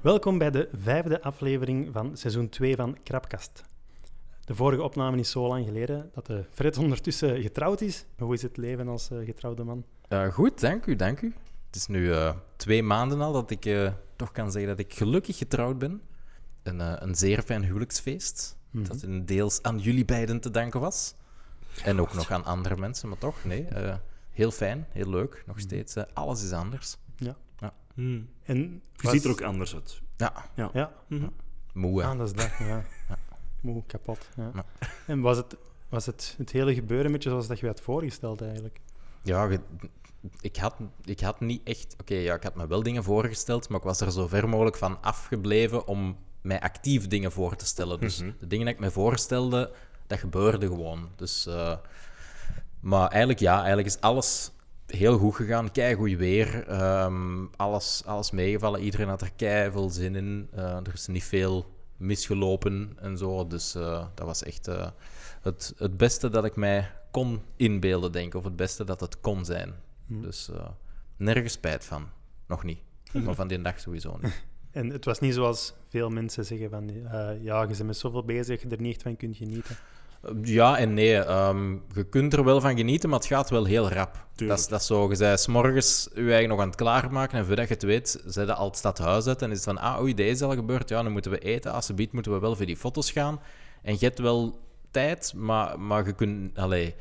Welkom bij de vijfde aflevering van seizoen 2 van Krapkast. De vorige opname is zo lang geleden dat de Fred ondertussen getrouwd is. Hoe is het leven als eh, getrouwde man? Eh, goed, dank u, dank u. Het is nu eh, twee maanden al dat ik eh, toch kan zeggen dat ik gelukkig getrouwd ben. Een, eh, een zeer fijn huwelijksfeest, dat een deels aan jullie beiden te danken was. En ook nog aan andere mensen, maar toch, nee. eh, heel fijn, heel leuk, nog steeds. eh, alles is anders. En Je ziet er ook anders uit. Ja, Ja, moe. hè. ah, dat is dat. Ja. Moe, kapot. Ja. Ja. En was het, was het, het hele gebeuren een beetje zoals dat je had voorgesteld eigenlijk? Ja, ge- ik had, ik had niet echt... Oké, ja, ik had me wel dingen voorgesteld, maar ik was er zo ver mogelijk van afgebleven om mij actief dingen voor te stellen. Dus de dingen die ik me voorstelde, dat gebeurde gewoon. Dus, eh, maar eigenlijk ja, eigenlijk is alles heel goed gegaan. Kei goed weer. Ehm, alles, alles meegevallen. Iedereen had er kei veel zin in. Eh, er is niet veel misgelopen en zo. Dus eh, dat was echt eh, het, het beste dat ik mij kon inbeelden, denk ik. Of het beste dat het kon zijn. Dus eh, nergens spijt van. Nog niet. Maar van die dag sowieso niet. En het was niet zoals veel mensen zeggen van eh, ja, je bent met zoveel bezig, je er niet echt van kunt genieten. Ja en nee. ehm, je kunt er wel van genieten, maar het gaat wel heel rap. Dat Tuurlijk. is, dat is zo. Je bent 's morgens je eigen nog aan het klaarmaken. En voordat je het weet, zijn je al het stadhuis uit. En is het van, ah, oei, deze is al gebeurd. Ja, dan moeten we eten. Alsjeblieft moeten we wel voor die foto's gaan. En je hebt wel tijd, maar, maar je kunt... Allee,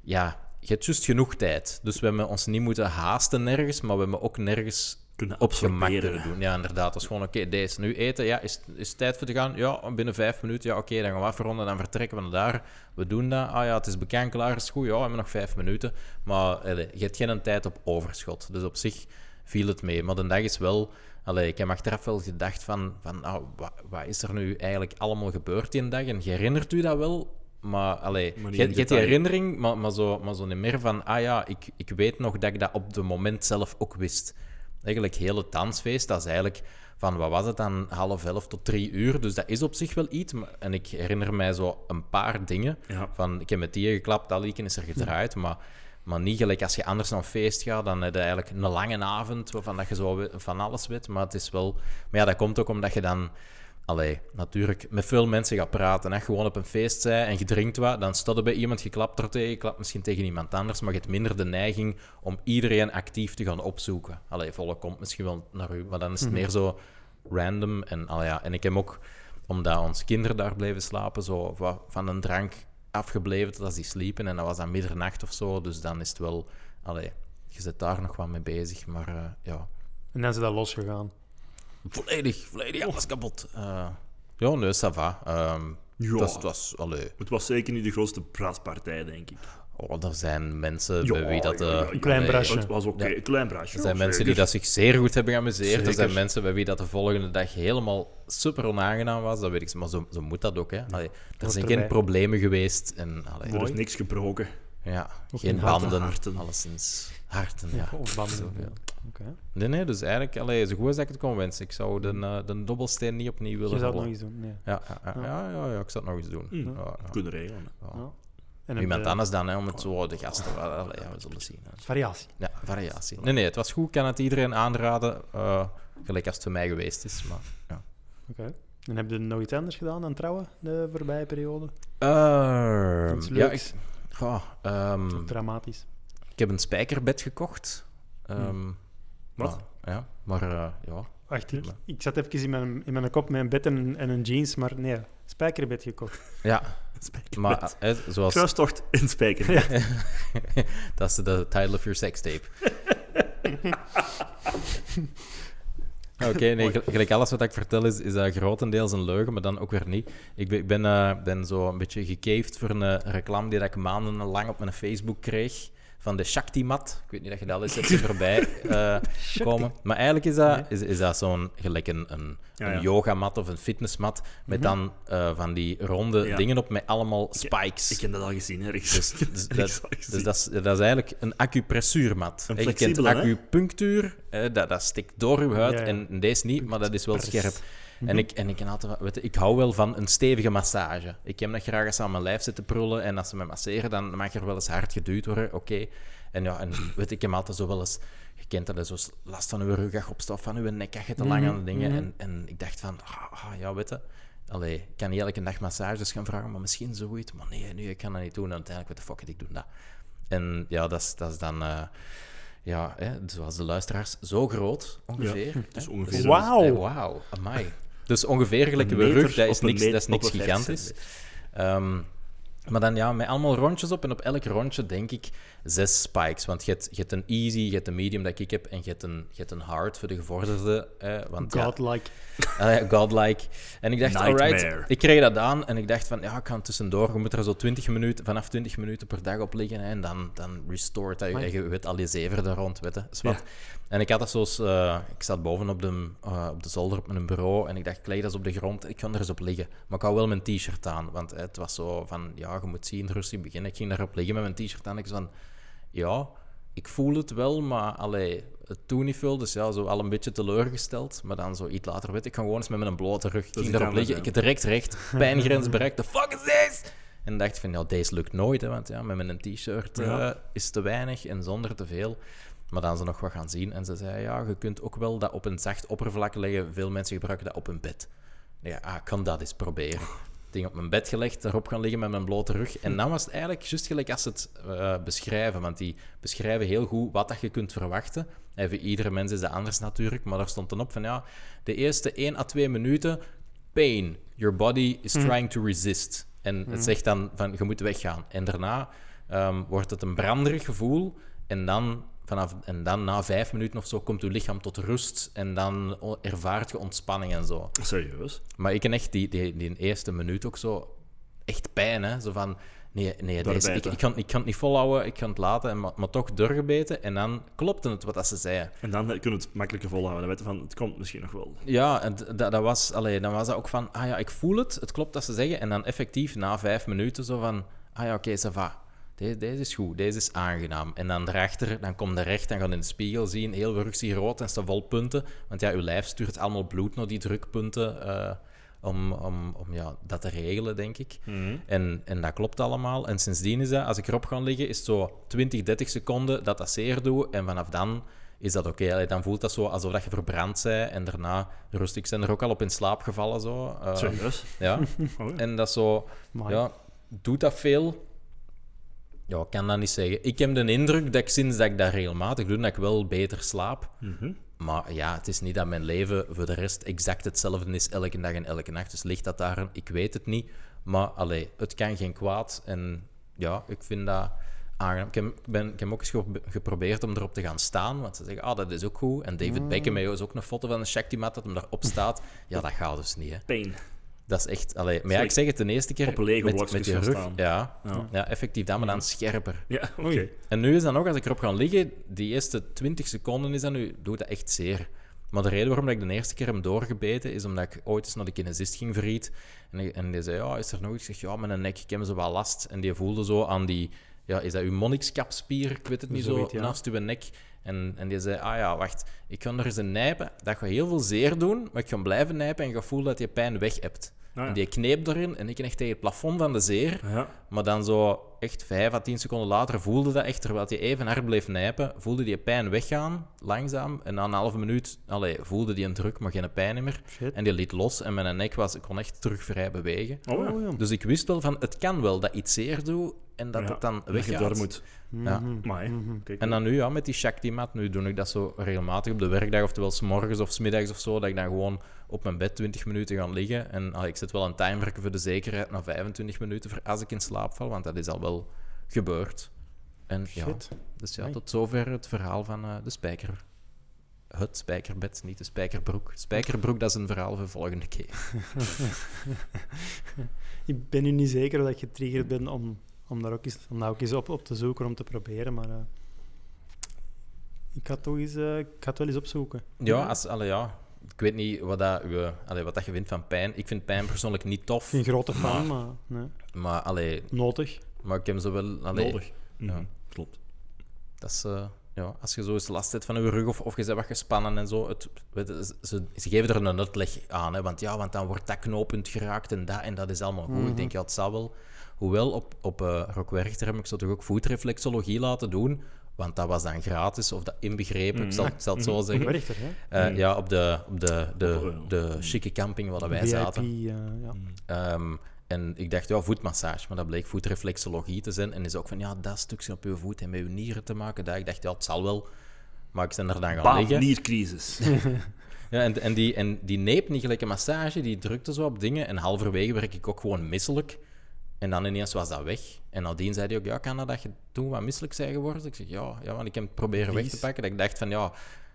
ja, je hebt juist genoeg tijd. Dus we hebben ons niet moeten haasten nergens, maar we hebben ook nergens Kunnen op zijn gemak absorberen. kunnen doen. Ja, inderdaad. Dat is gewoon, oké, deze nu eten. Ja, is, is het tijd voor te gaan? Ja, binnen vijf minuten. Ja, oké, dan gaan we afronden. Dan vertrekken we naar daar. We doen dat. Ah ja, het is bekend, klaar, is goed. Ja, we hebben nog vijf minuten. Maar allee, je hebt geen tijd op overschot. Dus op zich viel het mee. Maar de dag is wel... Allee, ik heb achteraf wel gedacht van... van nou, wat, wat is er nu eigenlijk allemaal gebeurd die dag? En je herinnert u dat wel? Maar, allee, Maar niet je, in je hebt die detail. herinnering, maar, maar, zo, maar zo niet meer van... Ah ja, ik, ik weet nog dat ik dat op het moment zelf ook wist. Eigenlijk heel het dansfeest, dat is eigenlijk van... Wat was het dan? Half elf tot drie uur. Dus dat is op zich wel iets. maar- En ik herinner mij zo een paar dingen. Ja. Van, ik heb met die geklapt, dat liedje is er gedraaid, maar... Maar niet gelijk als je anders naar een feest gaat, dan heb je eigenlijk een lange avond waarvan dat je zo we- van alles weet. Maar het is wel... Maar ja, dat komt ook omdat je dan... Allee, natuurlijk, met veel mensen gaat praten. Hè. Gewoon op een feest zijn en je drinkt wat, dan staat er bij iemand, je klapt er tegen, je klapt misschien tegen iemand anders, maar je hebt minder de neiging om iedereen actief te gaan opzoeken. Allee, volk komt misschien wel naar u, maar dan is het meer zo random. En, allee, ja. en ik heb ook, omdat onze kinderen daar bleven slapen, zo wat van een drank afgebleven tot als die sliepen. En dat was dan middernacht of zo, dus dan is het wel... Allee, je zit daar nog wat mee bezig, maar eh, ja... En dan is dat losgegaan. Volledig, volledig alles kapot. Eh, ja, nee, ça va. Ehm, Ja. Het was... Het was allee. Het was zeker niet de grootste praatpartij, denk ik. Oh, er zijn mensen Ja, bij wie dat... ja, eh, ja, ja. allee, Klein brasje. Het was oké, Ja. een klein Dus braasje. Er zijn Oh, Ja, mensen die zeker. dat zich zeer goed hebben geamuseerd. Er zijn Zeker. mensen bij wie dat de volgende dag helemaal super onaangenaam was. Dat weet ik, maar zo, zo moet dat ook. Hè. Allee, er zijn geen erbij. problemen geweest. En, allee, Er Mooi. is niks gebroken. ja, geen geen harten, Oh. banden, harten. alleszins. Harten, ja. Of banden. Ja. Oké. Nee, nee, dus eigenlijk, allee, zo goed als ik het kon wensen. Ik zou de, eh, de dobbelsteen niet opnieuw willen Mm. Je zou het nog rollen. eens doen. Ja. Mm. ja, ja, ja, ja, ja, ja, ik zou het nog eens doen. Ja, ja. Kunnen regelen. hè. En een, Iemand eh, anders dan, hè, om het zo de gasten. wel- allee, ja, we zullen zien. hè. Variatie. Ja, variatie. Nee, nee, het was goed. Ik kan het iedereen aanraden. eh, gelijk als het voor mij geweest is. Maar, ja. Oké. En heb je nog iets anders gedaan dan trouwen de voorbije periode? Ehm, Iets ja, leuks. ik, Goh, ehm, Dramatisch. ik heb een spijkerbed gekocht. Ehm, Wat? Maar, ja, maar eh, ja. Wacht, ik, ik zat even in mijn, in mijn kop met een bed en, en een jeans, maar nee, spijkerbed gekocht. Ja, Spijkerbed. maar eh, zoals... Kruistocht in spijkerbed. dat is de title of your sex tape. Oké, nee, gel- gelijk alles wat ik vertel is, is eh, grotendeels een leugen, maar dan ook weer niet. Ik ben, ik ben, eh, ben zo een beetje gecaved voor een eh, reclame die dat ik maandenlang op mijn Facebook kreeg. Van de Shakti-mat. Ik weet niet dat je dat al eens hebt zien voorbij eh, komen. Maar eigenlijk is dat, is, is dat zo'n gelijk een, een, Ja, een ja. Mhm. yogamat of een fitnessmat. Met dan eh, van die ronde Ja. dingen op met allemaal spikes. Ik heb dat al gezien, ergens. Dus, Ik heb dus, dat ergens dat, al dus gezien. dat, is, dat is eigenlijk een acupressuurmat. Een Hè, Je kent flexibele, hè? acupunctuur, hè, dat, dat stikt door je huid Ja, Mhm. ja. en deze niet, maar dat is wel scherp. En ik, en ik, ben altijd, van, weet je, ik hou wel van een stevige massage. Ik heb dat graag als ze aan mijn lijf zitten prullen en als ze me masseren, dan mag er wel eens hard geduwd worden, oké. En ja, en weet je, ik heb altijd zo wel eens... Je kent dat, hè, zo last van uw rugagopstof, van uw nek, als je te lang Mhm, aan de dingen. En, en ik dacht van, ah, ah, ja, weet je... Allee, ik kan niet elke dag massages gaan vragen, maar misschien zoiets. Maar nee, nu, ik kan dat niet doen. En uiteindelijk, what the fuck, it, ik doe dat. En ja, dat is, dat is dan... eh, ja, hè, zoals de luisteraars, zo groot ongeveer. hè. dus ongeveer Wauw. Hey, eh, Wauw, amai. Dus ongeveer gelijk Een uw meter rug, dat is op een niks, meter dat is niks op een vijf gigantisch. Ehm, maar dan ja, met allemaal rondjes op. En op elk rondje denk ik zes spikes. Want je hebt, je hebt een easy, je hebt een medium dat ik heb. En je hebt een, je hebt een hard voor de gevorderde. eh, want, ja, Godlike. Allee, godlike. En ik dacht, Nightmare. alright, ik kreeg dat aan en ik dacht van, ja, ik kan tussendoor, je moet er zo 20 minuten, vanaf 20 minuten per dag op liggen hè, en dan, dan restored dat je, Amai. en je weet al je zever daar rond, weet je, is wat. En ik had dat zoals, eh, ik zat boven op de, eh, op de zolder op mijn bureau en ik dacht, ik leg dat eens op de grond, ik kan er eens op liggen. Maar ik had wel mijn t-shirt aan, want hè, het was zo van, ja, je moet zien, rustig beginnen. Ik ging daarop liggen met mijn t-shirt aan, ik was van, ja, ik voel het wel, maar allee, het doet niet veel. Dus ja, zo al een beetje teleurgesteld. Maar dan zo iets later weet ik gewoon eens met mijn blote rug. Ik ging iets daarop anders, liggen, hè. ik heb direct recht, pijngrens bereikt. The fuck is this? En dacht van, ja, deze lukt nooit, hè, want ja, met mijn t-shirt eh, Ja. is te weinig en zonder te veel. Maar dan ze nog wat gaan zien en ze zei, ja, je kunt ook wel dat op een zacht oppervlak leggen. Veel mensen gebruiken dat op een bed. Ja, ah, ik kan dat eens proberen. Ding op mijn bed gelegd, daarop gaan liggen met mijn blote rug. En dan was het eigenlijk juist gelijk als ze het eh, beschrijven. Want die beschrijven heel goed wat dat je kunt verwachten. En voor iedere mens is dat anders natuurlijk. Maar daar stond dan op van ja, de eerste 1 à 2 minuten, pain. Your body is trying to resist. En het zegt dan van je moet weggaan. En daarna ehm, wordt het een branderig gevoel. En dan, vanaf, en dan na vijf minuten of zo komt je lichaam tot rust. En dan o- ervaart je ontspanning en zo. Serieus? Maar ik ken echt die, die, die eerste minuut ook zo echt pijn, hè? Zo van, nee, nee Doorbijten. deze- ik, ik, kan, ik kan het niet volhouden, ik kan het laten, en, maar, maar toch doorgebeten. En dan klopte het wat dat ze zeiden. En dan eh, kunnen we het makkelijker volhouden. Dan weten we van, het komt misschien nog wel. Ja, en d- dat, dat was, allee, dan was dat ook van, ah ja, ik voel het, het klopt dat ze zeggen. En dan effectief na vijf minuten zo van, ah ja, oké, ça va. Deze, deze is goed, deze is aangenaam. En dan daarachter, dan komt de recht, dan gaan in de spiegel zien, heel uw rug zie je rood en staat vol punten. Want ja, uw lijf stuurt allemaal bloed naar die drukpunten eh, om, om, om ja, dat te regelen, denk ik. En, en dat klopt allemaal. En sindsdien is dat, als ik erop ga liggen, is het zo 20, 30 seconden dat dat zeer doet. En vanaf dan is dat oké. Allee, Dan voelt dat zo alsof dat je verbrand bent. En daarna rust. Ik ben er ook al op in slaap gevallen. Zo. Eh, Serieus? ja. Oh, ja. En dat zo... Amai. Ja, doet dat veel? Ja, ik kan dat niet zeggen. Ik heb de indruk dat ik sinds dat ik dat regelmatig doe, dat ik wel beter slaap. Maar ja, het is niet dat mijn leven voor de rest exact hetzelfde is elke dag en elke nacht. Dus ligt dat daar? Ik weet het niet. Maar allee, het kan geen kwaad. En ja, ik vind dat aangenaam. Ik heb, ik ben, ik heb ook eens gep- geprobeerd om erop te gaan staan. Want ze zeggen, ah, dat is ook goed. En David Beckham heeft ook een foto van een Shakti mat dat hem daarop staat. Ja, dat gaat dus niet, hè. Pain. Dat is echt... Allee, maar ja, Sorry. ik zeg het de eerste keer... Op Lego met, blokjes met je gaan rug. staan. Ja. Ja. Ja. effectief. Dat, maar dan scherper. Ja, oké. Oei. En nu is dan ook, als ik erop ga liggen, die eerste 20 seconden is dan nu... Doet dat echt zeer. Maar de reden waarom dat ik de eerste keer hem doorgebeten, is omdat ik ooit eens naar de kinesist ging verriet. En, en die zei, ja, is er nog iets? Ik zeg, ja, mijn nek, ik heb zo wel last. En die voelde zo aan die... Ja, is dat uw monnikskapspier? Ik weet het niet Zoiets, zo, ja. naast uw nek. En, en die zei, ah ja, wacht, ik kan er eens een nijpen. Dat gaat heel veel zeer doen, maar ik ga blijven nijpen en ik ga voelen dat je pijn weg hebt. ja. En die kneep erin en ik echt tegen het plafond van de zeer. Ja. Maar dan zo echt vijf à tien seconden later voelde dat echt, terwijl je even hard bleef nijpen, voelde die pijn weggaan, langzaam. En na een halve minuut allee, voelde die een druk, maar geen pijn meer. Shit. En die liet los en mijn nek was, ik kon echt terug vrij bewegen. Oh, ja. Oh, ja. Dus ik wist wel van, het kan wel dat iets zeer doet en dat Ja, het dan Dat je weggaat. door moet. Mhm. Ja. Maar, hè. Kijk, En dan nu, ja, met die Shakti-mat, nu doe ik dat zo regelmatig op de werkdag, oftewel s'morgens of s'middags of zo, dat ik dan gewoon op mijn bed 20 minuten ga liggen. En ah, ik zet wel een timer voor de zekerheid naar 25 minuten voor als ik in slaap val, want dat is al wel gebeurd. En ja, Shit. dus ja, Amai. tot zover het verhaal van eh, de spijker. Het spijkerbed, niet de spijkerbroek. Spijkerbroek, dat is een verhaal voor volgende keer. Ik ben nu niet zeker of dat ik getriggerd ben om, om daar ook eens, om daar ook eens op, op te zoeken, om te proberen, maar... eh, ik ga, toch eens, eh, ik ga het wel eens opzoeken. Ja, als, allee, ja. ik weet niet wat, dat, je- allee, wat dat je vindt van pijn. Ik vind pijn persoonlijk niet tof, Geen grote fan, maar nee. maar, allee, nodig. maar ik heb zo wel... Allee, nodig. Ja. Mhm, Klopt. Dat is, eh, ja, als je zo eens last hebt van je rug of, of je bent wat gespannen en zo, het, weet je, ze- ze, ze geven er een uitleg aan. Hè, want ja, want dan wordt dat knooppunt geraakt en dat en dat is allemaal goed. Ik denk, ja, het zal wel. Hoewel, op, op eh Rock Werchter heb ik zo toch ook voetreflexologie laten doen, want dat was dan gratis of dat inbegrepen, ik zal, ik zal het zo zeggen. Werchter, hè? Eh, Ja, op de, op de, de, Op, eh, de chique camping waar wij VIP, zaten. eh, ja. Ehm, en ik dacht, ja, voetmassage. Maar dat bleek voetreflexologie te zijn. En is ook van, ja, dat stukje op je voet en met je nieren te maken. Dat. Ik dacht, ja, het zal wel. Maar ik ben er dan gaan Bam, liggen. niercrisis. Ja, en, en, die, en die neep niet gelijk een massage. Die drukte zo op dingen. En halverwege werd ik ook gewoon misselijk. En dan ineens was dat weg. En nadien zei hij ook, ja, kan dat dat je toen wat misselijk zijn geworden? Ik zeg, ja, ja want ik heb het proberen weg te Vies. pakken. Dat ik dacht van, ja,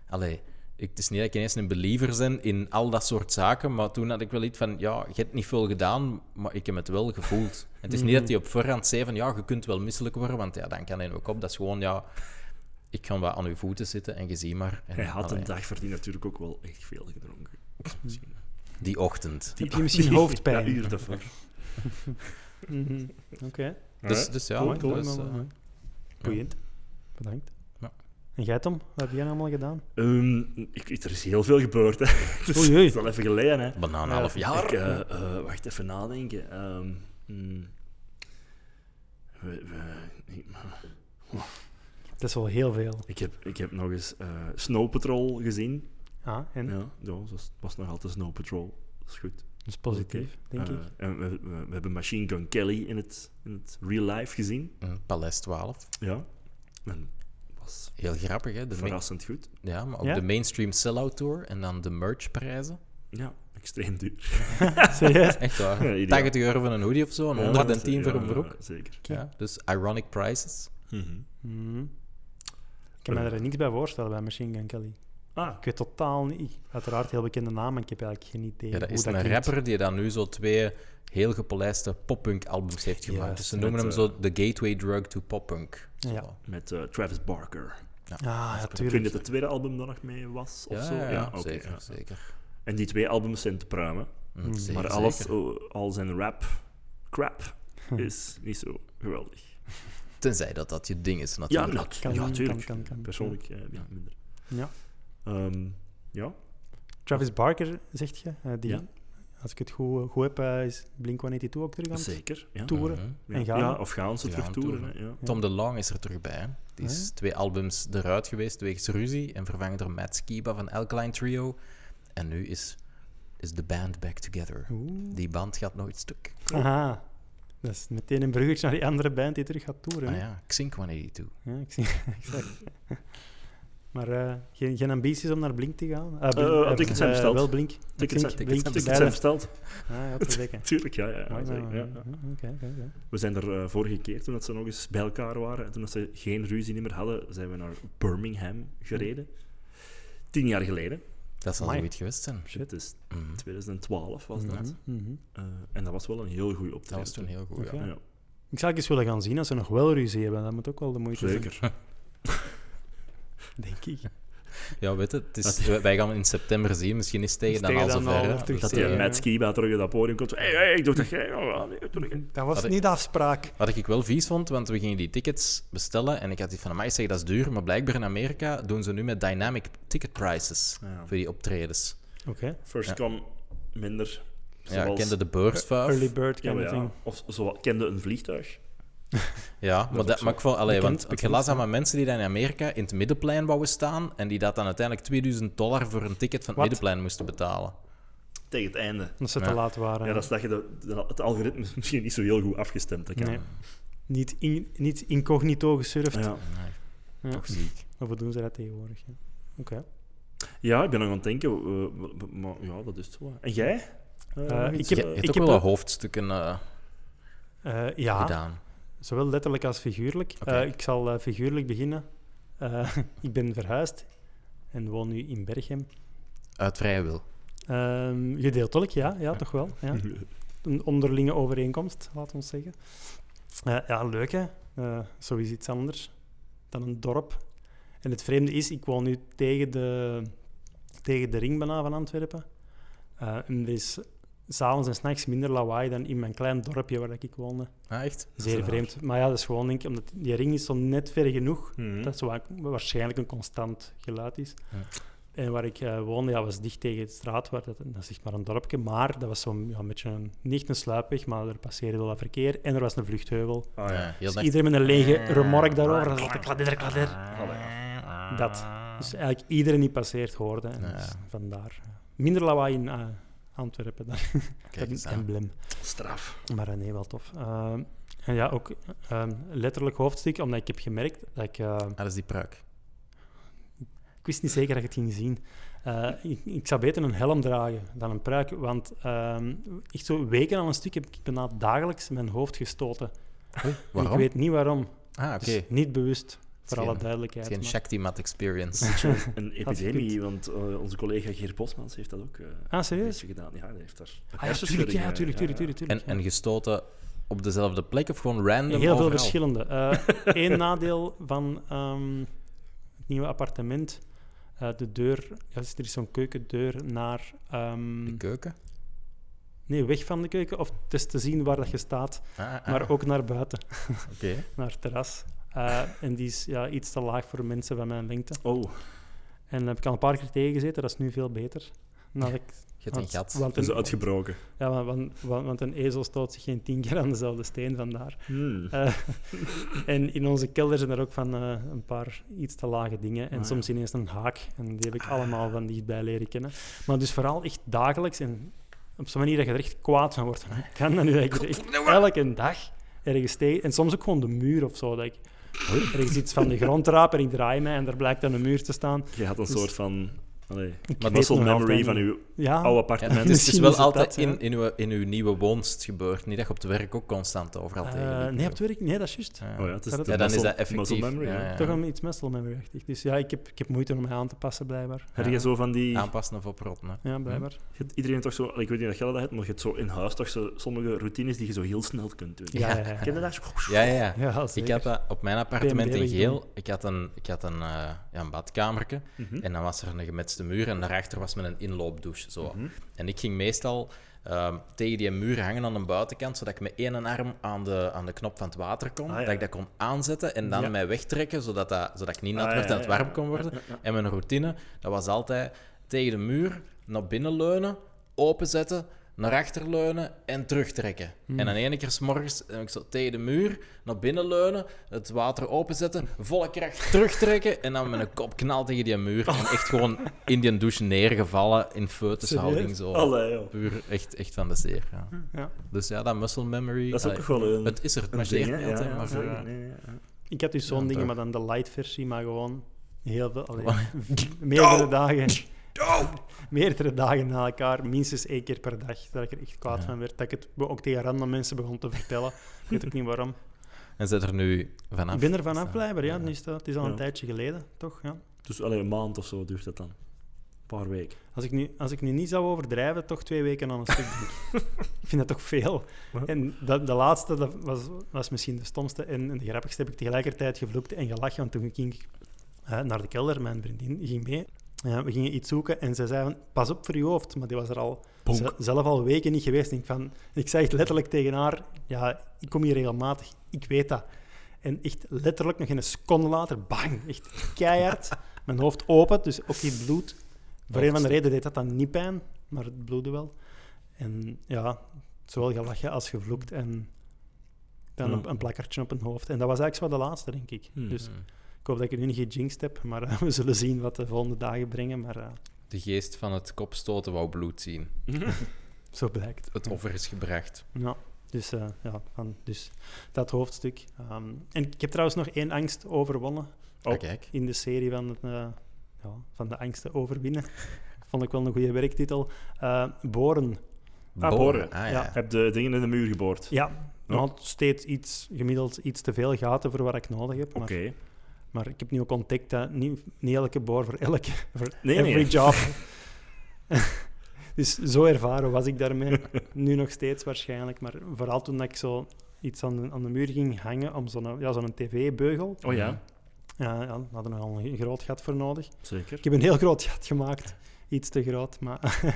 allee, ik, het is niet dat ik ineens een believer ben in al dat soort zaken, maar toen had ik wel iets van, ja, je hebt niet veel gedaan, maar ik heb het wel gevoeld. En het is niet dat hij op voorhand zei van, ja, je kunt wel misselijk worden, want ja, dan kan hij ook op. Dat is gewoon, ja, ik ga wat aan uw voeten zitten en je ziet maar. En, Hij had allee, een dag verdien natuurlijk ook wel echt veel gedronken. Misschien. Die ochtend. Heb je misschien hoofdpijn? Ja, uur daarvoor. Hm. Mhm. Oké, Dus, dus ja, mooi, mooi, dus, mooi, eh, Nou, mooi. boeiend. Bedankt. Ja. En jij, Tom? Wat heb jij nou allemaal gedaan? Ehm, ik, er is heel veel gebeurd. Hè. Dus Oei, oei. Het is al even geleden. Hè. bijna een half jaar. Ik, eh, eh, wacht even nadenken. Ehm, hmm. We- we- ik, Het is wel heel veel. ik heb, ik heb nog eens eh, Snow Patrol gezien. Ah, en? Ja, ja, dat was- was nog altijd Snow Patrol. Dat is goed. Dat is Dus positief, denk Eh, ik. En we, we, we hebben Machine Gun Kelly in het, in het real life gezien. Mm, Paleis 12. Ja. En was Heel grappig, hè? De main- verrassend goed. ja, maar ook Ja? de mainstream sell-out tour en dan de merchprijzen. Ja, extreem duur. Serieus? Echt waar. Ja, ideaal. 80 euro voor een hoodie of zo, en 110 voor een Ja, broek. Zeker. Ja, dus ironic prices. Eh. Mhm. Ik kan me er niks bij voorstellen bij Machine Gun Kelly. Ah, Ik weet totaal niet. Uiteraard heel bekende naam, maar ik heb eigenlijk geen idee Ja, dat hoe is dat een klinkt. rapper die dan nu zo twee heel gepolijste poppunk albums heeft gemaakt. Juist, dus ze met, noemen hem eh, zo de gateway drug to poppunk. Zo. Ja. met eh, Travis Barker. Ah, ja, Ik weet niet tuurlijk. dat het tweede album daar nog mee was of Ja, zo. ja, oké, zeker, ja. zeker. En die twee albums zijn te pruimen. Mm, zeker, maar alles, zeker. oh, al zijn rap crap is niet zo geweldig. Tenzij dat dat je ding is, Ja, natuurlijk. nat, Kan, ja, kan, tuurlijk. kan, kan. Persoonlijk eh, ja, minder. Ja. Ehm, ja. Travis Barker, zegt je? eh, die, Ja. Als ik het goed, goed heb, eh, is Blink-182 ook terug aan het zeker. Ja. toeren. Mhm. Ja. En gaan Ja, we? of gaan ze Ja, terug aan toeren. toeren. hè, ja. Tom de Long is er terug bij. hè. Die is Ah, Ja. twee albums eruit geweest wegens ruzie en vervangen door Matt Skiba van Alkaline Trio. En nu is, is de band back together. Oeh. Die band gaat nooit stuk. Aha. Dat is meteen een bruggetje naar die andere band die terug gaat toeren. Ah hè? ja, Xink 182. Ja, ik zie. exact. maar eh, geen, geen ambities om naar Blink te gaan? Ah, Eh, eh, tickets zijn eh, besteld. Wel Blink. Tickets zijn- Blink, Tickets beide. zijn versteld. Ah, ja, te zeggen. Tuurlijk, ja. ja, ja, Mooi, zeker, nou, ja, ja. eh, Oké, oké, oké. We zijn er eh, vorige keer, toen dat ze nog eens bij elkaar waren, en toen dat ze geen ruzie niet meer hadden, zijn we naar Birmingham gereden. Tien jaar geleden. Dat zal Amai. goed geweest zijn. Shit. Het is Mhm. 2012 was dat. Mhm, mhm. Eh, en dat was wel een heel goede optreden. Dat was toen heel goed. Oké. Ja. Ja. Ik zou ook eens willen gaan zien als ze nog wel ruzie hebben. Dat moet ook wel de moeite Zeker. zijn, denk ik. ja, weet het, het is, wij wij gaan hem in september zien. Misschien is het tegen Is dan al tegen dan al zover. hè. terug Dus, Dat Ja. die eh, met Skiba terug op dat podium komt. Hé, hey, hey, ik dacht dat jij... Oh, nee, terug. Dat was Wat ik- niet de afspraak. Wat ik wel vies vond, want we gingen die tickets bestellen en ik had die van mij zeggen dat is duur, maar blijkbaar in Amerika doen ze nu met dynamic ticket prices Ja. voor die optredens. Oké. First Ja. come, minder. Ja, ik Zoals- kende de beursvuif. Early bird Ja, kind maar of ja. thing. Of zo, kende een vliegtuig. Ja, maar, ook dat, zo. maar ik vond, allee, Bekend, want het bekend, gelaat aan ja. van mensen die dan in Amerika in het middenplein wouden staan en die dat dan uiteindelijk 2000 dollar voor een ticket van Wat? het middenplein moesten betalen. Tegen het einde. Omdat ze te Ja. laat waren. Ja, dat is dat je de, de- het algoritme is misschien niet zo heel goed afgestemd. Dat kan. Nee. Niet, in, niet incognito gesurfd. Ja. Nee, Ja. toch ziek. Of hoe doen ze dat tegenwoordig? ja. Oké. ja, ik ben nog aan het denken. eh, w- w- maar ja, dat is het wel. En jij? Eh, Eh, nog ik iets, Je, heb- je eh? hebt ook heb wel ook- hoofdstukken eh, Eh, ja, gedaan. zowel letterlijk als figuurlijk. Oké. Eh, ik zal eh, figuurlijk beginnen. Eh, ik ben verhuisd en woon nu in Berchem. Uit vrije wil. Ehm, gedeeltelijk, ja, ja, toch wel. Ja. Een onderlinge overeenkomst, laat ons zeggen. Eh, ja, leuk hè. Eh zo is iets anders dan een dorp. En het vreemde is, ik woon nu tegen de, tegen de ring bijna van Antwerpen. Eh, en er is s'avonds en s'nachts minder lawaai dan in mijn klein dorpje waar ik woonde. Ah, echt? is Zeer raar. vreemd. Maar ja, dat is gewoon, denk ik, omdat die ring is zo net ver genoeg, Mhm. dat zo wa- waarschijnlijk een constant geluid is. Hm. Ja. En waar ik eh, woonde, ja, was dicht tegen de straat, waar dat, dat is echt maar een dorpje. Maar dat was zo'n ja, een beetje een, niet een sluipweg, maar er passeerde wel wat verkeer. En er was een vluchtheuvel. Ah, ja. Ja, heel Dus net. iedereen met een lege Eh, remork daarover. Dat is altijd kladder, kladder. Dat. Dus eigenlijk iedereen die passeert hoorde. En Ja. dus vandaar. Minder lawaai in eh, Antwerpen dan Kijk eens het aan. emblem. Straf. Maar eh, nee, wel tof. Ehm, en ja, ook ehm, letterlijk hoofdstuk, omdat ik heb gemerkt dat ik... eh, Ah, dat is die pruik. ik wist niet zeker dat ik het ging zien. Eh, ik, ik zou beter een helm dragen dan een pruik, want ehm, echt zo weken aan een stuk heb ik bijna dagelijks mijn hoofd gestoten. En Waarom? Ik weet niet waarom. Ah, oké. Dus niet bewust, voor geen- alle Het duidelijkheid. is geen maar- Shakti-mat experience. Een Had gekund. epidemie, want eh, onze collega Geert Bosmans heeft dat ook eh, Ah, serieus? een beetje gedaan. Ja, hij heeft daar eh, Ah, ja, tuurlijk, ja, tuurlijk, tuurlijk, tuurlijk, tuurlijk, eh, en, en gestoten op dezelfde plek of gewoon random Heel veel overal? verschillende. Eén nadeel van ehm, het nieuwe appartement, eh, de deur, ja, dus er is zo'n keukendeur naar... ehm, De keuken? nee, weg van de keuken, of het is te zien waar dat je staat, Ah, ah, maar ook naar buiten, Oké. naar het terras. Eh, en die is ja, iets te laag voor mensen van mijn lengte. Oh, En daar heb ik al een paar keer tegengezeten, dat is nu veel beter. Nadat ik, Je hebt een gat. Want dat is een, uitgebroken. ja, want, want, want een ezel stoot zich geen tien keer aan dezelfde steen vandaar. Hmm. Eh, en in onze kelder zijn er ook van eh, een paar iets te lage dingen. En Ah, ja. Ah. soms ineens een haak. En die heb ik allemaal van dichtbij leren kennen. Maar dus vooral echt dagelijks. En op zo'n manier dat je er echt kwaad van wordt. Hoe kan dat nu? Dat ik er echt elke dag ergens tegen... En soms ook gewoon de muur of zo. Dat ik ergens iets van de grond raap en ik draai mij. En daar blijkt dan een muur te staan. Je had een dus- soort van... Allee, weet muscle nog memory altijd van niet. Ah. uw Ja, oude Ja, dus appartement. het is, het is Misschien wel is het altijd dat, ja. in, in, uw, in uw nieuwe woonst gebeurd. Niet dat je op het werk ook constant overal tegen eh, liep. nee, op het werk. Nee, dat is juist. Ja. Oh ja, het is Ja, de Ja, dan is muscle- dat effectief. Muscle memory, Ja, hè. ja. Toch een iets muscle memory-achtig. Dus ja, ik heb, ik heb moeite om mij aan te passen, blijkbaar. Heb je zo van die... Aanpassen of oprotten. hè. Ja, blijkbaar. je hebt Iedereen toch zo... Ik weet niet of jij dat hebt, maar je hebt zo in huis toch zo sommige routines die je zo heel snel kunt doen. Ja, ja, ja. Ken je dat? Ja, ja, ja. Ja, Ik zeker. had dat op mijn appartement PMD in heb ik geel. Ik had een, ik had een, eh, ja, een badkamerke. mhm. En dan was er een gemetste muur. En daarachter was met een inloopdouche. Zo. Mhm. En ik ging meestal ehm, tegen die muur hangen aan de buitenkant. Zodat ik met één arm aan de, aan de knop van het water kon. Ah, ja. Dat ik dat kon aanzetten. En dan Ja. mij wegtrekken. Zodat, dat, zodat ik niet nat Ah, werd ja, en het ja, ja. warm kon worden. En mijn routine, dat was altijd tegen de muur, naar binnen leunen, openzetten, naar achter leunen en terugtrekken. Hmm. En dan ene keer 's morgens eh, ik zo tegen de muur, naar binnen leunen, het water openzetten, volle kracht terugtrekken en dan met een kop knal tegen die muur. En echt gewoon in die douche neergevallen, in feutushouding. Zo. Allee, joh. Puur echt, echt van de zeer. Ja. Ja. Dus ja, dat muscle memory. Dat is ook allee, gewoon een... het is er, het een ding, marcheert hè. niet altijd, Ja, maar ja, eh, nee, nee, ja. Ik had dus zo'n Ja, dingen, toch. maar dan de light versie, maar gewoon heel veel. Allee, Wat? meerdere dagen. meerdere dagen na elkaar, minstens één keer per dag. Dat ik er echt kwaad Ja. van werd. Dat ik het be- ook tegen random mensen begon te vertellen. Ik weet ook niet waarom. en zit er nu vanaf. ik ben er vanaf, Dus, eh, blijkbaar. Ja, nu is dat, het is al een Ja. tijdje geleden, toch? Ja. Dus allee, een maand of zo duurt dat dan. Een paar weken. Als, ik nu, als ik nu niet zou overdrijven, toch twee weken aan een stuk. Denk ik. ik vind dat toch veel. Wat? En dat, de laatste dat was, was misschien de stomste en, en de grappigste. Heb ik tegelijkertijd gevloekt en gelachen. Want toen ging ik eh, naar de kelder, mijn vriendin ging mee. Eh, we gingen iets zoeken en ze zei van, pas op voor je hoofd. Maar die was er al Bonk. ze- zelf al weken niet geweest. En ik, van, ik zei echt letterlijk tegen haar, ja, ik kom hier regelmatig, ik weet dat. En echt letterlijk nog geen seconde later, bang, echt keihard, mijn hoofd open. Dus ook die bloed. Voor een van de reden deed dat dan niet pijn, maar het bloedde wel. En ja, zowel gelachen als gevloekt en dan Ja. een, een plakkertje op een hoofd. En dat was eigenlijk zo de laatste, denk ik. Hmm. Dus ik hoop dat ik het nu niet gejinxed heb, maar eh, we zullen zien wat de volgende dagen brengen. Maar eh, De geest van het kopstoten wou bloed zien. zo blijkt. Het offer is gebracht. Ja, dus, eh, ja, van, dus dat hoofdstuk. Ehm, en ik heb trouwens nog één angst overwonnen Oh. Ah, kijk. in de serie van, eh, ja, van de angsten overwinnen. Vond ik wel een goede werktitel. Eh, boren. Ah, boren. Ah, ja. Ja. Heb de dingen in de muur geboord. Ja, nog steeds iets, gemiddeld iets te veel gaten voor wat ik nodig heb. Maar, Oké. maar ik heb nu ook ontdekt dat niet, niet elke boor voor elke voor Nee, every nee. job. dus zo ervaren was ik daarmee. Nu nog steeds waarschijnlijk, maar vooral toen dat ik zo iets aan de, aan de muur ging hangen om zo'n ja, zo'n tv-beugel. Oh ja, Ja, ja, daar hadden we al een groot gat voor nodig. zeker. Ik heb een heel groot gat gemaakt. iets te groot. Maar, eh,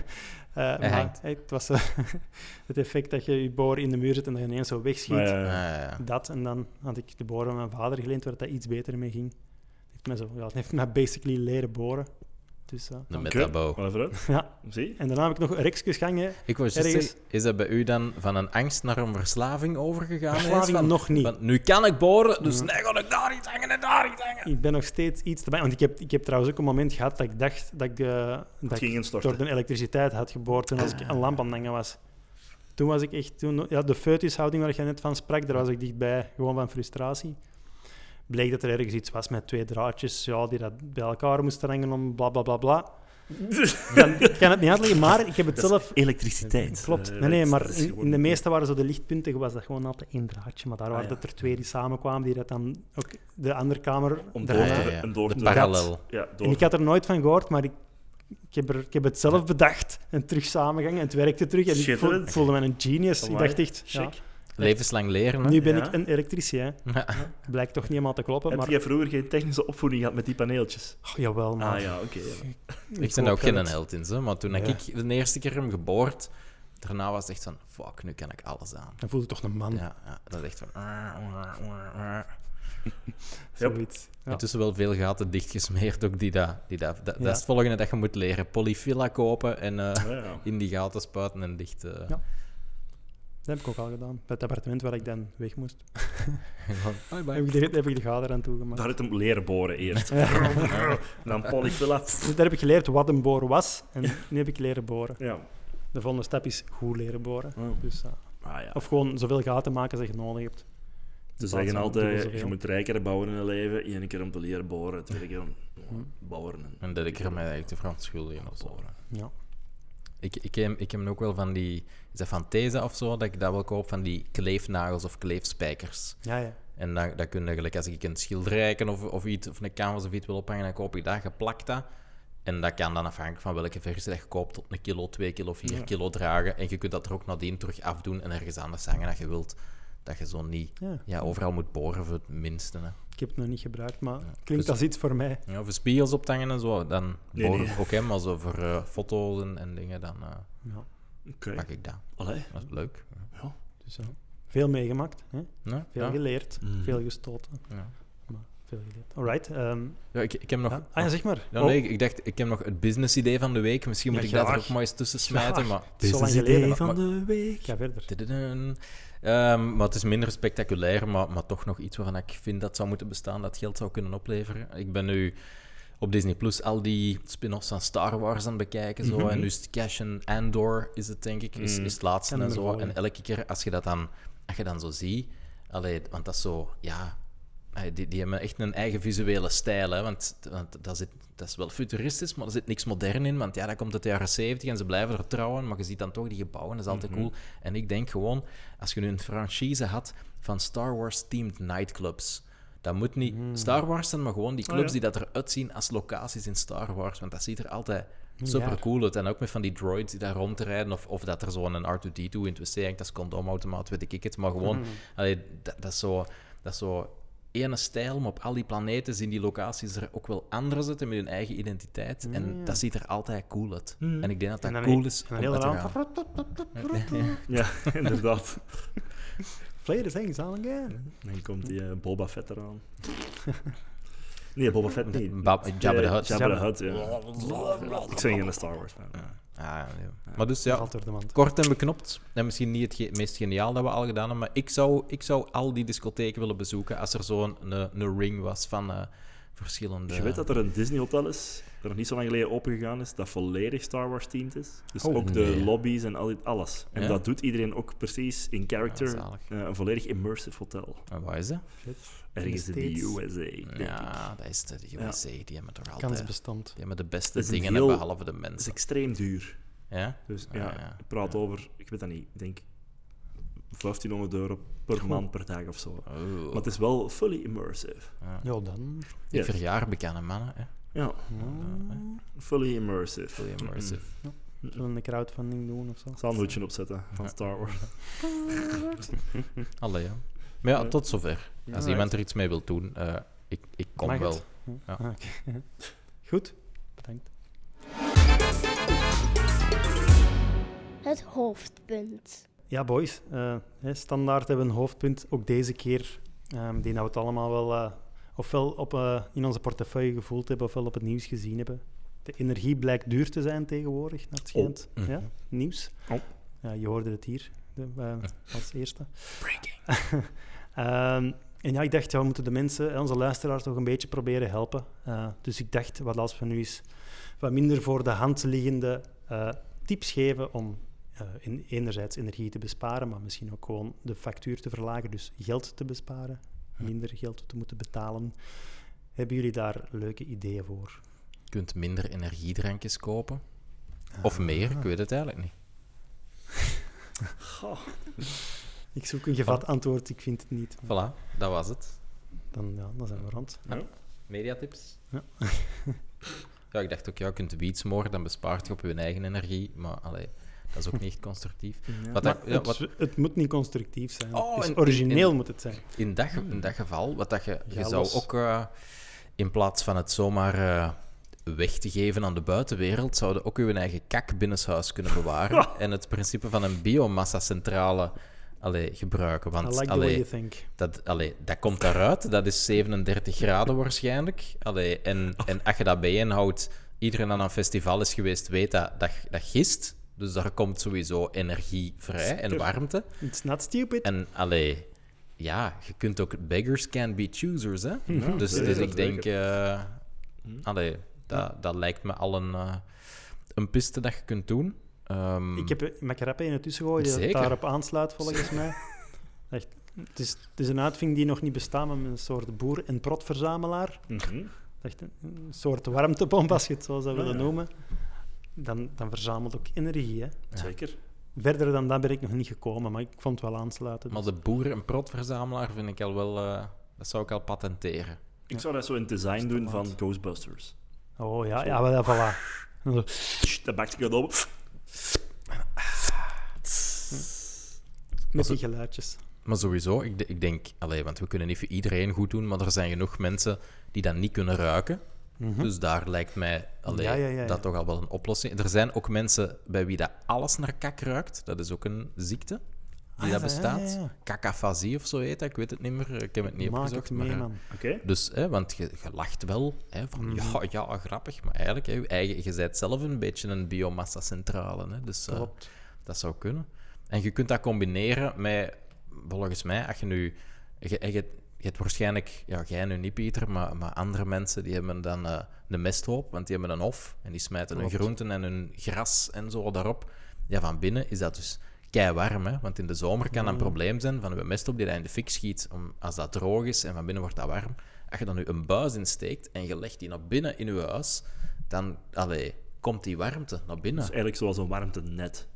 maar hangt. het was eh, het effect dat je je boor in de muur zet en dat je ineens zo wegschiet. Maar, eh, ja. Dat, en dan had ik de boren van mijn vader geleend, waar dat iets beter mee ging. Het heeft mij, zo, ja, het heeft mij basically leren boren. Dus, eh, de Ah, dan- metabo. maar even uit. ja. Zie? En daarna heb ik nog rekjes gangen. Ik was juist Ergens- zeggen, is dat bij u dan van een angst naar een verslaving overgegaan? ineens? Verslaving Van- nog niet. Want nu kan ik boren, dus nee, ga ik daar iets hangen en daar iets hangen. Ik ben nog steeds iets te bang. Want ik heb, ik heb trouwens ook een moment gehad dat ik dacht dat ik, eh, dat ging ik instorten. door de elektriciteit had geboord toen Ah. als ik een lamp aan het hangen was. Toen was ik echt... Toen, ja, de foetushouding waar je net van sprak, daar was ik dichtbij. Gewoon van frustratie. Bleek dat er ergens iets was met twee draadjes ja, die dat bij elkaar moesten hangen om bla bla bla bla. Dan, ik kan het niet uitleggen, maar ik heb het zelf... Elektriciteit. Klopt. Eh, Nee, nee, dat- maar dat is in, gewoon- in de meeste waren zo de lichtpunten was dat gewoon altijd één draadje. Maar daar Ah, waren ja. dat er twee die samenkwamen, die dat dan ook de andere kamer Om door Ja, draaien. Ah, ja, te- ja. en door De te- parallel. Ja, door. En ik had er nooit van gehoord, maar ik, ik, heb, er, ik heb het zelf bedacht en terug samengehangen. En het werkte terug. En ik voel- Schitterend. voelde me een genius. Amai, Ik dacht echt, ja, Check. Levenslang leren, hè? nu ben Ja. ik een elektricien. Ja. Blijkt toch niet helemaal te kloppen, Heb maar... jij vroeger geen technische opvoeding gehad met die paneeltjes? Oh, jawel, maar... Ah ja, oké. ja. Ik ben hoop ook geen dat- held in, zo, maar toen Ja. ik de eerste keer hem geboord, daarna was het echt van, fuck, nu kan ik alles aan. Dan voelde toch een man, Ja, ja dat is echt van... zoiets. Ja. Intussen wel veel gaten dichtgesmeerd, ook die dat... Die dat, dat, dat is het volgende dat je moet leren. Polyfilla kopen en eh, Ah, ja. in die gaten spuiten en dicht... eh, Ja. Dat heb ik ook al gedaan. Bij het appartement waar ik dan weg moest. gewoon, bye bye. Heb ik de, heb ik de gader aan toegemaakt. Daar heb hem leren boren eerst. Dan polyfilla. Dus daar heb ik geleerd wat een boor was. En nu heb ik leren boren. Ja. De volgende stap is goed leren boren. Ah Dus, eh, ja. of gewoon zoveel gaten maken als je nodig hebt. Ze plaats zeggen van dubbel altijd, zoveel. je moet rijker bouwen in het leven. Eén keer om te leren boren, twee keer om bouwen. en- En dat ik er mij eigenlijk te verontschuldigen of zo. Ja. Ik, ik, heb, ik heb ook wel van die... Is dat van Thesa of zo? Dat ik dat wel koop, van die kleefnagels of kleefspijkers. Ja, ja. En dan, dan kun je gelijk, als ik een schilderijken of, of, iets, of een canvas of iets wil ophangen, dan koop ik dat geplakt dat. En dat kan dan afhankelijk van welke versie dat je koopt, tot een kilo, twee kilo, vier kilo dragen. En je kunt dat er ook nadien terug afdoen en ergens anders hangen dat je wilt. Dat je zo niet ja. ja, overal moet boren voor het minste. Hè. Ik heb het nog niet gebruikt, maar Ja. klinkt Dus- als iets voor mij. Ja, voor spiegels op te hangen en zo, dan Nee, boren nee. ook hè, maar zo voor eh, foto's en, en dingen, dan eh, Ja, Oké. pak ik dat. Allee. Dat is leuk. dus, ja. Veel meegemaakt, hè? Ja, veel ja, geleerd, Hmm. Mm. veel gestoten, ja. maar veel geleerd. Alright. ehm, Ja, ik, ik heb nog... ja. Ah ja, zeg maar. Ja, Oh, nee, ik, ik dacht, ik heb nog het businessidee van de week. Misschien Ja, moet ik dat er graag. ook maar eens tussen smijten, Graag. maar... het is zo lang Business geleden. idee maar- van de Ik week. ga verder. Tududun. Ehm, maar het is minder spectaculair, maar, maar toch nog iets waarvan ik vind dat zou moeten bestaan, dat geld zou kunnen opleveren. Ik ben nu op Disney Plus al die spin-offs van Star Wars aan het bekijken. Mhm. Zo. En nu is het Cash en Andor, is het denk ik, is, Mm. is het laatste Ken en hem zo. ervoor, ja. En elke keer als je dat dan, als je dan zo ziet, allee, want dat is zo, ja. eh, Die, die hebben echt een eigen visuele stijl, hè? want, want dat, zit, dat is wel futuristisch, maar er zit niks modern in, want ja, dat komt uit de jaren 70 en ze blijven er trouwen, maar je ziet dan toch die gebouwen, dat is altijd cool. En ik denk gewoon, als je nu een franchise had van Star Wars-themed nightclubs, dat moet niet Star Wars zijn, maar gewoon die clubs die ja. dat eruit zien als locaties in Star Wars, want dat ziet er altijd Ja. super cool uit. En ook met van die droids die daar rondrijden, of, of dat er zo'n R2D2 in het wc hangt als condoomautomaat, weet ik het, maar gewoon, Mm. Mhm. allee, dat, dat is zo... Dat is zo ene stijl, maar op al die planeten zien die locaties er ook wel anders uit en met hun eigen identiteit. En dat ziet er altijd cool uit. En ik denk dat dat Mm, En dan cool e- is en om dan heel uit te raam. gaan. Ja, inderdaad. Play the things all again. Dan komt die eh, Boba Fett eraan. Nee, Boba Fett niet. Bab- Jabba the Eh, Hutt. Jabba the Hutt, ja. Ik ben geen Star Wars fan. Ah, ja. Maar dus ja, Valt door de mand. kort en beknopt. En misschien niet het ge- meest geniaal dat we al gedaan hebben, maar ik zou, ik zou al die discotheken willen bezoeken als er zo'n een, een ring was van eh, verschillende... Dus Je weet dat er een Disney Hotel is, dat nog niet zo lang geleden opengegaan is, dat volledig Star Wars themed is. Dus Oh, ook de nee. lobby's en al dit, alles. En Ja? dat doet iedereen ook precies in character. Ah, zalig. Eh, een volledig immersive hotel. En waar is dat? Ergens in de de States. USA. denk ik. Ja, dat is de USA. Die hebben toch altijd... Die Kansbestand. hebben de beste Dat is een dingen, heel- behalve de Het is mensen. extreem duur. Ja? Dus Ah, ja, ja. ik praat over, ik weet dat niet, ik denk 1500 euro per maand per dag of zo. Oh. Maar het is wel fully immersive. Ja, dan. Ik Yes. verjaar bekende mannen, hè. Ja, fully immersive. Fully immersive. Zullen we een crowdfunding doen of zo? Sandwichje opzetten van Star Wars. Allee, ja. Maar ja, tot zover. Als Alright. iemand er iets mee wil doen, eh, ik, ik kom Mag het? wel. Ja. Ja. Ah, oké. Goed, bedankt. het hoofdpunt. Ja, boys. eh, hè, standaard hebben we een hoofdpunt. Ook deze keer. ehm, die nou het allemaal wel eh, ofwel op, eh, in onze portefeuille gevoeld hebben, ofwel op het nieuws gezien hebben. De energie blijkt duur te zijn tegenwoordig, naar het Oh. schijnt. Mhm. Ja, nieuws. Oh. Ja, je hoorde het hier de- eh, als eerste. Breaking. en ja, ik dacht, ja, we moeten de mensen, hè, onze luisteraars, toch een beetje proberen helpen. Eh, dus ik dacht, wat als we nu eens wat minder voor de hand liggende eh, tips geven om eh, in, enerzijds energie te besparen, maar misschien ook gewoon de factuur te verlagen, dus geld te besparen, minder geld te moeten betalen. Hebben jullie daar leuke ideeën voor? Je kunt minder energiedrankjes kopen. Ah. Of meer, ik weet het eigenlijk niet. Ik zoek een gevat Ah. antwoord, ik vind het niet. Voilà, dat was het. Dan, ja, dan zijn we rond. Mediatips? Ja. ja, ik dacht ook, ja, je kunt wiet smoren, dan bespaart je op je eigen energie. Maar allee, dat is ook niet echt constructief. Wat Maar dat- ja, het, wat- het moet niet constructief zijn. Oh, het is en- origineel en- moet het zijn. In dat, ge- in dat geval, wat dat je, je Ja, zou los. ook eh, in plaats van het zomaar eh, weg te geven aan de buitenwereld, zouden ook je eigen kak binnenshuis kunnen bewaren en het principe van een biomassa-centrale allee, gebruiken. I Want like the way allee, you think. dat, allee, dat komt daaruit, dat is 37 graden waarschijnlijk. Allee, en, en als je dat bijeenhoudt, iedereen dat aan een festival is geweest weet dat, dat, dat gist. Dus daar komt sowieso energie vrij en warmte. It's not stupid. En allee, ja, je kunt ook beggars can be choosers, hè? Ja, dus zeker, dus ik denk, zeker. eh, allee, dat, dat lijkt me al een, eh, een piste dat je kunt doen. Ehm, Ik heb eh, macarapa in het tussengooien die dat Zeker. daarop aansluit, volgens mij. Echt. Het is, het is een uitvinding die nog niet bestaat, maar met een soort boer- en protverzamelaar. Mhm. Echt een een soort warmtepomp, als je het zo zou Ja, willen ja. noemen. Dan, dan verzamelt ook energie. Hè. Zeker. Verder dan dat ben ik nog niet gekomen, maar ik vond het wel aansluiten. Maar de boer- en protverzamelaar vind ik al wel... eh, dat zou ik al patenteren. Ik zou dat zo in het design doen van Ghostbusters. Oh ja, ja, wel, ja voilà. En dan zo, Pssst, Dat bakt ik dat op. Met die geluidjes. Maar sowieso, ik, de- ik denk... Allee, want we kunnen niet voor iedereen goed doen, maar er zijn genoeg mensen die dat niet kunnen ruiken. Mhm. Dus daar lijkt mij allee, Hm? Ja, ja, ja, ja. dat toch al wel een oplossing. Er zijn ook mensen bij wie dat alles naar kak ruikt. Dat is ook een ziekte die Ah, dat ja, ja, bestaat. ja, ja. Kakafasie of zo heet dat, ik weet het niet meer. Ik heb het niet Maak opgezocht. het mee, maar, eh, man. Mhm. Oké. Dus, hè, want je, je lacht wel hè, van ja, ja, grappig. Maar eigenlijk, hè, je, eigen, je bent zelf een beetje een biomassa-centrale. Hè, dus eh, Klopt. dat zou kunnen. En je kunt dat combineren met, volgens mij, als je nu... Je, je, je hebt waarschijnlijk, ja, jij nu niet, Pieter, maar, maar andere mensen die hebben dan eh de mesthoop, want die hebben een hof en die smijten hun Klopt. groenten en hun gras en zo daarop. Ja, van binnen is dat dus kei warm, hè? want in de zomer kan dat Mm. een probleem zijn van uw mesthoop die dat in de fik schiet, om, als dat droog is en van binnen wordt dat warm. Als je dan nu een buis insteekt en je legt die naar binnen in je huis, dan allee, komt die warmte naar binnen. Dat is eigenlijk zoals een warmtenet.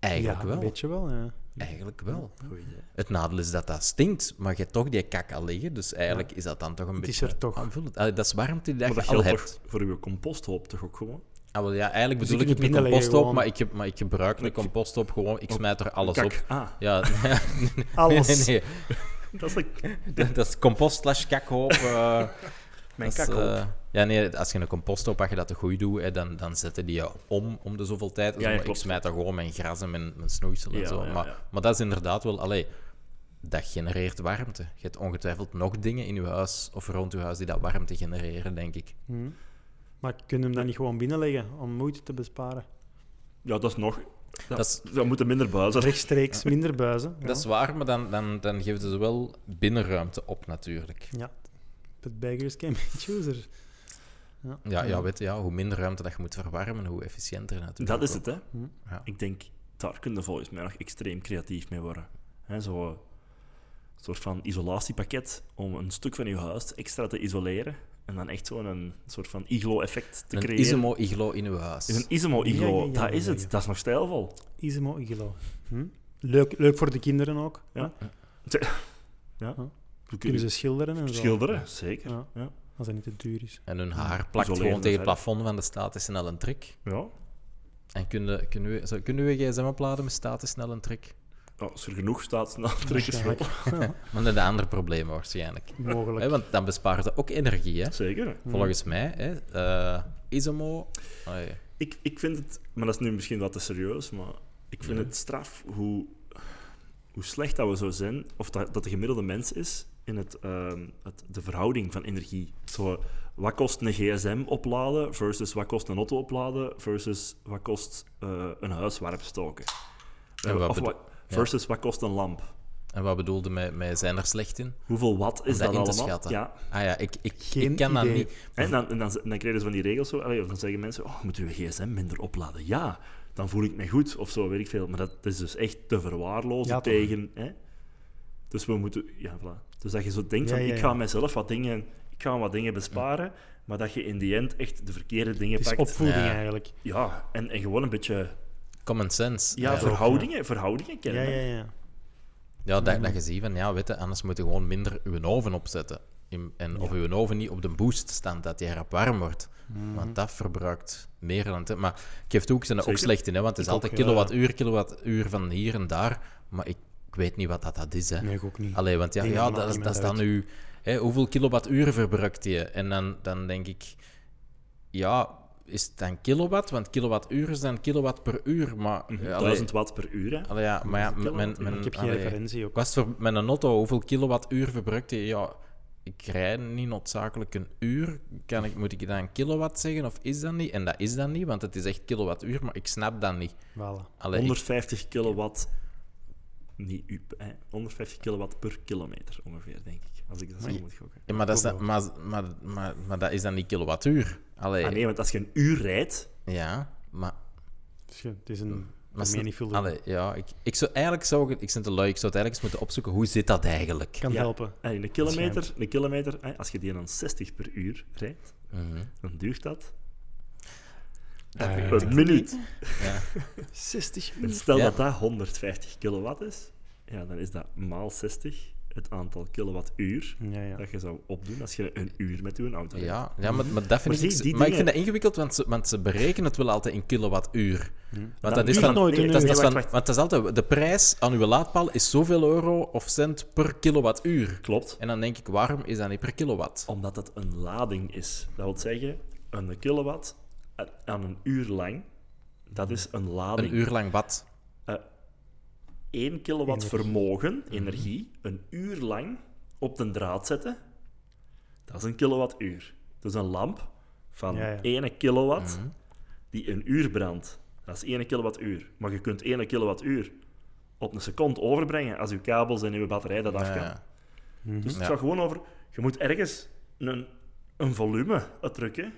Eigenlijk ja, wel. een beetje wel, ja. Eigenlijk wel. Goed idee. Het nadeel is dat dat stinkt, maar je hebt toch die kak al liggen. Dus eigenlijk is dat dan toch een Het is beetje... er toch. aanvullend. Allee, dat is warmte die dat Maar je dat al geldt hebt. toch voor uw composthoop toch ook gewoon? Ah, wel, ja, eigenlijk Dus je bedoel ik kunt het het binnenleggen niet composthoop, gewoon. maar ik, heb, maar ik gebruik de composthoop gewoon. Ik smijt er alles Kak. op. Ah, Ja, Alles. nee, nee, dat is like nee. Dat is compost slash kakhoop. eh, mijn dat is, kakhoop. eh, ja, nee, als je een composthoop, als je dat te goed doet, hè, dan, dan zetten die je om, om de zoveel tijd. ja, maar ik klopt. smijt daar gewoon mijn gras en mijn, mijn snoeisel en Ja, zo. ja, maar, ja. maar dat is inderdaad wel... Allee, dat genereert warmte. Je hebt ongetwijfeld nog dingen in je huis of rond je huis die dat warmte genereren, denk ik. Maar kunnen we hem dan niet gewoon binnenleggen om moeite te besparen? Ja, dat is nog... Dat, Dat is- dat moeten minder buizen. Rechtstreeks minder buizen. Ja, Dat is waar, maar dan, dan, dan geeft het wel binnenruimte op, natuurlijk. ja. But beggars can be choosers. Ja, ja, weet je, ja, hoe minder ruimte dat je moet verwarmen, hoe efficiënter natuurlijk. Dat is ook. het, hè. Hm. Ja. Ik denk, daar kunnen volgens mij nog extreem creatief mee worden. Hè, zo een soort van isolatiepakket om een stuk van je huis extra te isoleren. En dan echt zo'n een soort van iglo-effect te Een creëren. ismo-iglo in uw huis. Is een ismo-iglo. Ja, ja, ja, dat is ja, het. ja. Dat is nog stijlvol. Ismo Igelo. Hm? Leuk, leuk voor de kinderen ook. Ja. hè? We Kunnen ze schilderen en zo. schilderen? Zeker. Ja. Ja. Als dat niet te duur is. En hun haar plakt Isoleren, gewoon tegen hè. het plafond van de staat is snel een trick. ja. En kunnen, kunnen, we, zo, kunnen we gsm opladen met status snel een trick? Ja, als er genoeg staat, dan trekken ze wel. Waarschijnlijk. Maar dat is een ander probleem waarschijnlijk. Mogelijk. Hm. Hè, want dan bespaart dat ook energie, hè? Zeker. Hmm. Volgens mij, hè? eh, Isomo. Allee, Ik, ik vind het, maar dat is nu misschien wat te serieus, maar Ik vind het straf hoe, hoe slecht dat we zo zijn, of dat, dat de gemiddelde mens is in het, ehm, het, de verhouding van energie. Zo, wat kost een gsm opladen versus wat kost een auto opladen versus wat kost eh, een huis warm stoken. En wat of bedo- wat- versus wat kost een lamp. En wat bedoelde met, met zijn er slecht in? Hoeveel watt is dat dat, in te allemaal? schatten. Ja. Ah ja, ik, ik, Geen ik kan dat idee. niet. En dan, en dan, dan krijg je dus van die regels zo. allee, of dan zeggen mensen, oh, moet je gsm minder opladen? Ja, dan voel ik me goed of zo, weet ik veel. Maar dat, dat is dus echt te verwaarlozen Ja, toch. tegen... Hè? Dus we moeten... Ja, voilà. Dus dat je zo denkt Ja, van, ja, ik ga ja. mezelf wat dingen... Ik ga wat dingen besparen, maar dat je in die end echt de verkeerde dingen Het is pakt. opvoeding Ja. eigenlijk. Ja, en, en gewoon een beetje... Common sense. Ja, Ja, verhoudingen, verhoudingen Ja, kennen. ja, hè. ja. Ja, Mhm. dat, dat je ziet van, ja, weet je, anders moet je gewoon minder je oven opzetten. In- en of je oven niet op de boost staat, dat die rap warm wordt. Mhm. Want dat verbruikt meer dan... te- Maar ik geef toe, ik ben er ook Zeker. slecht in, hè, want het is Ik ook, altijd ja. kilowattuur, kilowattuur van hier en daar. Maar ik, ik weet niet wat dat, dat is, hè. Nee, ik ook niet. Allee, want ja, Dingen ja maken dat, is- niet dat is meer dan uit. nu... Hè, hoeveel kilowattuur verbruikt je? En dan, dan denk ik... Ja, is het dan kilowatt? Want kilowattuur is dan kilowatt per uur, maar... Mhm. eh, allee, 1000 watt per uur, hè. allee, ja, maar ja, is een mijn, kilowatt, mijn, ik heb geen allee, referentie ook. ik was voor, met een auto, hoeveel kilowattuur verbruikt je? Ja, ik rijd niet noodzakelijk een uur. Kan ik, moet ik dan een kilowatt zeggen of is dat niet? En dat is dat niet, want het is echt kilowattuur, maar ik snap dat niet. Voilà. Allee, ik- 150 kilowatt. Niet u, hè, 150 kilowatt per kilometer ongeveer, denk ik. Als ik dat zo moet gokken. ja, maar, dat is dan- maar, maar, maar, maar dat is dan niet kilowattuur. Allee, Ah nee, want als je een uur rijdt, Ja, maar... Dus ja, het is een maar vermenigvuldiging. allee, ja, ik, ik zou eigenlijk... Zou, ik- ik ben te lui, ik zou het eigenlijk eens moeten opzoeken. Hoe zit dat eigenlijk? Kan Ja. helpen. en een eh, kilometer, een kilometer hè, als je die dan 60 per uur rijdt, Mhm. dan duurt dat Dat Eh, weet ik een minuut. Ja. 60 En stel Ja. dat dat 150 kilowatt is, ja, dan is dat maal 60 het aantal kilowattuur Ja, ja. dat je zou opdoen als je een uur met je auto rijdt. Ja, ja maar, maar dat vind Maar ik... zie, die maar ik vind dingen- dat ingewikkeld, want ze, want ze berekenen het wel altijd in kilowattuur. Mhm. Want dat duurt is het van... nooit dat een is- uur. dat is Wacht, van- wacht. Want dat is altijd... De prijs aan uw laadpaal is zoveel euro of cent per kilowattuur. Klopt. En dan denk ik, waarom is dat niet per kilowatt? Omdat het een lading is. Dat wil zeggen, een kilowatt a- aan een uur lang, dat is een lading. Een uur lang wat? 1 kilowatt vermogen, energie, een uur lang op de draad zetten, dat is een kilowattuur. Dus een lamp van Ja, ja. 1 kilowatt Mhm. die een uur brandt, dat is 1 kilowattuur. Maar je kunt 1 kilowattuur op een seconde overbrengen als je kabels en je batterij dat af kan. Ja. Dus het Ja. gaat gewoon over... Je moet ergens een, een volume drukken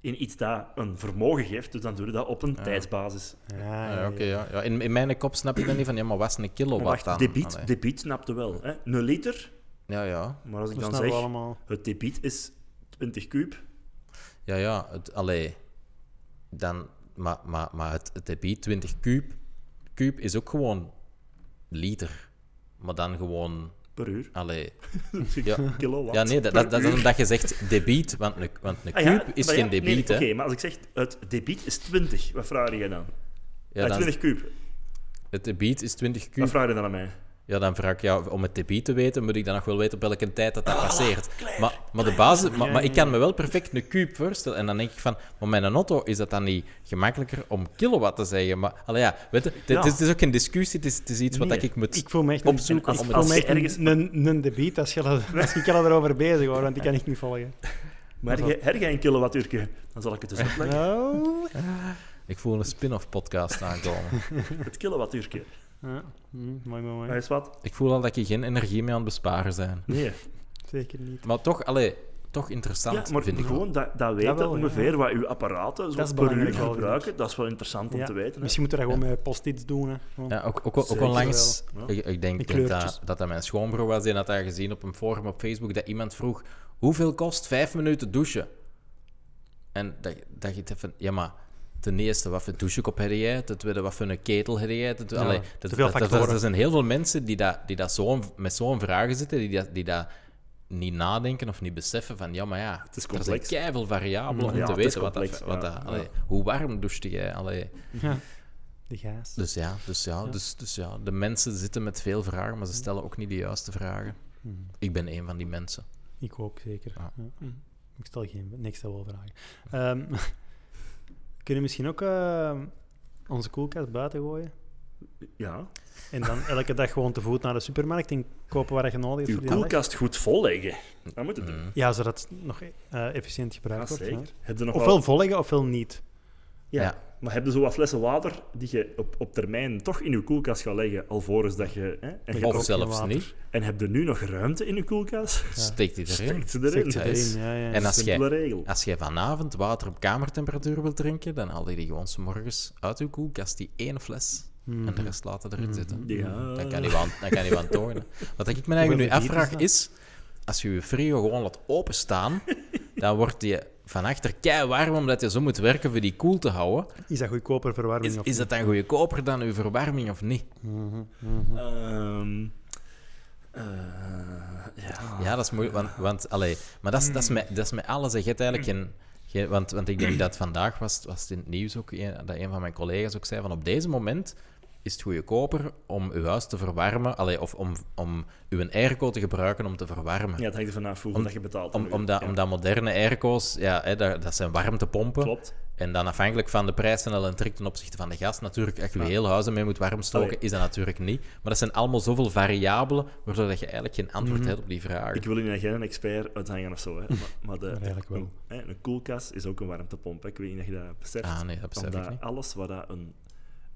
in iets dat een vermogen geeft. Dus dan doe je dat op een tijdsbasis. Ja, Ja, ja, Ah, Oké, ja. ja. In, in mijn kop snap ik dat niet van, ja, maar wat is een Maar kilowatt dan? wacht, Allee. debiet, debiet snapte wel. Hè? Een liter, Ja, ja. maar als ik Dat dan snappen we zeg... nou allemaal. Het debiet is 20 kuub. Ja, ja. Het, allee. Dan, maar, maar, maar het, het debiet 20 kuub, kuub is ook gewoon liter. Maar dan gewoon... Per uur. Allee. Ja. Kilowatt. Ja, nee, dat, per dat, dat is uur. omdat je zegt debiet, want een, want een Ah, ja, kuub is maar geen ja, nee, debiet, Oké, hè. maar als ik zeg het debiet is 20, wat vraag je dan? Ja, Ah, dan- 20 kuub. het debiet is 20 Wat kuub. vraag je dan aan mij? Ja, dan vraag ik jou, om het debiet te weten, moet ik dan nog wel weten op welke tijd dat, dat Oh, passeert. maar, maar, de basis, maar, maar ik kan me wel perfect een kuub voorstellen. En dan denk ik van, maar met een auto is dat dan niet gemakkelijker om kilowatt te zeggen. Maar allee, ja, weet je, het, Ja. het is, het is ook geen discussie, het is, het is iets wat Nee, dat ik moet... Ik voel me echt een- opzoeken Ik om voel het- me echt Ergens- een, een, een debiet als, je dat- als ik al erover bezig hoor, want die kan ik niet volgen. Maar heb jij- heb jij een kilowattuurke? Dan zal ik het dus uitleggen. Oh. Ik voel een spin-off podcast aankomen. Het kilowattuurke. Ja, mm, mooi, mooi, Maar mooi. is wat? ik voel al dat je geen energie meer aan het besparen zijn. Nee. Zeker niet. Maar toch, allee, toch interessant, Ja, maar vind ik wel. gewoon dat, dat weten Dat wel, ja. ongeveer wat uw apparaten zo Dat is per uur belangrijk wel, gebruiken, dat is wel interessant om Ja, te weten. hè. Misschien moeten we dat gewoon met post-its doen. Hè. Gewoon. Ja, ook, ook, ook Zeker onlangs, wel. ik, ik Die denk dat, dat kleurtjes. dat dat mijn schoonbroer was, die had daar gezien op een forum op Facebook, dat iemand vroeg, hoeveel kost vijf minuten douchen? En dat, dat je het van, ja maar, ten eerste, wat voor douchekop heb jij? Ten tweede, wat voor een ketel heb jij? Ten tweede- Ja, allee, te dat, veel dat, dat- factoren. er zijn heel veel mensen die, dat, die dat zo, met zo'n vragen zitten, die dat, die dat niet nadenken of niet beseffen van, ja maar ja, het is er zijn complex. keiveel variabelen om Ja, te het is weten wat dat... complex, Wat ja. dat allee, Hoe warm douchte jij? Allee, De gaas. dus ja, dus ja, Dus, dus ja, de mensen zitten met veel vragen, maar ze stellen ook niet de juiste vragen. Ik ben een van die mensen. Hm. Ik ook, zeker. Ja. Ja. Hm. Ik stel geen... Nee, ik stel wel vragen. Ehm, kunnen we misschien ook eh, onze ehm, koelkast buiten gooien? Ja. En dan elke dag gewoon te voet naar de supermarkt en kopen waar je nodig hebt Uw voor die dag. koelkast goed volleggen. Dat moet het doen. Mm. Ja, zodat het nog eh, efficiënt Ja, gebruikt wordt. ja. zeker. Heb je nog Ofwel wel... volleggen, ofwel niet. ja. Ja. Maar heb je zo wat flessen water die je op, op termijn toch in je koelkast gaat leggen, alvorens dat je... Hè, en, je Of Of ook geen zelfs water. niet. en heb je nu nog ruimte in je koelkast? Steekt die erin. Steekt ze erin. Steekt ze Ja, erin. is- ja, ja. En als Simpele jij, regel. als jij vanavond water op kamertemperatuur wilt drinken, dan haal je die gewoon 's morgens uit je koelkast, die ene fles. En Mhm. de rest laten erin zitten. Ja. Dan kan je wel dan kan je wel aan tornen. Wat ik me eigenlijk nu Hoeveel bier is afvraag dat? is, als je je frio gewoon laat openstaan, dan wordt die van achter kei warm omdat je zo moet werken voor die koel te houden. Is dat goedkoper verwarming? Is, of is dat dan goedkoper dan uw verwarming of niet? Ehm, eh, ja. Ja, dat is moeilijk. Want, want allee, maar dat is, Hmm. dat, is met, dat is met alles. hè. Je hebt eigenlijk een. je- want, want ik denk dat vandaag was, was het in het nieuws ook een, dat een van mijn collega's ook zei: van op deze moment is het goedkoper om uw huis te verwarmen. Allee, of om, om uw airco te gebruiken om te verwarmen. Ja, het hangt ervan af hoeveel Om- dat je betaalt. Om, nu. omdat, Ja, omdat moderne airco's, ja, hè, dat, dat zijn warmtepompen. Klopt. En dan afhankelijk van de prijs van elektriek ten opzichte van de gas, natuurlijk, als je je hele huizen mee moet warm stoken, Allee. is dat natuurlijk niet. Maar dat zijn allemaal zoveel variabelen, waardoor dat je eigenlijk geen antwoord hebt op die vraag. Mhm. Ik wil hier geen een expert uithangen of zo, hè. maar, maar, de, eigenlijk wel. Hè, een koelkast is ook een warmtepomp. Hè. Ik weet niet of je dat beseft. Ah, nee, dat besef ik Omdat niet. alles waar dat een,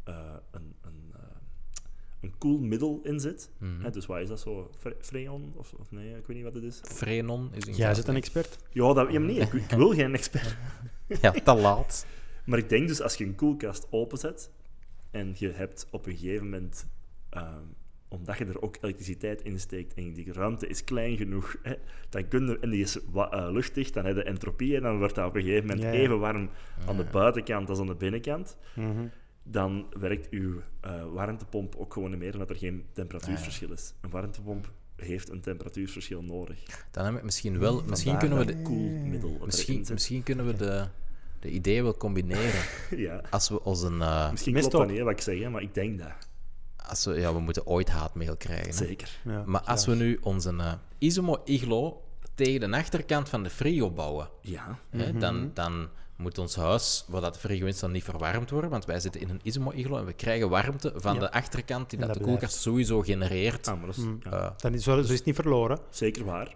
eh, een, een, eh, een koel middel in zit, Mhm. hè, dus wat is dat zo? Fre- Freon? Of, of nee, ik weet niet wat het is. Frenon is een Jij gas, zit een hè. expert. Ja, dat, ja maar nee, ik, ik wil geen expert. Ja, te laat. Maar ik denk dus als je een koelkast openzet en je hebt op een gegeven moment, ehm, omdat je er ook elektriciteit in steekt en die ruimte is klein genoeg, hè, dan kun je, en die is wa- eh, luchtdicht, dan heb je entropie en dan wordt dat op een gegeven moment Ja, ja. even warm Ah, aan de buitenkant als aan de binnenkant. Mhm, Dan werkt uw eh, warmtepomp ook gewoon niet meer omdat er geen temperatuurverschil is. Een warmtepomp heeft een temperatuurverschil nodig. Dan heb ik misschien wel... Misschien Vandaar kunnen we, dat de, koelmiddel. dat misschien, erin zit. misschien kunnen we de, de ideeën wel combineren. ja. Als we als een... eh, Misschien Mist klopt dat op. niet, hè, wat ik zeg, hè, maar ik denk dat. als we, ja, we moeten ooit haatmail krijgen. hè. Zeker. Ja. Maar als we nu onze eh Isomo Iglo tegen de achterkant van de frio bouwen, Ja. hè, dan, Mhm. dan moet ons huis, waar dat de frio in staat, niet verwarmd worden, want wij zitten in een Isomo Iglo en we krijgen warmte van de achterkant die En dat, dat de koelkast sowieso genereert. Ah, maar dat is- ja. Eh, Dan is, zo, zo is het niet verloren. Zeker waar.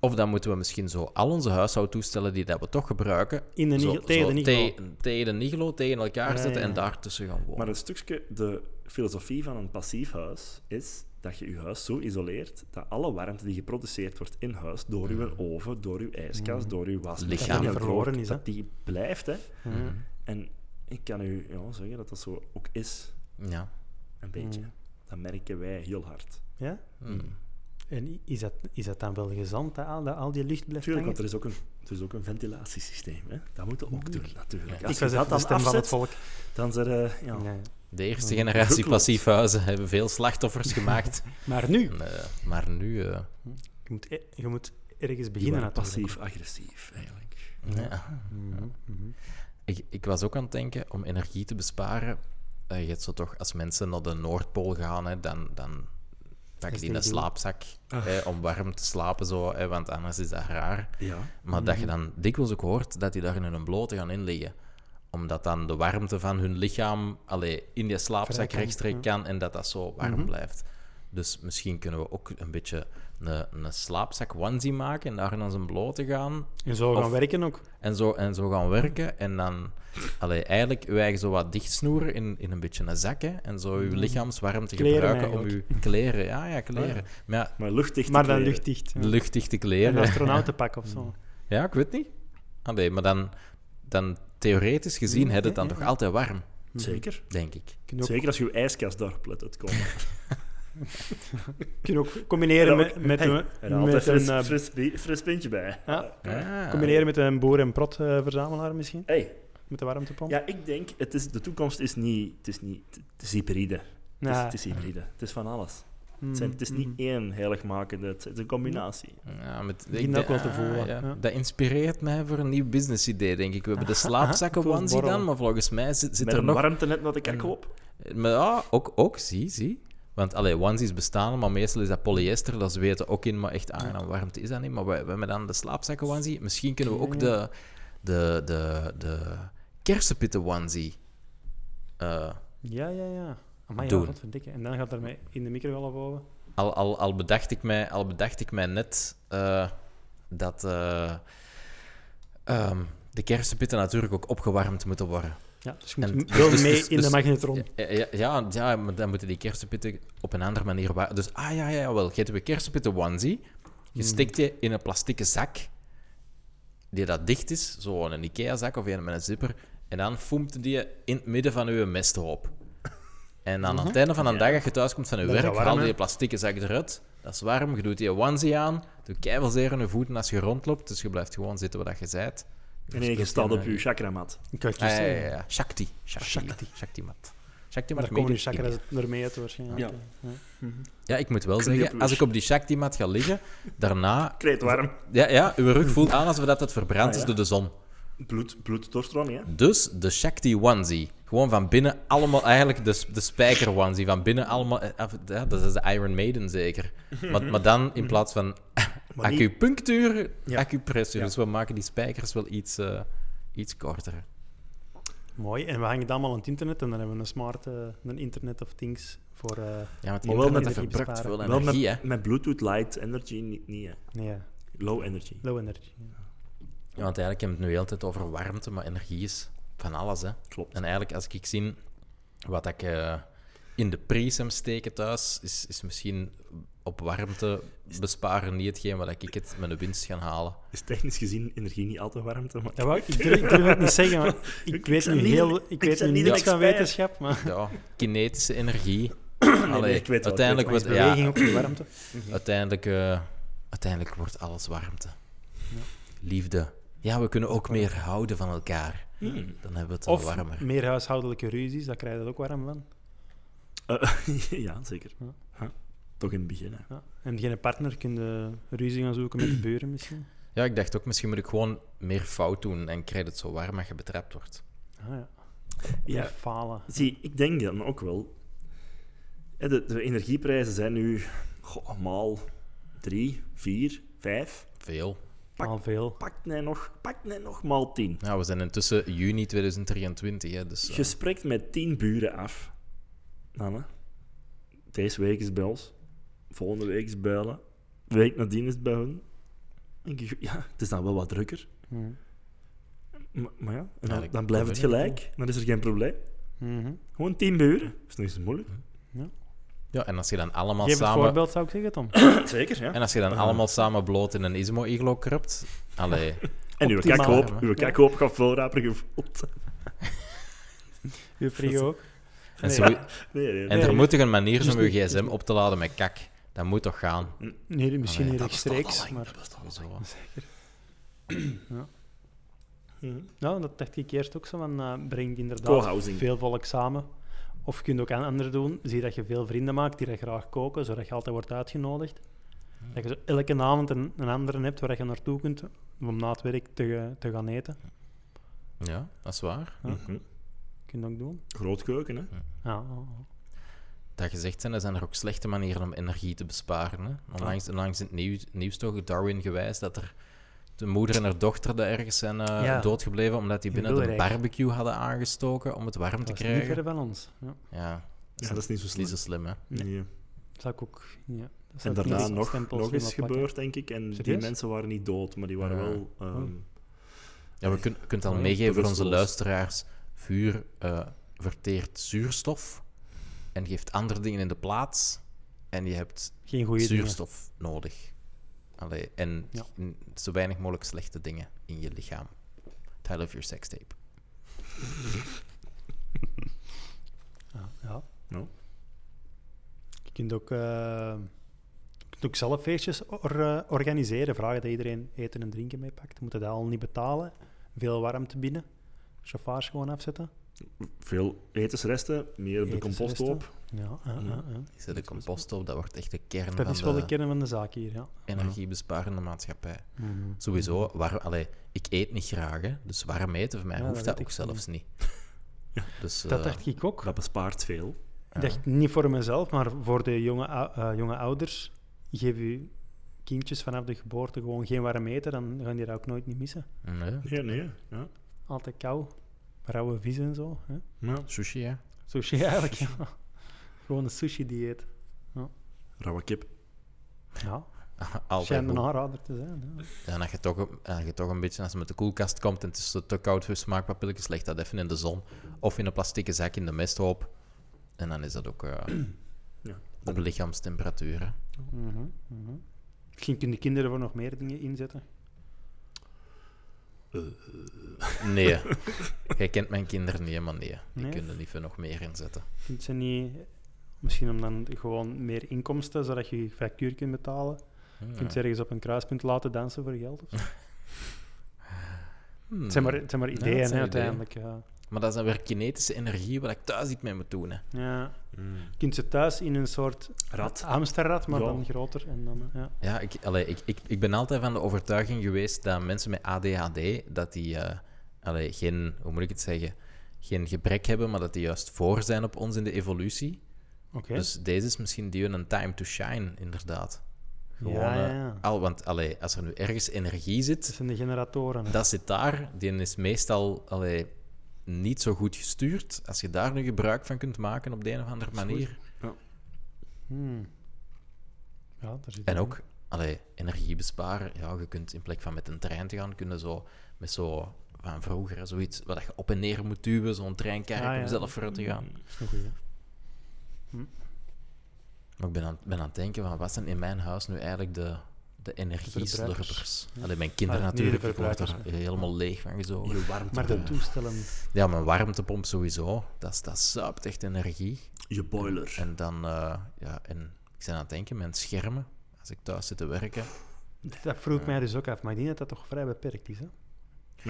Of dan moeten we misschien zo al onze huishoudtoestellen die dat we toch gebruiken... In de zo- nigel- tegen zo de nigel. te- tegen de nigelo, tegen elkaar Ja, zetten ja, en ja. daartussen gaan wonen. Maar een stukje de filosofie van een passief huis is dat je je huis zo isoleert dat alle warmte die geproduceerd wordt in huis, door uw oven, door uw ijskast, door uw wasmachine, Lichaam. en Mm. Verloren rook, is, hè? Mm. dat die blijft. Hè. En ik kan u ja, zeggen dat dat zo ook is, Ja. een beetje. Dat merken wij heel hard. Mm. Ja? Mm. En i- is dat, is dat dan wel gezond, dat al, dat al die lucht blijft Natuurlijk, want hangen? er is ook een, er is ook een ventilatiesysteem. Hè. Dat moeten we ook doen, natuurlijk. Ik Als je was dat even de dan stem van het afzet, volk. dan zijn er... ja, Ja, ja. De Mm. eerste generatie Gelukkig. passief huizen hebben veel slachtoffers gemaakt. Maar nu, En, eh, maar nu... eh, je moet, e- je moet ergens die beginnen waren natuurlijk. passief-agressief, eigenlijk. ja. ik, ik was ook aan het denken om energie te besparen. Eh, je hebt zo toch, als mensen naar de Noordpool gaan, hè, dan, dan pakken die niet een doen. slaapzak hè, om warm te slapen, zo, hè, want anders is dat raar. Ja. Maar dat je dan dikwijls ook hoort dat die daar in hun blote gaan inliggen. Omdat dan de warmte van hun lichaam allee, in die slaapzak Vrijkomt, rechtstreeks kan en dat dat zo warm blijft. Dus misschien kunnen we ook een beetje een, een slaapzak onesie maken en daar in onze blote gaan. En zo Of- gaan werken ook. En zo, en zo gaan werken. En dan allee, eigenlijk je eigen zo wat dichtsnoeren in, in een beetje een zak. Hè, en zo je lichaamswarmte Mm. Kleren gebruiken om je eigenlijk. kleren. Ja, ja, kleren. Maar ja, Maar luchtdicht Maar dan luchtdicht. Ja. luchtdichte Een kleren. astronautenpak of Mm. zo. Ja, ik weet niet. Allee, maar dan, dan theoretisch Mm, gezien had het dan toch altijd warm, Zeker. denk ik. Kun je ook, Zeker als je ijskast daarop let uitkomen. kun je ook combineren met, met, een- Er met altijd een... fris, eh, fris, bi- fris pintje bij. ja, Ah. combineren met een boer- en prot-verzamelaar misschien, Hey, met de warmtepomp. ja, ik denk, het is, de toekomst is niet... Het is, niet, het is hybride. Het is, Ja. Mm, het is hybride. Het is van alles. Het, zijn- het is niet één heiligmakende, het is een combinatie. Ja, met, ah, Begin dat ook wel te voelen, ja. ja. Dat inspireert mij voor een nieuw businessidee, denk ik. We hebben de slaapzakken cool, onesie dan, borrelen. maar volgens mij zit, zit Met er een nog... warmte net naar de kakko op. Maar ja, ook, ook, zie, zie. Want allee, onesies bestaan, maar meestal is dat polyester, dat weten ook in, maar echt aangenaam warmte is dat niet. Maar we, we hebben dan de slaapzakken onesie. Misschien kunnen we ook de, de, de, de kersenpitten onesie eh, Ja, ja, ja. Amai, ja, Doen. wat verdikken. En dan gaat daarmee in de microwave boven. Al, al, al, bedacht, ik mij, al bedacht ik mij net eh, dat eh, ehm, de kersenpitten natuurlijk ook opgewarmd moeten worden. Ja, dus je moet En- m- wel dus- mee dus- in de dus- magnetron. Ja, ja, ja, ja, maar dan moeten die kersenpitten op een andere manier warmen. Dus, ah ja, ja, jawel. Je hebt een kersenpitten onesie. Hmm. Je steekt je in een plastieke zak die dat dicht is, zo een Ikea-zak of een met een zipper. En dan foemt die je in het midden van je mesthoop. En dan aan het einde van de dag, als je thuis komt van je Mhm. Dan is werk, dat warm, haal je hè? je plastieke zak eruit. Dat is warm. Je doet je onesie aan. Doe keivelzeer aan je voeten als je rondloopt. Dus je blijft gewoon zitten waar dat je bent. En nee, je speelt staat geen, op eh, je chakramat. Ik kan het Ah, juist ja, ja, zeggen. ja, ja. Shakti. Shakti. Shakti. Shakti. Shakti mat. Shakti Daar mat. komen die made in chakras ermee uit waarschijnlijk. Ja. Ja. Ja, ik moet wel Knippers. zeggen, als ik op die Shakti-mat ga liggen, daarna... Kreet warm. Ja, ja, uw rug voelt aan alsof dat het verbrand Ah, is ja. door de zon. Bloed, bloeddoorstroming, hè? Dus de Shakti-onesie. Gewoon van binnen allemaal... Eigenlijk de, s- de spijker-onesie. Van binnen allemaal... eh, af- Ja, dat is de Iron Maiden zeker. Maar, maar dan in plaats van Maar niet- acupunctuur, Ja. acupressuur. Ja. Dus we maken die spijkers wel iets, eh, iets korter. Mooi. En we hangen het allemaal aan het internet en dan hebben we een smart, eh, een internet of things voor... eh, Ja, want Maar wel internet met- dat verbruikt besparen. veel Wel energie, hè. met, met Bluetooth light energy niet, niet hè. nee, ja, Low energy. low energy. Ja, want eigenlijk hebben we het nu de hele tijd over warmte, maar energie is van alles, hè. Klopt. En eigenlijk, als ik zie wat ik eh, in de pries hem steken thuis, is, is misschien op warmte besparen niet hetgeen wat ik het met de winst ga halen. Is technisch gezien energie niet altijd warmte, maar... Ja, wou, ik, durf, ik durf het niet zeggen, maar ik weet ben nu niet- heel... ik Ik weet ben nu niet niks een van expert. wetenschap, maar... Ja, kinetische energie. Allee, nee, ik weet wel, uiteindelijk, ik weet wordt, Er is beweging ja, op de warmte. uiteindelijk, eh, uiteindelijk wordt alles warmte. Liefde. Ja, we kunnen ook meer houden van elkaar. Hmm. Dan hebben we het al Of warmer. meer huishoudelijke ruzies, daar krijg je dat ook warm van. Eh, ja, zeker. Ja. Huh. Toch in het begin, hè. Ja. En geen partner, kun je ruzie gaan zoeken met de buren misschien. Ja, ik dacht ook, misschien moet ik gewoon meer fout doen en krijg je het zo warm dat je betrapt wordt. Ah, ja. Ja, Falen. Zie, ik denk dan ook wel. Hè, De, de energieprijzen zijn nu goh, maal 3, 4, 5. Veel. Pak- Al veel. Pakt mij nog, pakt mij nog maal 10. Nou, we zijn intussen juni 2023, hè, dus... eh, Je spreekt met 10 buren af. Nanne, deze week is bij ons. Volgende week is bij hulle. De week nadien is het bij hun. Denk ik, ja, het is dan wel wat drukker. Mhm. Maar, maar ja, en dan, Eigenlijk dan blijft het gelijk. Dan is er geen probleem. Mhm. Gewoon 10 buren. Is nog eens moeilijk. Ja, en als je dan allemaal Geef het samen... voorbeeld, zou ik zeggen, Tom. Zeker, ja. En als je dan allemaal samen bloot in een Ismo-iglo krupt... Allee, En uw Optimaal. kakhoop, Ja. uw kakhoop gaat veel raper gevoeld. Uw frigo ook. en, Nee. zo- Nee, nee, en nee. er Nee. moet toch een manier zijn om je Juist niet. gsm op te laden met kak. Dat moet toch gaan? Nee, misschien Ah, nee, niet rechtstreeks, maar... Zo. Mhm. Nou, dat dacht ik eerst ook zo, van eh breng inderdaad Co-housing. veel volk samen. Of je kunt ook aan anderen doen. Zie dat je veel vrienden maakt die dat graag koken, zodat je altijd wordt uitgenodigd. Dat je zo elke avond een, een andere hebt waar je naartoe kunt om na het werk te, ge- te gaan eten. Ja, dat is waar. Mhm. Kun je dat ook doen. Groot keuken, hè? Ja, oh, oh. Dat gezegd zijn, er zijn er ook slechte manieren om energie te besparen. Ah. Hè? Onlangs, onlangs in het nieuws, nieuws toch, Darwin gewijs, dat er de moeder en haar dochter daar ergens zijn eh, Ja. doodgebleven omdat die In binnen de Wilrijk. barbecue hadden aangestoken om het warm te dat is niet krijgen. ver van ons. Ja, Ja, Ja, dat is niet zo dat is niet slim. zo slim, hè. Nee. dat zou ik ook... Ja, dat En zou ik daarna niet als eh, nog, stempel nog slim eens opplakken. gebeurd, denk ik. En die Serieus? mensen waren niet dood, maar die waren Ja. wel... ehm, Ja, we kun, kunt al Oh ja, meegeven voor onze bewusteloos. luisteraars. Vuur eh, verteert zuurstof en geeft andere dingen in de plaats. En je hebt Geen goede dingen. zuurstof nodig. Allee, en Ja. n- zo weinig mogelijk slechte dingen in je lichaam. Title of your sex tape. Ja, Ah, ja. Nou. Je kunt ook, eh, je kunt ook zelf feestjes or- eh, organiseren. Vragen dat iedereen eten en drinken meepakt. Moeten dat al niet betalen. Veel warmte binnen. Chauffage gewoon afzetten. veel etensresten, meer op de compost Mm. Etensresten. op. Ja, ja, ja, ja. Je zet de compost op, dat wordt echt de kern Dat is wel eh, van de de kern van de zaak hier. Ja. energiebesparende maatschappij. Sowieso, warm, allee, ik eet niet graag, hè, dus warm eten voor mij Ja, dat hoeft dat, weet ik ook zelfs niet. Dus, Dat eh, dacht ik ook. Dat bespaart veel. Ik dacht niet voor mezelf, maar voor de jonge, ou- eh, jonge ouders. Geef je kindjes vanaf de geboorte gewoon geen warm eten, dan gaan die dat ook nooit niet missen. nee. Nee, nee. Ja. Altijd kou, rauwe vis en zo. Hè? Ja. Sushi, hè. Sushi eigenlijk, ja. Gewoon een sushi-dieet. Rauwe kip. Ja, Altijd schijnt goed. een aanrader te zijn. Ja. En dat je, toch, een- dat je toch een beetje, als je met de koelkast komt en het is te koud voor smaakpapilletjes, leg dat even in de zon. Of in een plastieke zak in de mesthoop. En dan is dat ook eh, Ja. op lichaamstemperatuur. hè. Mhm, mhm. Misschien kunnen kinderen voor nog meer dingen inzetten. Nee. Jij kent mijn kinderen niet, maar nee. Die Nee? kunnen liever nog meer inzetten. Kunt ze niet... Misschien om dan gewoon meer inkomsten, zodat je je factuur kunt betalen. Je kunt ze ergens op een kruispunt laten dansen voor geld. Of zo. Hmm. Het, zijn maar, het zijn maar ideeën, het zijn hè, ideeën. uiteindelijk. Ja. Maar dat is dan weer kinetische energie waar ik thuis niet mee moet doen. Hè. Ja. Je kunt ze thuis in een soort Rat. Ah, hamsterrad, maar Ja. dan groter. En dan, ja. Ja, ik, allee, ik, ik, ik ben altijd van de overtuiging geweest dat mensen met ADHD dat die eh, allee, geen, hoe moet ik het zeggen, geen gebrek hebben, maar dat die juist voor zijn op ons in de evolutie. Oké. Dus deze is misschien die hun een time to shine, inderdaad. Gewoon, ja, ja, eh, ja. Al, want allee, als er nu ergens energie Dat zit, zijn de generatoren. hè. dat zit daar. Die is meestal allee, niet zo goed gestuurd. Als je daar nu gebruik van kunt maken op de een of andere manier. Hmm. Ja, daar zit En het ook allee, energie besparen. Ja, je kunt in plek van met een trein te gaan, kunnen zo met zo van vroeger hè, zoiets waar dat je op en neer moet duwen, zo'n treinkerk Ah, om ja. zelf vooruit te gaan. in. Dat is een goeie. Maar ik ben aan, ben aan het denken van wat zijn in mijn huis nu eigenlijk de, de energieslurpers. Ja. Allee, mijn kinderen Ah, niet de natuurlijk, ik word er verbruikers, helemaal leeg van gezogen. Je warmte. Maar de toestellen. Ja, mijn warmtepomp sowieso, dat, is- dat zuipt echt energie. Je boiler. En dan, eh, ja, en ik ben aan het denken, mijn schermen, als ik thuis zit te werken. Dat vroeg mij dus ook af. Maar ik denk dat dat toch vrij beperkt is. Hè?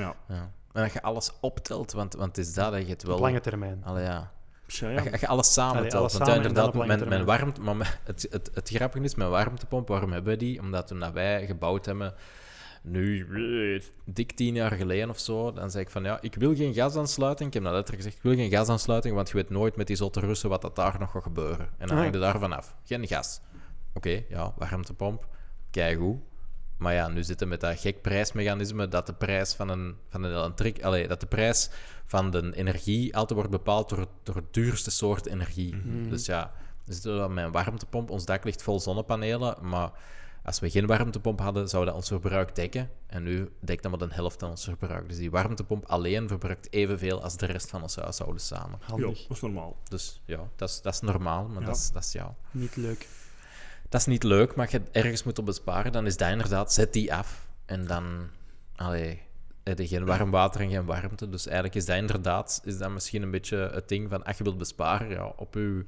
Ja. Ja. En dat je alles optelt, want, want het is dat dat je het wel... Op lange termijn. Allee, ja. Tja, Als ja. je, als je alles samen Allee, telt. alles want samen ja, en dan inderdaad, op lange mijn, mijn termijn. warmte, maar mijn- het, het, het grappige is, mijn warmtepomp, waarom hebben we die? Omdat toen dat wij gebouwd hebben, nu eh, dik tien jaar geleden of zo, dan zei ik van ja, ik wil geen gasaansluiting. Ik heb dat letterlijk gezegd, ik wil geen gasaansluiting, want je weet nooit met die zotte Russen wat dat daar nog gaat gebeuren. En dan Ah. hangde daarvan af. Geen gas. Oké, ja, warmtepomp, keigoed. Maar ja, nu zitten we met dat gek prijsmechanisme dat de prijs van een, van een elektriek... Allee, dat de prijs van de energie altijd wordt bepaald door, door het duurste soort energie. Dus ja, we zitten dan met een warmtepomp. Ons dak ligt vol zonnepanelen, maar als we geen warmtepomp hadden, zou dat ons verbruik dekken. En nu dekt dat maar de helft van ons verbruik. Dus die warmtepomp alleen verbruikt evenveel als de rest van ons huishouden samen. Ja, Handig. dat is normaal. Dus ja, dat is, dat is normaal, maar Ja. dat, is, dat is jou Niet leuk. dat is niet leuk, maar je ergens moet op besparen, dan is dat inderdaad, zet die af. En dan, allee, heb je geen warm water en geen warmte. Dus eigenlijk is dat inderdaad, is dat misschien een beetje het ding van, ach, je wilt besparen, ja, op je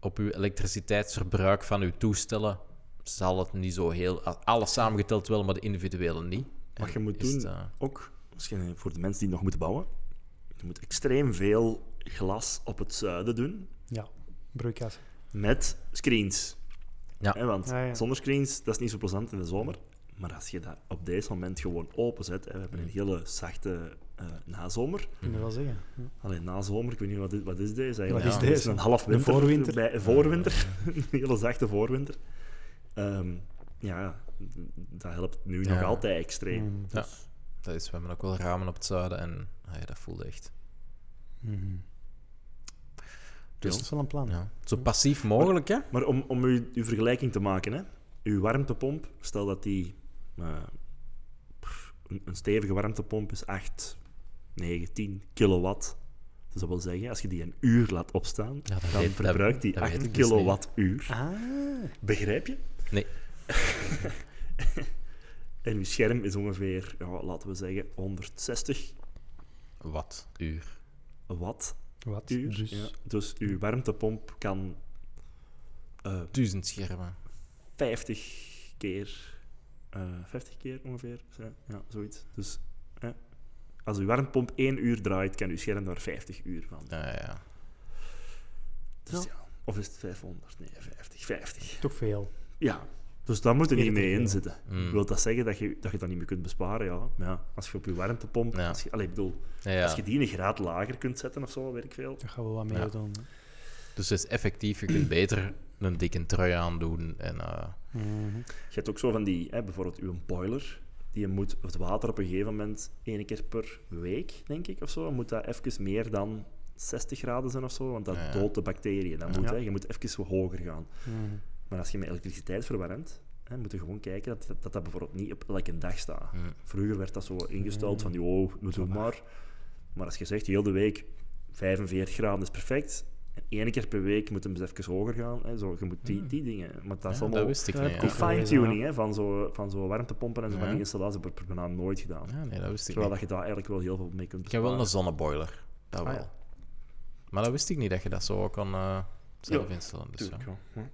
op uw elektriciteitsverbruik van uw toestellen zal het niet zo heel... Alles samengeteld wel, maar de individuele niet. Wat je En moet is doen, het, eh, ook misschien voor de mensen die nog moeten bouwen, je moet extreem veel glas op het zuiden doen Ja, broeikas. met screens. Ja. Hè, want Ja, ja. zonder screens, dat is niet zo plezant in de zomer. Maar als je dat op deze moment gewoon openzet, hè, we hebben een hele zachte eh, nazomer. Kun je Mhm. wel zeggen. Ja. Alleen nazomer, ik weet niet wat, dit, wat is deze eigenlijk. Wat is Ja, dit deze? Een half Een winter. voorwinter? Bij, een voorwinter. een hele zachte voorwinter. Ehm, ja, dat helpt nu Ja. nog altijd extreem. Mm. Ja, dat is, we hebben ook wel ramen op het zuiden en allee, dat voelde echt... Mhm. Dus- dat is wel een plan. Ja. Zo passief mogelijk, hè? Maar om, om uw, uw vergelijking te maken, hè? uw warmtepomp, stel dat die. eh, pff, een, een stevige warmtepomp is 8, 9, 10 kilowatt. Dus dat wil zeggen, als je die een uur laat opstaan, Ja, dat dan weet- dat- verbruikt die dat 8 weet ik dus niet. kilowattuur. Ah, Begrijp je? Nee. en uw scherm is ongeveer, ja, laten we zeggen, 160 Wat uur. watt. wat? Uur. Dus. Ja. Dus uw warmtepomp kan eh, Duizend schermen. 50 keer. eh 50 keer ongeveer. zo- Ja, zoiets. Dus hè, als uw warmpomp 1 uur draait, kan uw scherm daar 50 uur van. Ja, ja, ja. Dus ja. Of is het 500? Nee, 50. 50. Toch veel. Ja. Dus daar moet je niet Meer dan mee veel. inzitten. Mm. Wil dat zeggen dat je dat, je dat niet meer kunt besparen? Ja. Maar ja, als je op je warmtepomp... Ja. Als je, allee, ik bedoel, Ja, ja. als je die een graad lager kunt zetten of zo, weet ik veel. Daar gaan we wat mee Ja. doen. Dus het is effectief, je kunt beter een dikke trui aandoen. En, eh, Mhm. Je hebt ook zo van die, hè, bijvoorbeeld uw boiler, die moet het water op een gegeven moment één keer per week, denk ik, of zo, moet dat even meer dan 60 graden zijn of zo, want dat Ja. doodt de bacteriën. Dat moet, Ja. hè. Je moet even wat hoger gaan. Mhm. Maar als je met elektriciteit verwarmt, hè, moet je gewoon kijken dat dat, dat, dat bijvoorbeeld niet op elke dag staat. Mm. Vroeger werd dat zo ingesteld van, joh, we doen maar. Maar als je zegt, heel de week 45 graden is perfect, en één keer per week moet hem eens even hoger gaan, hè, zo, je moet die, die dingen. Maar dat is Mm. Ja, allemaal dat wist ik Ja, niet. heb die ik ja. ook fine-tuning hè, van zo'n van zo warmtepompen en zo van Ja. die installaties heb ik bijna nooit gedaan. Ja, nee, dat wist ik Terwijl niet. dat je daar eigenlijk wel heel veel mee kunt Ik heb wel besparen. een zonneboiler. Dat Ah, wel. ja. Maar dat wist ik niet dat je dat zo kan eh, zelf Ja, instellen. Dus, ja. Tuurlijk, ja.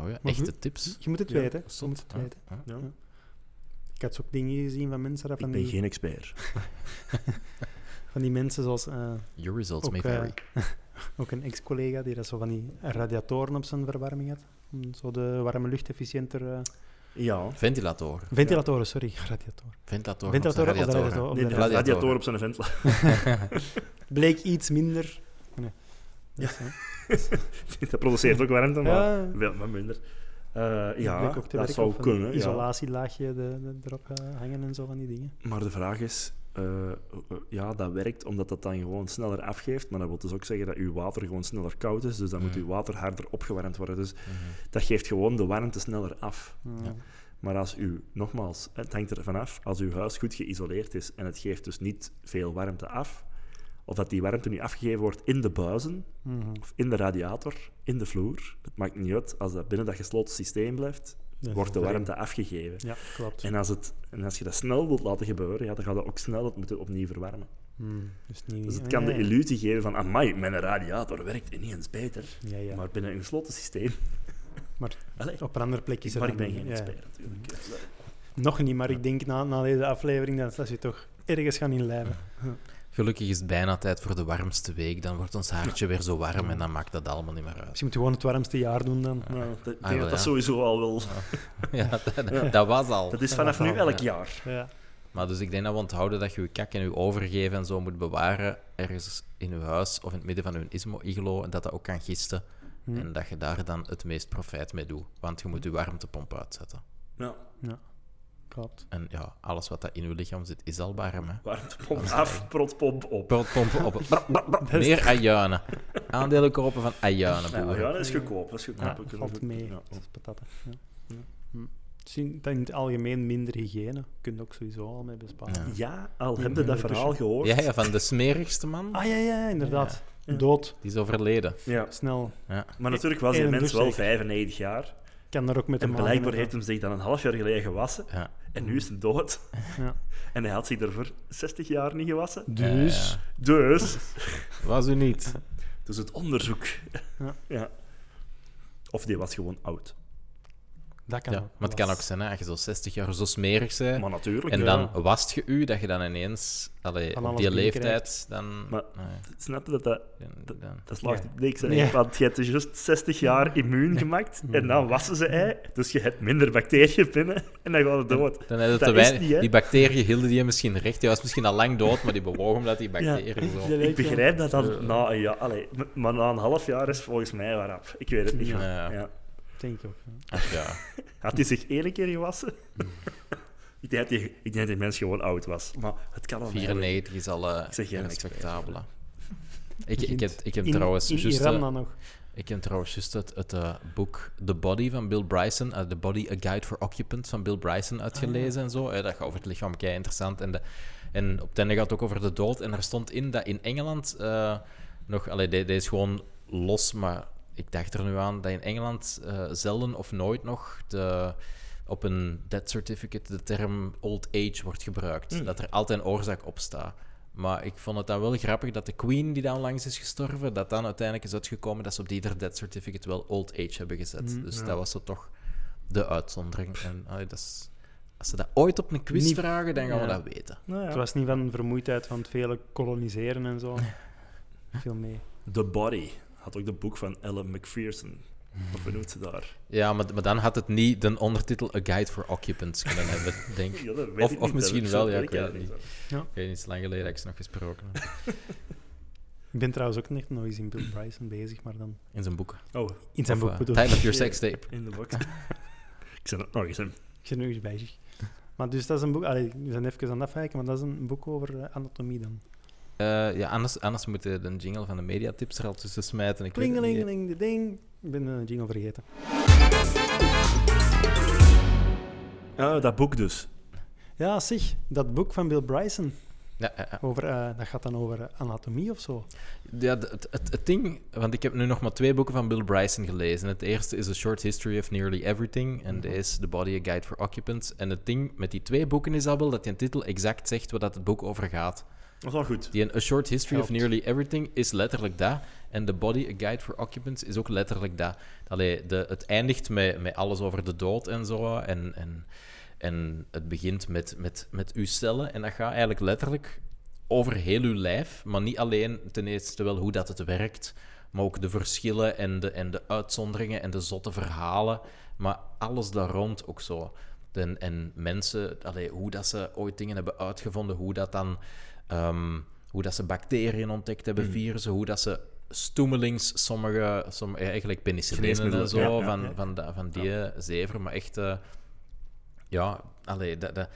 Oh ja, Maar echte goed. tips. Je moet het Ja, Ah. weten. Je zot, moet het ja. weten. Ja. Ja. Ik had ook dingen gezien van mensen, dat van Ik ben die, geen expert. van die mensen zoals eh, Your results Ook, may eh, vary. ook een ex-collega die dat zo van die radiatoren op zijn verwarming had. Om zo de warme lucht efficiënter... eh, Ja. Ventilatoren. ventilatoren, sorry. Radiatoren. Ventilatoren. of oh, ventilatoren op de radiatoren. radiator. op Nee, de de radiator. radiator op zijn vent. Bleek iets minder... oh, Nee. Dus, hè. dat produceert ook warmte, maar Ja. wel maar minder. Eh, ja, Bleek ook te dat werken zou op een kunnen. Ja. isolatielaagje de- de- erop eh, hangen en zo van die dingen. Maar de vraag is, eh, eh, ja, dat werkt omdat dat dan gewoon sneller afgeeft. Maar dat wil dus ook zeggen dat uw water gewoon sneller koud is. Dus dan moet Mm. uw water harder opgewarmd worden. Dus Mhm. dat geeft gewoon de warmte sneller af. Ja. Maar als u, nogmaals, het hangt er vanaf, als uw huis goed geïsoleerd is en het geeft dus niet veel warmte af, of dat die warmte nu afgegeven wordt in de buizen, Mhm. of in de radiator, in de vloer, het maakt niet uit, als dat binnen dat gesloten systeem blijft, Dat wordt de is wel warmte afgegeven. vreemd. Ja, klopt. En als, het, en als je dat snel wilt laten gebeuren, ja, dan ga je ook snel het moeten opnieuw verwarmen. Hmm, Dus, niet, Dus het kan de Ja, ja. illusie geven van, amai, mijn radiator werkt ineens beter. Ja, ja. Maar binnen een gesloten systeem... Maar Allee, op een andere plek is er maar ik dan- ben geen ja. expert natuurlijk. Nog niet, maar ik denk na, na deze aflevering dat, dat ze toch ergens gaan inlijven. Gelukkig is het bijna tijd voor de warmste week. Dan wordt ons haartje weer zo warm en dan maakt dat allemaal niet meer uit. Misschien moeten we gewoon het warmste jaar doen dan. Nou, ik denk Ah, dat wel, dat ja. sowieso al wel... Ja, dat, dat was al. Dat is vanaf nu al, elk ja. jaar. Ja. Maar dus ik denk dat we onthouden dat je je kak en je overgeven en zo moet bewaren ergens in je huis of in het midden van een ismo-iglo en dat dat ook kan gisten. Hm. En dat je daar dan het meest profijt mee doet. Want je moet je warmtepomp uitzetten. Ja, Klopt. En ja, alles wat dat in je lichaam zit, is al warm. Hè? warmtepomp af, protpomp op. Protpompen op Meer ajuinen. Aandelen kopen van ajuinen, Ja, boeren. ja, dat is goedkoop. Dat is goedkoop. Ja, We kunnen Valt goed- mee. ja. Dat is patata. Ja. Ja. Hm. Misschien dat in het algemeen minder hygiëne. Kun je ook sowieso al mee besparen. Ja. Ja, al heb je dat Ja. verhaal gehoord. Ja, ja, van de smerigste man. Ah ja, ja, inderdaad. Ja. Dood, Die is overleden. Ja. snel. Ja. Maar natuurlijk was die Eén mens douche wel zeker. 95 jaar. Kan er ook met En de maag blijkbaar in heeft gaan. hem zich dan een half jaar geleden gewassen. Ja. En nu is hij dood. Ja. En hij had zich er voor 60 jaar niet gewassen. Dus, Dus... Was u niet. Dus het onderzoek. Ja. Ja. Of die was gewoon oud. dat kan Ja, ook. maar het kan ook zijn, hè, als je zo 60 jaar zo smerig bent. Maar natuurlijk. En ja. dan wast je u dat je dan ineens, allee, Van op alles die binnenkrijgt. leeftijd, dan. Maar- nee, Snap je dat dat... dan, dan- Dat slaagt Ja. op niks. hè. Ja. Want je hebt dus juist 60 jaar immuun gemaakt. En dan wassen ze ei. Dus je hebt minder bacteriën binnen. En dan gaat het dood. dan heb je dat te is weinig. niet, hè? die bacteriën hielden die misschien recht. Die was misschien al lang dood, maar die bewoog omdat die bacteriën zo. Je Ik lijkt wel- begrijp dat dan na een jaar... Allee, m- maar na een half jaar is volgens mij waarop. Ik weet het niet. Ja. Ja. Oh, Denk ik ook. ja. Ach ja. Had hij zich één keer gewassen? ik, denk dat die, ik denk dat die mens gewoon oud was. Maar het kan al 94 is al eh, Ik zeg geen respectabel. hè. Ik, Begint ik heb, ik heb In, trouwens in juist, Iran eh, dan nog. ik heb trouwens juist het, het eh, boek The Body van Bill Bryson, eh, The Body A Guide for Occupants van Bill Bryson uitgelezen en zo. Eh, dat gaat over het lichaam, kei interessant. En, de, en op het einde gaat het ook over de dood. En er stond in dat in Engeland eh, nog, allee, de- deze is gewoon los, maar ik dacht er nu aan dat in Engeland eh, zelden of nooit nog de, op een death certificate de term old age wordt gebruikt. Hmm. Dat er altijd een oorzaak op staat. Maar ik vond het dan wel grappig dat de Queen, die dan langs is gestorven, dat dan uiteindelijk is uitgekomen dat ze op die ieder death certificate wel old age hebben gezet. Hmm. dus dat was zo toch de uitzondering. En, allee, dat is, als ze dat ooit op een quiz Niet- vragen, dan gaan we ja. dat weten. Nou ja. Het was niet van vermoeidheid van het vele koloniseren en zo. Veel mee. The Body had ook de boek van Ellen McPherson. Of hoe noemt ze daar? Ja, maar, maar dan had het niet de ondertitel A Guide for Occupants kunnen hebben, denk ik. Ja, dat weet Of- ik of niet, misschien dat wel, zo ja, werkt ik weet het dat niet. Ik weet niet, het is lang geleden dat ik ze nog gesproken heb. Ik ben trouwens ook echt nog eens in Bill Bryson bezig, maar dan In zijn boeken. Oh, in zijn Of, boek eh, bedoel ik. Time of Your Sex Tape. in de box. ik zet het nog eens in. Ik zit nu eens bezig. Maar dus dat is een boek, allee, we zijn even aan het afwijken, maar dat is een boek over eh, anatomie dan. Eh, ja, anders, anders moet je de jingle van de mediatips er al tussen smijten. Ik weet het niet. Klingelingeling, de ding. Ik ben de jingle vergeten. Eh, dat boek dus. Ja, zeg, dat boek van Bill Bryson. Ja, ja, ja. Over, eh, dat gaat dan over eh, anatomie of zo. Ja, d- het, het, het ding, want ik heb nu nog maar twee boeken van Bill Bryson gelezen. Het eerste is A Short History of Nearly Everything Mhm. en deze The Body, A Guide for Occupants. En het ding met die twee boeken is al wel dat die titel exact zegt waar dat het boek over gaat. Dat is wel goed. Die een A Short History of Helpt. Nearly Everything is letterlijk dat. En The Body, A Guide for Occupants is ook letterlijk dat. Allee, de, het eindigt met, met alles over de dood en zo. En, en, en het begint met, met, met uw cellen. En dat gaat eigenlijk letterlijk over heel uw lijf. Maar niet alleen ten eerste wel hoe dat het werkt. Maar ook de verschillen en de, en de uitzonderingen en de zotte verhalen. Maar alles daar rond ook zo. En, en mensen, allee, hoe dat ze ooit dingen hebben uitgevonden, hoe dat dan Ehm, hoe dat ze bacteriën ontdekt hebben, Mm. virussen, hoe dat ze stoemelings sommige, sommige eigenlijk penicilline en Geneesmiddelen, zo, ja, ja, van, ja. Van, da- van die zever, maar echt, eh, ja, allee, dat, dat-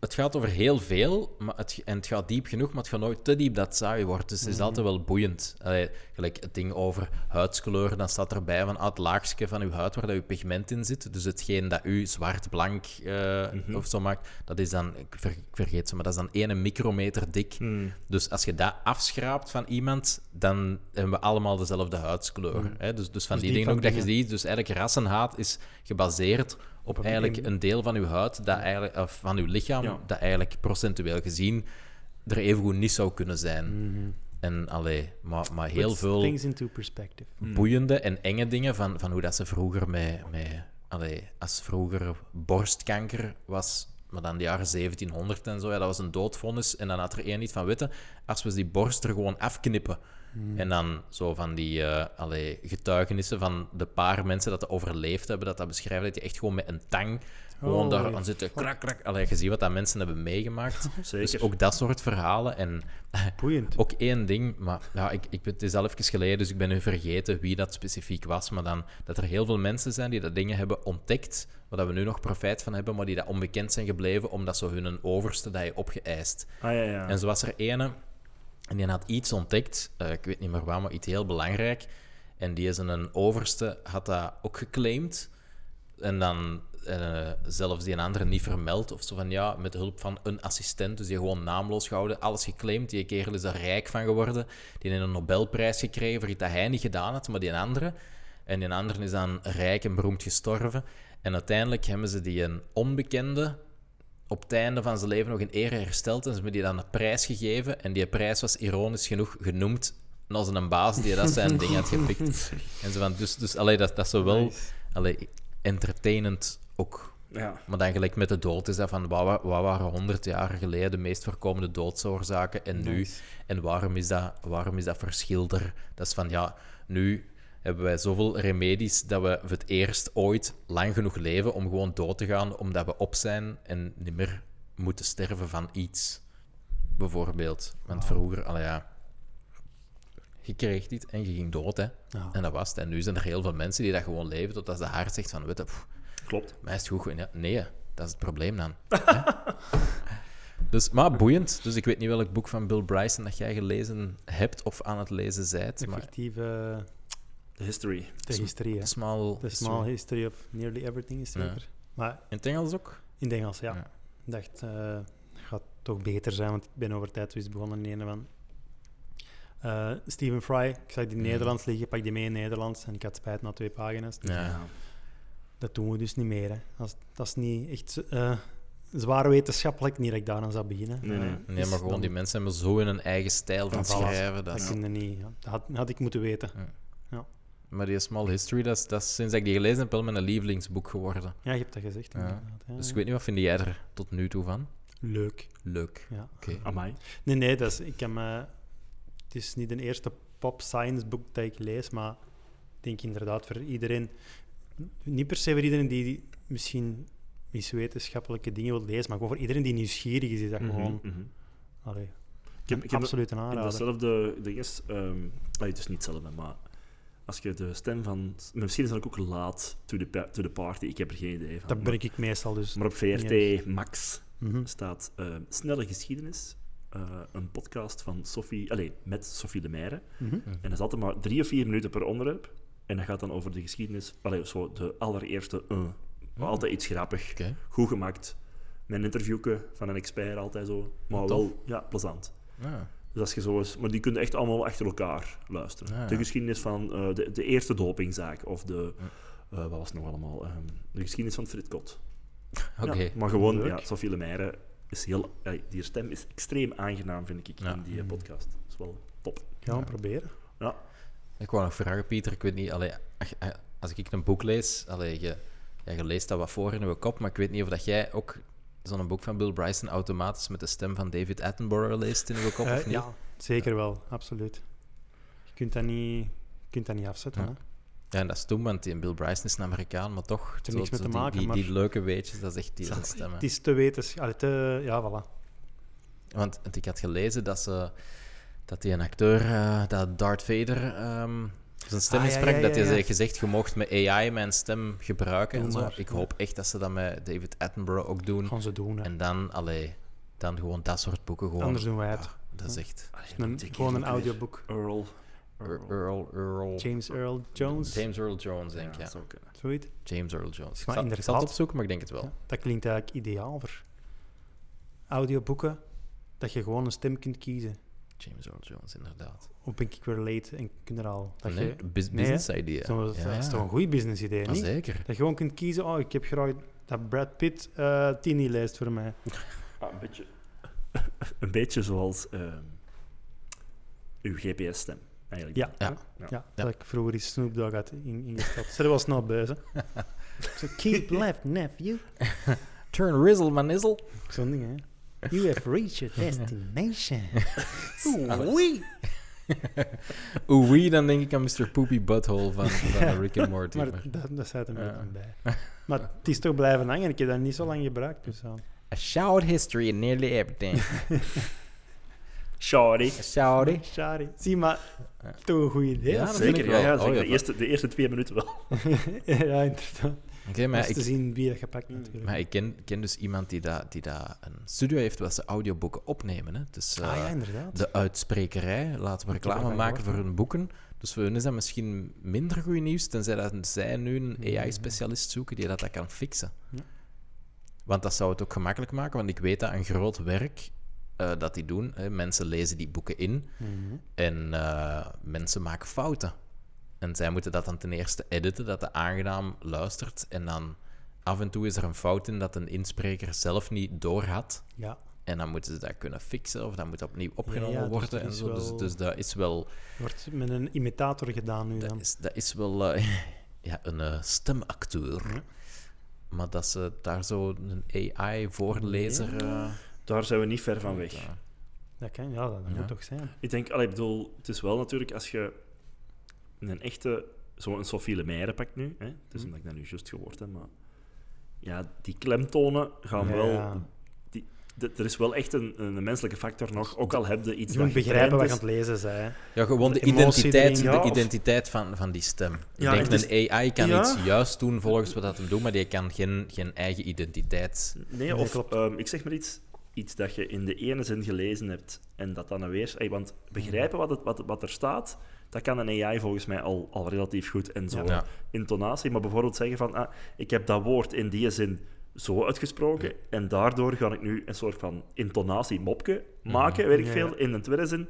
het gaat over heel veel, maar het, en het gaat diep genoeg, maar het gaat nooit te diep dat saai wordt. Dus het Mhm. is altijd wel boeiend. Allee, gelijk het ding over huidskleur, dan staat erbij van ah, het laagstje van uw huid waar dat uw pigment in zit. Dus hetgeen dat u zwart, blank eh, Mhm. of zo maakt, dat is dan, ik, ver- ik vergeet ze, maar dat is dan 1 micrometer dik. Mm. Dus als je dat afschraapt van iemand, dan hebben we allemaal dezelfde huidskleur. Hè? Dus, dus van die, die dingen ook Mm. van dat je dingen. ziet. Dus eigenlijk rassenhaat is gebaseerd op, een eigenlijk één- een deel van uw huid, dat eigenlijk, of van uw lichaam, Ja. dat eigenlijk procentueel gezien er evengoed niet zou kunnen zijn. En allee, maar, maar heel Puts veel Things into perspective. boeiende en enge dingen van, van hoe dat ze vroeger met... met allee, als vroeger borstkanker was, maar dan de jaren 1700 en zo, ja, dat was een doodvonnis. En dan had er één niet van weten, als we die borst er gewoon afknippen... En dan zo van die eh, allee, getuigenissen van de paar mensen dat dat overleefd hebben, dat dat beschrijven, dat je echt gewoon met een tang gewoon Holy daar aan zitten krak, krak. Allee, je ziet wat dat mensen hebben meegemaakt. Zeker. Dus ook dat soort verhalen. En Boeiend. ook één ding, maar nou, ik, ik, ben- het is al even geleden, dus ik ben nu vergeten wie dat specifiek was. Maar dan dat er heel veel mensen zijn die dat dingen hebben ontdekt, waar dat we nu nog profijt van hebben, maar die dat onbekend zijn gebleven, omdat zo hun overste dat je opgeëist. Ah ja, ja. En zo was er ene, en die had iets ontdekt, eh, ik weet niet meer waar, maar iets heel belangrijk. En die is een overste, had dat ook geclaimd. En dan eh, zelfs die een andere niet vermeld. Of zo van ja, met hulp van een assistent. Dus die gewoon naamloos gehouden, alles geclaimd. Die kerel is daar rijk van geworden. Die heeft een Nobelprijs gekregen voor iets dat hij niet gedaan had, maar die een andere. En die andere is dan rijk en beroemd gestorven. En uiteindelijk hebben ze die een onbekende op het einde van zijn leven nog in ere hersteld. En ze hebben die dan een prijs gegeven. En die prijs was ironisch genoeg genoemd als een baas die dat zijn ding had gepikt. En ze van, dus, dus allee, dat, dat ze wel allee, entertainend ook. ja. Maar dan gelijk met de dood is dat van, wat, wa- wat waren 100 jaar geleden de meest voorkomende doodsoorzaken en nu? En waarom is, dat, waarom is dat verschil er? Dat is van, ja, nu hebben wij zoveel remedies dat we voor het eerst ooit lang genoeg leven om gewoon dood te gaan, omdat we op zijn en niet meer moeten sterven van iets. Bijvoorbeeld. Want vroeger, al ja, je kreeg dit en je ging dood, hè. Ja. En dat was het. En nu zijn er heel veel mensen die dat gewoon leven totdat ze hard zegt van, weet je, pff, Klopt. mij is het goed. gegaan. Ja, nee, dat is het probleem dan. Hè? dus, maar boeiend. Dus ik weet niet welk boek van Bill Bryson dat jij gelezen hebt of aan het lezen zijt. De Maar fictieve The history. de historie, eh, hè. de small, The small history of nearly everything is Ja. zeker. Maar In het Engels ook? in het Engels, ja. Ja. Ik dacht, eh gaat toch beter zijn, want ik ben over tijdwist begonnen in een van. Eh, Stephen Fry, ik zag die in Mm. Nederlands liggen, pak die mee in Nederlands en ik had spijt na twee pagina's. Ja. Dat doen we dus niet meer. Hè. Als, dat is niet echt eh, zwaar wetenschappelijk, niet dat ik daar aan zou beginnen. Nee, nee. Eh, Nee, dus maar gewoon dan- die mensen hebben zo in hun eigen stijl van Ja, voilà. schrijven. Dat Dat is- kun je niet. ja. Dat had, had ik moeten weten. Maar die small history, dat is, dat is sinds dat ik die gelezen heb wel mijn lievelingsboek geworden. Ja, je hebt dat gezegd. Ja. inderdaad, ja, Dus ik ja. weet niet, wat vind jij er tot nu toe van? Leuk. Leuk. Ja. Oké. Amai. Nee, nee, dat is, ik heb, eh, het is niet de eerste pop science boek dat ik lees, maar ik denk inderdaad voor iedereen, niet per se voor iedereen die misschien iets wetenschappelijke dingen wil lezen, maar gewoon voor iedereen die nieuwsgierig is, is dat gewoon Mhm, mhm. allee, Ik heb, ik heb absoluut een in aanrader. datzelfde ding is... ehm, allee, het is niet hetzelfde, maar... Als je de stem van... maar Misschien is dat ook laat to the, pa- to the party. Ik heb er geen idee van. Dat ben ik meestal dus. Maar op VRT Niet Max Mhm. staat eh, Snelle Geschiedenis. Eh, eh, een podcast van Sophie, allez, met Sophie de Meijeren. Mhm. En dat is altijd maar drie of vier minuten per onderwerp. En dat gaat dan over de geschiedenis, allee, zo de allereerste eh. Maar Altijd iets grappig, Oh. Oké. goed gemaakt. Met een interviewke van een expert, altijd zo. Maar Tof. wel, ja, plezant. Ja. Dus als je zo eens, maar die kunnen echt allemaal achter elkaar luisteren. Ah, ja. De geschiedenis van eh, de, de eerste dopingzaak of de. eh, wat was het nog allemaal? Ehm, de geschiedenis van Frit Kot. Ah, Oké. Ja, maar gewoon, Leuk. ja, Sophie Lemaire is heel. ja, die stem is extreem aangenaam, vind ik, Ja. Mhm. in die eh, podcast. Dat is wel top. Gaan we proberen. Ja, Ik wou nog vragen, Pieter. Ik weet niet, allee, ach- eh, als ik een boek lees, allee, je, ja, je leest dat wat voor in je kop, maar ik weet niet of dat jij ook zo'n boek van Bill Bryson automatisch met de stem van David Attenborough leest in je kop, Eh, of niet? ja, zeker wel, absoluut. Je kunt dat niet, je kunt dat niet afzetten. Ja. Hè? Ja, en dat is toen, want die Bill Bryson is een Amerikaan, maar toch. heeft er zo- niks mee zo te die- maken, Die, die maar- leuke weetjes, dat is echt die Zo, zijn stemmen. Het is te wetenschap. Te, ja, voilà. Want, want ik had gelezen dat ze. Dat die een acteur, eh, dat Darth Vader ehm, zijn stem Ah, ja, insprak, ja, dat hij ja, ja. zei gezegd, je mocht met AI mijn stem gebruiken Doe en zo. maar, Ik ja. hoop echt dat ze dat met David Attenborough ook doen. Gaan ze doen. Hè. En dan, allee, dan gewoon dat soort boeken gewoon. Anders doen wij het. Ja, dat is echt... Een- die gewoon kerel een ook weer. audioboek. Earl. Earl, Earl, Earl- James Earl Jones. James Earl Jones, denk ik. Ja, Ja. dat zou kunnen. Zoiets. James Earl Jones. Ik Maar zal, ik zal inderdaad. het opzoeken, maar ik denk het wel. Ja, dat klinkt eigenlijk ideaal voor audioboeken. Dat je gewoon een stem kunt kiezen. James Earl Jones, inderdaad. Of ben ik weer late en kun er al. Dat nee, je, bus- nee, hè? business idea. Zo, dat is toch een goed business idee, Ja, niet? zeker. Dat je gewoon kunt kiezen, oh, ik heb graag dat Brad Pitt eh tini lijst voor mij. Ah, een beetje. een beetje zoals ehm, uw GPS-stem, eigenlijk. Ja, Ja. ja. Ja. dat ik vroeger die Snoop Dogg had in, ingestapt. Ze was snel bezig. So keep left, nephew. Turn Rizzle Manizzle. Zo'n ding, hè. You have reached your destination. Oei. Oei, dan denk ik aan Mr. Poopy Butthole van, van Rick and Morty. maar maar- dat, dat staat er Ja. niet bij. Maar het is toch blijven hangen. Ik heb dat niet zo lang gebruikt. Dus ja. A shout history in nearly everything. Sorry. A shouty. Shari. Zie, maar toch een goed idee. Ja, Ja, dat vind Zeker, ik ja, wel. ja, Oh, zeker. ja, de, eerste, de eerste twee minuten wel. ja inderdaad. Oké, Maar maar te ik, zien wie dat gepakt natuurlijk. maar ik ken, ken dus iemand die daar die daar een studio heeft waar ze audioboeken opnemen. Hè. Dus eh, ah ja, inderdaad. de uitsprekerij, laten we Ik heb reclame ervan maken gehoord, voor ja. hun boeken. Dus voor hun is dat misschien minder goed nieuws, tenzij dat zij nu een AI-specialist zoeken die dat, dat kan fixen. Ja. Want dat zou het ook gemakkelijk maken, want ik weet dat een groot werk eh, dat die doen, hè, mensen lezen die boeken in Mhm. en eh, mensen maken fouten. En zij moeten dat dan ten eerste editen, dat de aangenaam luistert. En dan af en toe is er een fout in dat een inspreker zelf niet doorhad. Ja, En dan moeten ze dat kunnen fixen of dat moet opnieuw opgenomen ja, dus worden dat en is zo. Dus, wel- dus dat is wel, wordt met een imitator gedaan nu dat dan. is, dat is wel eh, ja, een eh, stemacteur. Ja. Maar dat ze daar zo een AI-voorlezer... eh Daar zijn we niet ver van weg. ja. Dat kan, ja, dat, dat Ja. moet toch zijn. Ik denk, allee, ik bedoel, het is wel natuurlijk als je een echte, zo'n Sophie Lemaire pakt nu, hè? het is omdat ik dat nu juist gehoord heb, maar ja, die klemtonen gaan Ja. wel. Die, de- er is wel echt een, een menselijke factor nog, ook al heb je iets Je moet dat begrijpen wat je aan getraind het lezen zei. Ja, gewoon de, De emotie identiteit, erin, de ja, of- identiteit van, van die stem. Ja, Ik denk, het een AI kan Ja. iets juist doen volgens wat dat hem doet, maar die kan geen, geen eigen identiteit... is. Nee, Nee, of klopt. ehm, ik zeg maar iets, iets dat je in de ene zin gelezen hebt en dat dan een weer. ey, want begrijpen wat, het, wat, wat er staat, dat kan een AI volgens mij al, al relatief goed en zo. Ja. Ja. intonatie, maar bijvoorbeeld zeggen van ah, ik heb dat woord in die zin zo uitgesproken en daardoor ga ik nu een soort van intonatie mopje maken, weet ik Ja, veel, ja. in een tweede zin.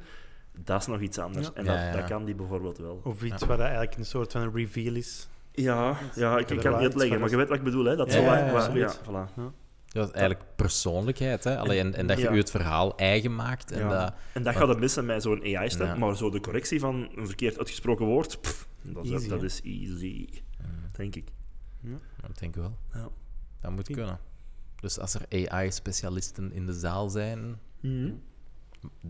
Dat is nog iets anders. Ja. En Ja, dat, ja. dat kan die bijvoorbeeld wel. Of iets waar dat eigenlijk een soort van een reveal is. Ja, ja ik, ik ik er kan wel het iets niet leggen, van maar je weet wat ik bedoel. Hè? Dat Ja, zo, ja, waar- ja, waar- absoluut. ja, voilà. Dat is eigenlijk persoonlijkheid, hè? Alleen, en, en dat je Ja. u het verhaal eigen maakt. En Ja. dat, En dat gaat het missen met zo'n AI-stem, Ja. maar zo de correctie van een verkeerd uitgesproken woord, pff, dat, is- Easy, dat hè? is easy, denk ik. Ik Hmm, denk wel. Ja. Dat moet Vind- kunnen. Dus als er AI-specialisten in de zaal zijn, Mhm.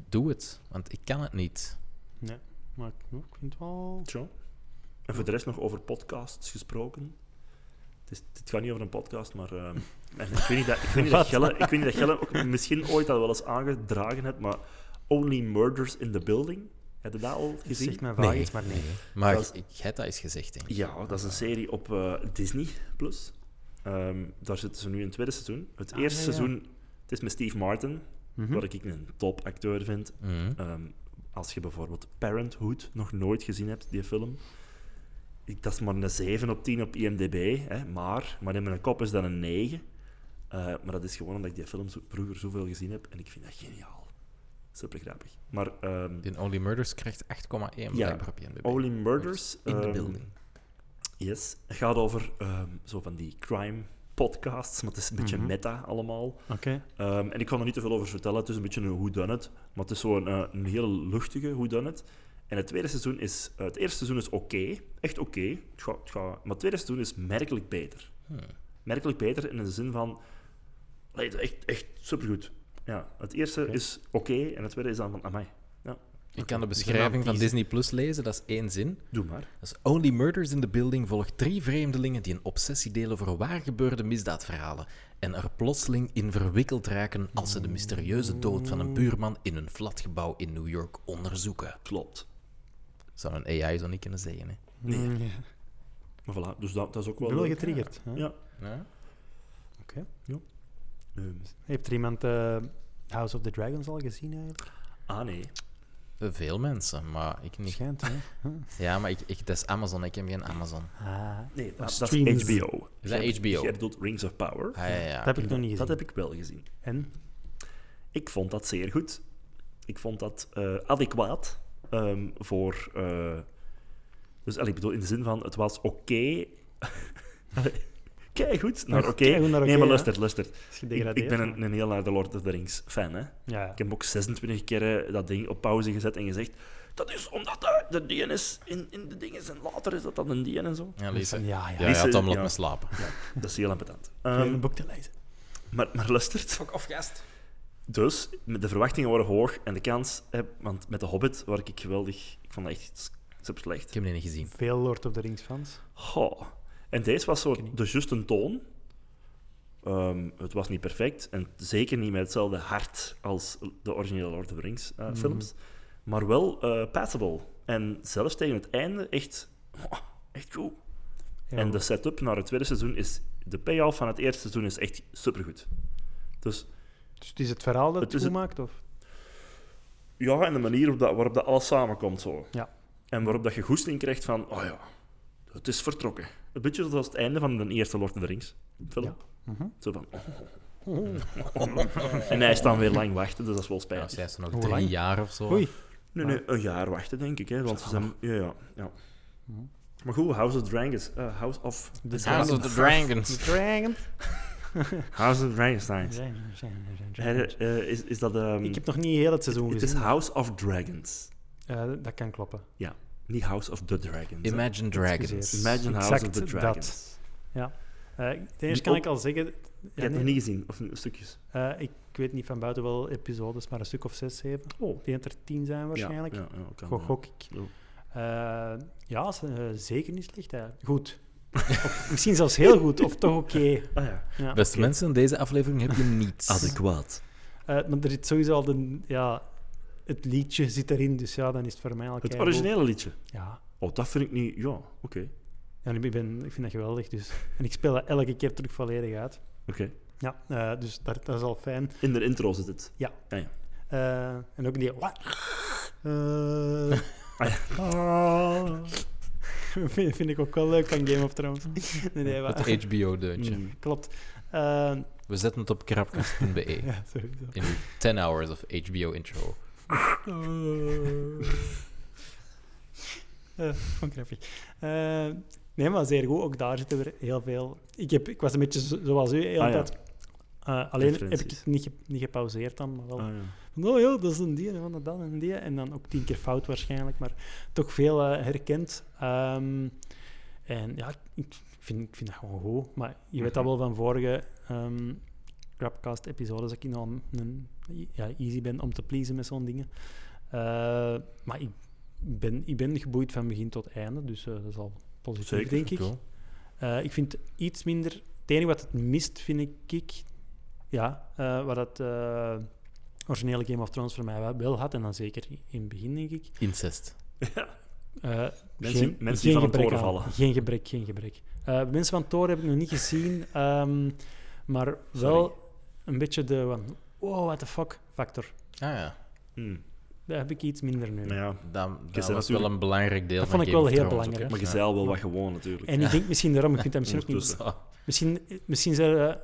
doe het. Want ik kan het niet. Nee, maar ik, ik vind het wel... Zo. En voor de rest nog over podcasts gesproken. Het, is, het gaat niet over een podcast, maar... ehm, en ik weet niet dat, ik weet niet dat Gelle, ik weet niet dat Gelle ook misschien ooit dat wel eens aangedragen hebt, maar Only Murders in the Building, heb je dat al Je gezien? zegt mij vaak iets, maar nee. Maar Dat ik is- ik heb dat eens gezegd, denk ik. Ja, dat is een serie op eh, Disney+. Plus. Ehm, daar zitten ze nu in het tweede seizoen. Het Ah, eerste ja, ja. seizoen, het is met Steve Martin. Mhm. wat ik een topacteur vind. Mhm. Ehm, als je bijvoorbeeld Parenthood nog nooit gezien hebt, die film. Ik, dat is maar een 7 op 10 op IMDb, hè, maar, maar in mijn kop is dat een 9. Eh, maar dat is gewoon omdat ik die film zo- vroeger zoveel gezien heb en ik vind dat geniaal. Super grappig. Maar ehm, Die Only Murders krijgt 8,1 blijkbaar op IMDb. Only Murders. In the ehm, building. Yes. Het gaat over ehm, zo van die crime podcasts, maar het is een beetje Mhm. meta allemaal. Oké. Ehm, en ik kan er niet te veel over vertellen. Het is een beetje een whodunit, maar het is zo'n eh, een hele luchtige whodunit. En het tweede seizoen is... eh, het eerste seizoen is oké. echt oké. Het gaat- het gaat- maar het tweede seizoen is merkelijk beter. Hmm. Merkelijk beter in de zin van... allee, het is echt, echt supergoed. Ja, het eerste Oké. is oké en het tweede is dan van... Amai, Ik kan de Dus beschrijving van een Disney Plus lezen, dat is één zin. doe maar. Dat is Only Murders in the Building volgt drie vreemdelingen die een obsessie delen voor waargebeurde misdaadverhalen en er plotseling in verwikkeld raken als ze de mysterieuze dood van een buurman in een flatgebouw in New York onderzoeken. Klopt. Zou een AI zo niet kunnen zeggen, hè? Nee. Mm, ja. Maar voilà, dus dat, dat is ook Ik wel... ben wel leuk. getriggerd. hè. Ja. Ja? Ehm, Heeft er iemand eh, House of the Dragons al gezien eigenlijk? ah, nee. Eh, Veel mensen, maar ik niet. Schijnt, hè? Huh? Ja, maar ik, ik, dat is Amazon, ik heb geen Amazon. Ah, Nee, dat, dat streams. is HBO. Is dat Jij- HBO? jij bedoelt Rings of Power. Ah, ja, ja. dat heb ik nog niet gezien. Dat heb ik wel gezien. En? Ik vond dat zeer goed. Ik vond dat eh, adequaat ehm, voor. eh, dus allee, ik bedoel, in de zin van het was oké. Kijk goed, maar oké. Keigoed naar Nee, oké, maar hè? luister, luister. Is Ik, gedegradeerd. ik ben een, een heel harde Lord of the Rings fan. Hè? Ja. Ik heb ook 26 keer eh, dat ding op pauze gezet en gezegd. Dat is omdat eh, de DN is in, in de dingen en later is dat dan een DN en zo. Ja, Dus van, Lisa. ja, ja. Ja, Lisa, ja, Tom, laat ja. me slapen. Dat is heel ambetant. Ik Ehm, ben een boek te lezen. maar, maar luistert. Fuck off, gast. Dus met de verwachtingen waren hoog en de kans, hè, want met de Hobbit waar ik geweldig, ik vond dat echt super Ik slecht. heb die niet gezien. Veel Lord of the Rings fans. Goh. En deze was zo de juiste toon. Ehm, het was niet perfect en zeker niet met hetzelfde hart als de originele Lord of the Rings eh, Mhm. films, maar wel eh, passable. En zelfs tegen het einde echt, oh, echt goed. Ja, En de setup naar het tweede seizoen is, de payoff van het eerste seizoen is echt supergoed. Dus Dus het is het verhaal dat Het het, is het- maakt? Of? Ja, en de manier op dat, waarop dat alles samenkomt zo. Ja. En waarop dat je goesting krijgt van, oh ja, het is vertrokken. Een beetje zoals het einde van de eerste Lord of the Rings film. Ja. Mhm. Zo van... en hij is dan weer lang wachten, dus dat is wel Ja, spijtig. Nou, zij is nog Hoe drie lang? jaar of zo. Oei. nee, nee, een jaar wachten, denk ik. Hè, want ze zijn... Ja, ja, ja. Mhm. Maar goed, House of Dragons. eh, House of... De House of the Dragons. Dragon. House of Dragonsteins. is, is dat... ehm, Ik heb nog niet heel Eh, het seizoen Het is gezien. House of Dragons. Eh, dat kan kloppen. Niet House of the Dragons. hè. Imagine Dragons. Excuseer. Imagine House of Exact the dat. Dragons. Eh ten Die eerste kan ook- ik al zeggen... Je Ja, nee. hebt nog niet gezien, of stukjes. Eh, ik weet niet van buiten wel episodes, maar een stuk of zes, zeven. Oh. Ik denk dat er tien zijn waarschijnlijk. Ja, ja, ja, kan, Gok, ja. gok ik. Ja. Eh, ja, ze- eh, zeker niet slecht. eigenlijk. Goed. Of misschien zelfs heel goed, of toch oké. Ah, ja. Ja. Beste Oké. mensen, in deze aflevering heb je niets. Adequaat. Eh, maar er zit sowieso al de, ja, het liedje zit erin, dus ja, dan is het voor mij al Het keigoed. originele liedje. Ja. Oh, dat vind ik niet... Ja, oké. oké. En ik, ben, ik vind dat geweldig. Dus. En ik speel dat elke keer terug volledig uit. Ja, eh, dus dat, dat is al fijn. In de intro zit het. Eh, en ook die... Wat? Eh, Ah, ah. vind, vind ik ook wel leuk van Game of Thrones. Nee, nee, maar- Het HBO-deuntje. Hmm. Mm, Klopt. Eh, We zetten het op krapkast.be. ja, sowieso. In uw 10 hours of HBO intro. Eh, vond ik grappig. Eh, nee, maar zeer goed. Ook daar zitten weer heel veel... Ik, heb, ik was een beetje zo- zoals u, heel Ah, ja. tijd... eh, alleen heb ik Referenties. het niet, ge- niet gepauzeerd dan, maar wel... Ah, ja. van, Oh ja, dat is een die en van dat dan en die. En dan ook tien keer fout waarschijnlijk, maar toch veel eh, herkend. Ehm, en ja, ik vind, ik vind dat gewoon goed. Maar je weet dat wel van vorige ehm Crapcast-episodes, dat ik nou een, een- ja, easy ben om te pleasen met zo'n dingen. Eh, maar ik ben, ik ben geboeid van begin tot einde, dus eh, dat is al positief, Zeker, denk ik. Cool. Eh, ik vind iets minder. Het enige wat het mist, vind ik, ik ja, eh, wat het eh, originele Game of Thrones voor mij wel- wel had, en dan zeker in het begin, denk ik. Incest. eh, Mensen- mensen die van gebrek het toren aan- vallen. Geen gebrek, geen gebrek. Eh, mensen van het toren heb ik nog niet gezien, ehm, maar wel een beetje de. van, wow, what the fuck factor. Ah ja, Hmm. Daar heb ik iets minder nu. Maar ja, dat, dat was natuurlijk- wel een belangrijk deel Dat van vond ik Game wel of heel Thrones, belangrijk. ook, maar hè. je zei al wel wat gewoon natuurlijk. En ik denk misschien daarom, ik vind dat misschien ook niet... Ja. Misschien, misschien zijn, we,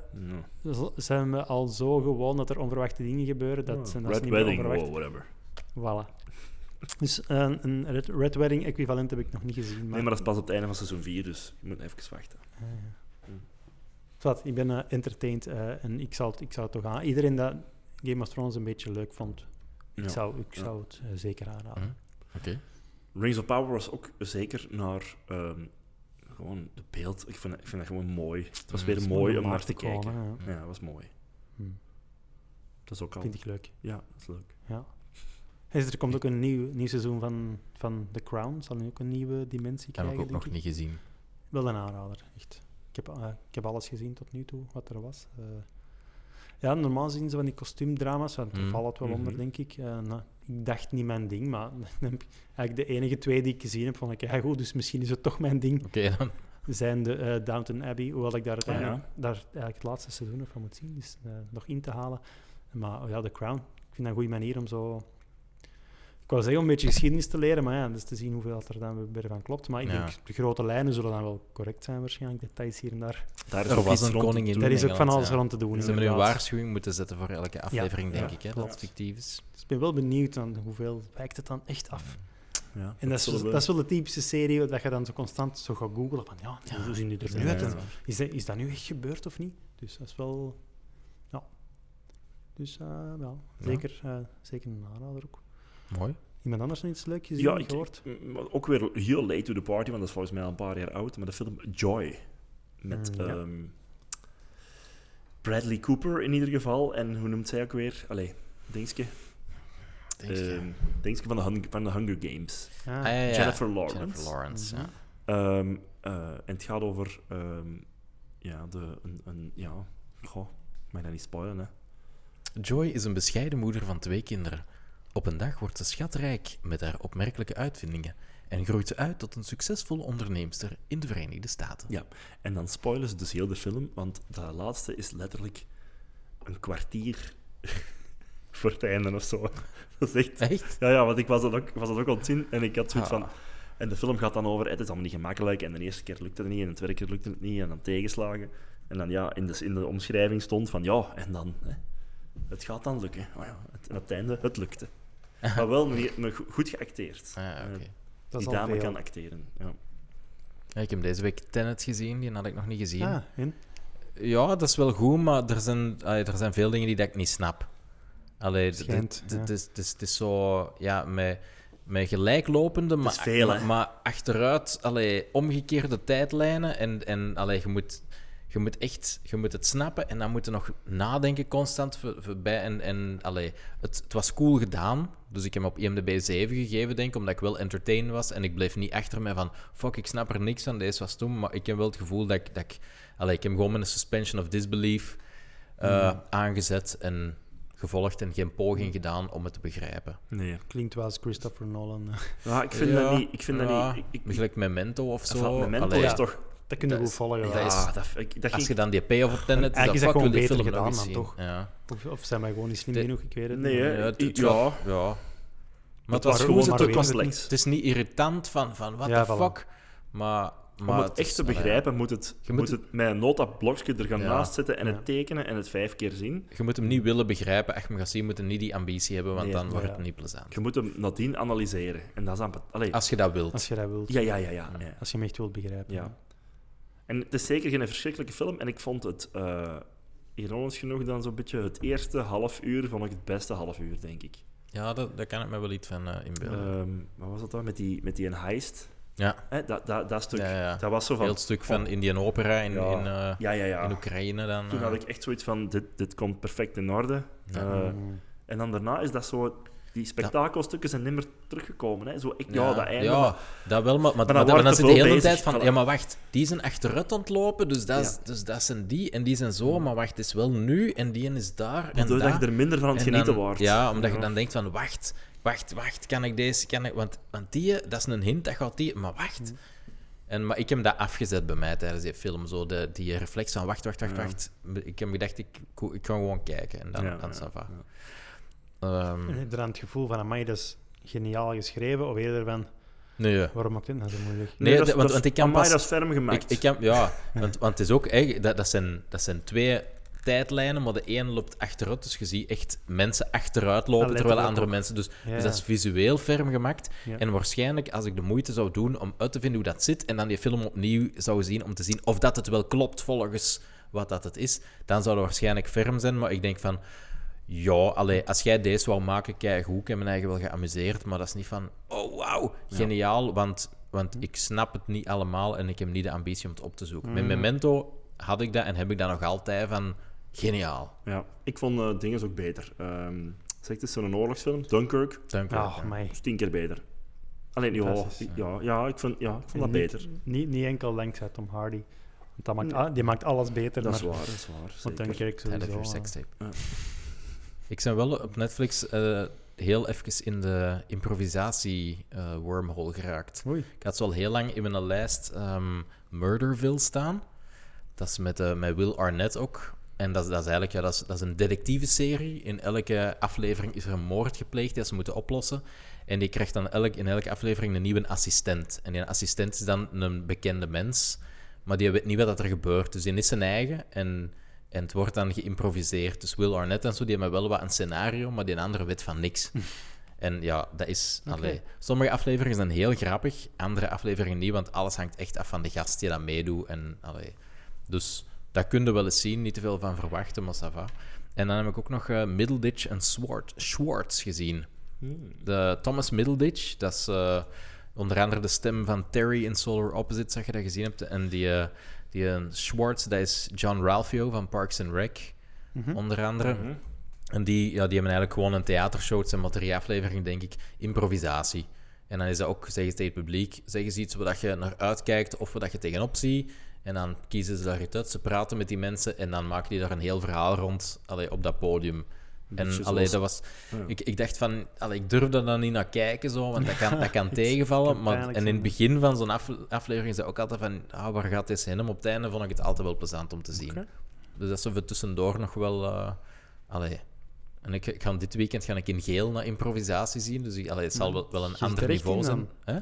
Ja. zijn we al zo gewoon dat er onverwachte dingen gebeuren, dat, zijn dat ze Oh, niet Red meer Wedding, onverwacht. wow, whatever. Voilà. Dus eh, een, Red, Red Wedding equivalent heb ik nog niet gezien. Nee, maar dat is pas op het einde van seizoen 4, dus je moet even wachten. Ah, ja. Hm. Zwat, ik ben eh, entertained eh, en ik zou, het, ik zou het toch aan. Iedereen dat Game of Thrones een beetje leuk vond, ik Ja. zou, ik Ja. zou het eh, zeker aanraden. Hm. Oké. Rings of Power was ook zeker naar ehm, gewoon de beeld. Ik vind, ik vind dat gewoon mooi. Het was Mm, weer het is mooi om Normaal naar te gekomen, kijken. hè, ja. Ja, dat was mooi. Hm. Dat is ook al. Vind ik leuk. Ja, dat is leuk. Ja. Hey, Er komt ook een nieuw, nieuw seizoen van, van The Crown. Zal nu ook een nieuwe dimensie Dat heb krijgen, ik ook nog denk ik. niet gezien. Wel een aanrader, echt. Ik heb, eh, ik heb alles gezien tot nu toe, wat er was. Eh, ja, normaal zien ze van die kostuumdrama's, want daar Mm. valt het wel onder, Mhm. denk ik. Eh, nou, ik dacht niet mijn ding, maar dan heb ik eigenlijk de enige twee die ik gezien heb, vond ik, ja goed, dus misschien is het toch mijn ding, Oké dan. zijn de eh, Downton Abbey, hoewel ik daar, Ah, ja. uiteindelijk- daar eigenlijk het laatste seizoen nog van moet zien, dus eh, nog in te halen. Maar oh ja, The Crown, ik vind dat een goede manier om zo... Ik wou zeggen om een beetje geschiedenis te leren, maar ja, dus te zien hoeveel dat er dan weer van klopt. Maar ik Ja. denk, de grote lijnen zullen dan wel correct zijn waarschijnlijk, details hier en daar. Daar Er ook was iets een rond te koningin. doen. Daar is ook van Engeland, alles ja. rond te doen. Ze hebben nu een inderdaad. waarschuwing moeten zetten voor elke aflevering, ja, denk ik, hè, dat klopt. het fictief is. Dus ik ben wel benieuwd aan hoeveel wijkt het dan echt af. Ja, En dat is, dus- zullen we- dat is wel de typische serie dat je dan zo constant zo gaat googlen van ja, Ja, hoe zien die er dat nu uit? is- En Is dat, is dat nu echt gebeurd of niet? Dus dat is wel... Ja. Dus eh, ja, Ja. zeker, eh, zeker een aanrader ook. Mooi. Iemand anders nog iets leuks gezien, Ja, ik, gehoord? m- maar ook weer heel late to the party, want dat is volgens mij al een paar jaar oud. Maar de film Joy. Met Mm, ja. ehm, Bradley Cooper in ieder geval. En hoe noemt zij ook weer? Allee, Dingske. Denk je? Ehm, Dingske van de, Hun- van de Hunger Games. Ah, Ah, ja, ja. Jennifer Lawrence. Jennifer Lawrence, ja. Ehm, eh, en het gaat over ehm, ja, de, een, een, ja, goh, ik mag dat niet spoilen, hè. Joy is een bescheiden moeder van twee kinderen. Op een dag wordt ze schatrijk met haar opmerkelijke uitvindingen en groeit ze uit tot een succesvolle onderneemster in de Verenigde Staten. Ja. En dan spoilen ze dus heel de film, want dat laatste is letterlijk een kwartier voor het einde of zo. Dat is echt... Echt? Ja, ja, want ik was dat ook, ik was dat ook aan het zien en ik had zoiets van... Ah. En de film gaat dan over, het is allemaal niet gemakkelijk en de eerste keer lukt het niet en de tweede keer lukt het niet en dan tegenslagen. En dan ja, in de, in de omschrijving stond van ja, en dan... Hè, het gaat dan lukken. Maar ja, het, aan het einde, het lukte. Maar wel manier- maar go- goed geacteerd. Ah, ja, Eh, oké. dat is Die al dame veel. kan acteren. Ja. Ja, ik heb deze week Tenet gezien, die had ik nog niet gezien. Ah, en? Ja, dat is wel goed, maar er zijn, allee, er zijn veel dingen die dat ik niet snap. Allee, d- d- Schijnt, d- ja. het is- het is- het is zo... Ja, met, met gelijklopende, maar, is veel, hè? maar, maar achteruit, allee, omgekeerde tijdlijnen. En, en allee, je, moet, je moet echt je moet het snappen en dan moet je nog nadenken constant voor- voorbij. En, en allee, het, het was cool gedaan, dus ik heb hem op IMDb 7 gegeven, denk ik, omdat ik wel entertained was. En ik bleef niet achter mij van, fuck, ik snap er niks van, deze was toen. Maar ik heb wel het gevoel dat ik... Dat ik allee, ik heb hem gewoon met een suspension of disbelief eh, Mm. aangezet en gevolgd en geen poging gedaan om het te begrijpen. Nee. Klinkt wel als Christopher Nolan. eh. Ja, ik vind Ja, dat niet... Ik vind ja, dat niet... Ik, ik, Gelijk Memento of Enfin, zo. Memento Allee, is toch... Dat kunnen we Dat goed is- volgen. dat ja. is- Ah, dat, ik, dat Als ging- je dan die payoff op Tenet, Eigenlijk dan is fuck dat wil gewoon die beter film nog gedaan, eens man, zien. toch? Ja. Of, of zijn wij gewoon niet slim De- genoeg? Ik weet het Nee, niet. hè. Ja, het, het Ja. was- ja. Maar het waren gewoon was goed, maar het, weer- het was, complex. het is niet irritant van, van what Ja, the voilà. fuck. Maar, maar Om het is- echt te allee, begrijpen, moet het, Je moet moet het met een notablokje er gaan Ja. naast zetten en Ja. het tekenen en het vijf keer zien. Je moet hem niet willen begrijpen. Echt, maar je ziet, moet hem niet die ambitie hebben, want Nee, dan wordt ja. het niet plezant. Je moet hem nadien analyseren. En dat is aan... Allee. Als je dat wilt. Als je dat wilt. Ja, ja, ja, ja. ja. Als je hem echt wilt begrijpen. Ja. En het is zeker geen verschrikkelijke film. En ik vond het, eh ironisch genoeg, dan zo'n beetje het eerste half uur vond ik het beste half uur, denk ik. Ja, dat- daar kan ik me wel iets van eh, inbeelden. Ehm, wat was dat dan? Met die, met die een heist. ja, Hè, dat, dat, dat stuk. Ja, ja. Dat was zo van... Oh. heel het stuk van Indian Opera in, Ja. in, eh, Ja, ja, ja. in Oekraïne dan. Toen eh. had ik echt zoiets van, dit, dit komt perfect in orde. Eh, Mm. en dan daarna is dat zo... Die spektakelstukken zijn nimmer teruggekomen. Hè. Zo, ik, ja, dat einde. ja, maar- dat wel, maar, maar, dan maar dan, waren dan te zit je de veel hele bezig. tijd van... Voilà. Ja, maar wacht, die zijn achteruit ontlopen, dus dat, is, dus dat zijn die. En die zijn zo, maar wacht, het is wel nu. En die is daar. En Waardoor dat daar. je er minder van aan het En genieten dan- wordt. Ja, omdat je dan denkt van, wacht, Mm. wacht, wacht, kan ik deze, kan ik... Want, want die, dat is een hint, dat gaat die... Maar wacht. En, maar ik heb dat afgezet bij mij tijdens die film. Zo de, die reflex van wacht, wacht, wacht, Ja. wacht. Ik heb gedacht, ik, ik kan gewoon kijken. En dan, Ja, dan ja, ça va. ja. Ehm, En heb je dan het gevoel van, amai, dat is geniaal geschreven? Of eerder van, nee, ja. waarom maakt dit nou zo moeilijk? Nee, dat is- de- want- dat is- want ik kan amai, pas- dat is ferm Ik, gemaakt. ik heb, ja, want, want het is ook echt, dat, dat, zijn, dat zijn twee tijdlijnen, maar de een loopt achteruit, dus je ziet echt mensen achteruit lopen, Ja, terwijl letterlijk andere ook. mensen... Dus, Ja. dus dat is visueel ferm gemaakt. Ja. En waarschijnlijk, als ik de moeite zou doen om uit te vinden hoe dat zit, en dan die film opnieuw zou zien, om te zien of dat het wel klopt volgens wat dat het is, dan zou het waarschijnlijk ferm zijn, maar ik denk van... Ja, allee, als jij deze wou maken, kijk hoe. Ik heb me eigenlijk wel geamuseerd, maar dat is niet van, oh wauw, geniaal, want, want ik snap het niet allemaal en ik heb niet de ambitie om het op te zoeken. Mm. Met Memento had ik dat en heb ik dat nog altijd van, geniaal. Ja, ik vond eh, dingen ook beter. Ehm zeg, het is zo'n oorlogsfilm. Dunkirk Dank u. Oh, amai. is tien keer beter. Alleen, ja, Fantastisch, ja, ja, ik vond, ja, ik vond dat Niet- beter. Niet, niet enkel dankzij Tom Hardy. Want dat maakt, Nee. ah, die maakt alles beter. Dat is maar, waar, dat is waar. Want zeker. dan kijk ik Tijd sowieso... voor eh, sekstape. Ja. Ik ben wel op Netflix eh, heel even in de improvisatie-wormhole geraakt. Oei. Ik had zo al heel lang in mijn lijst ehm, Murderville staan. Dat is met, eh, met Will Arnett ook. En dat, is- dat is eigenlijk ja, dat is, dat is een detectievenserie. In elke aflevering is er een moord gepleegd die ze moeten oplossen. En die krijgt dan elk, in elke aflevering een nieuwe assistent. En die assistent is dan een bekende mens, maar die weet niet wat er gebeurt. Dus die is zijn eigen en, en het wordt dan geïmproviseerd. Dus Will Arnett en zo, die hebben wel wat een scenario, maar die andere weet van niks. En ja, dat is... allee, sommige afleveringen zijn heel grappig, andere afleveringen niet, want alles hangt echt af van de gast die dat meedoet. En, allee, dus dat kun je wel eens zien, niet te veel van verwachten, maar ça va. En dan heb ik ook nog eh, Middleditch en Swart, Schwartz gezien. De Thomas Middleditch, dat is eh, onder andere de stem van Terry in Solar Opposites, dat je dat gezien hebt. En die, eh, die eh, Schwartz, dat is John Ralphio van Parks and Rec, onder andere. En die, ja, die hebben eigenlijk gewoon een theatershow. Het zijn maar drie afleveringen, denk ik. Improvisatie. En dan is dat ook, zeggen ze tegen het publiek, zeggen ze iets waar dat je naar uitkijkt of waar dat je tegenop ziet. En dan kiezen ze daar iets uit. Ze praten met die mensen en dan maken die daar een heel verhaal rond allee, op dat podium. En zoals- allee, dat was, ik, ik dacht van, allee, ik durf daar dan niet naar kijken, zo, want dat kan, dat kan tegenvallen. kan maar, pijnlijk en in zijn, het begin van zo'n af- aflevering zei ik ook altijd van, ah, waar gaat dit heen? Maar op het einde vond ik het altijd wel plezant om te zien. Oké. Dus dat is even tussendoor nog wel... eh, allee. En ik, ik ga dit weekend ga ik in geel naar improvisatie zien, dus ik- allee, het zal wel, wel een zit ander er echt niveau in zijn. Hè?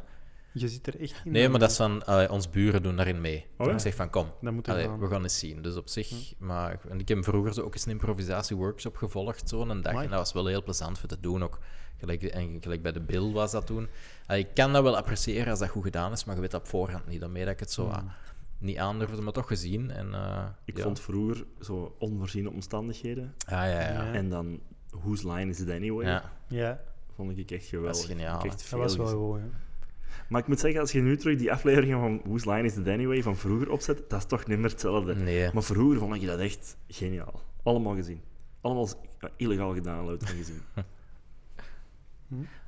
Je zit er echt in. Nee, dan- maar dat is van, allee, ons buren doen daarin mee. ja. Ik zeg van, kom, Dat moet er Allee, gaan. we gaan eens zien. Dus op zich, maar ik- en ik heb vroeger zo ook eens een improvisatieworkshop gevolgd, zo'n dag. Amai. En dat was wel heel plezant voor te doen ook. Gelijk, en gelijk bij de Bill was dat toen. Allee, ik kan dat wel appreciëren als dat goed gedaan is, maar je weet dat op voorhand niet. Daarmee dat ik het zo ah, niet aandurfde, maar toch gezien. En, eh, Ik ja. vond vroeger zo onvoorziene omstandigheden. Ah, ja, ja. ja. Ja. En dan Whose Line Is It Anyway? Ja. Ja, Vond ik echt geweldig. Dat is geniaal, Ik heb echt dat veel was wel gezien. gewoon. ja. Maar ik moet zeggen, als je nu terug die afleveringen van Whose Line Is It Anyway van vroeger opzet, dat is toch niet meer hetzelfde. Nee. Maar vroeger vond ik dat echt geniaal. Allemaal gezien. Allemaal illegaal gedaan, luid en gezien.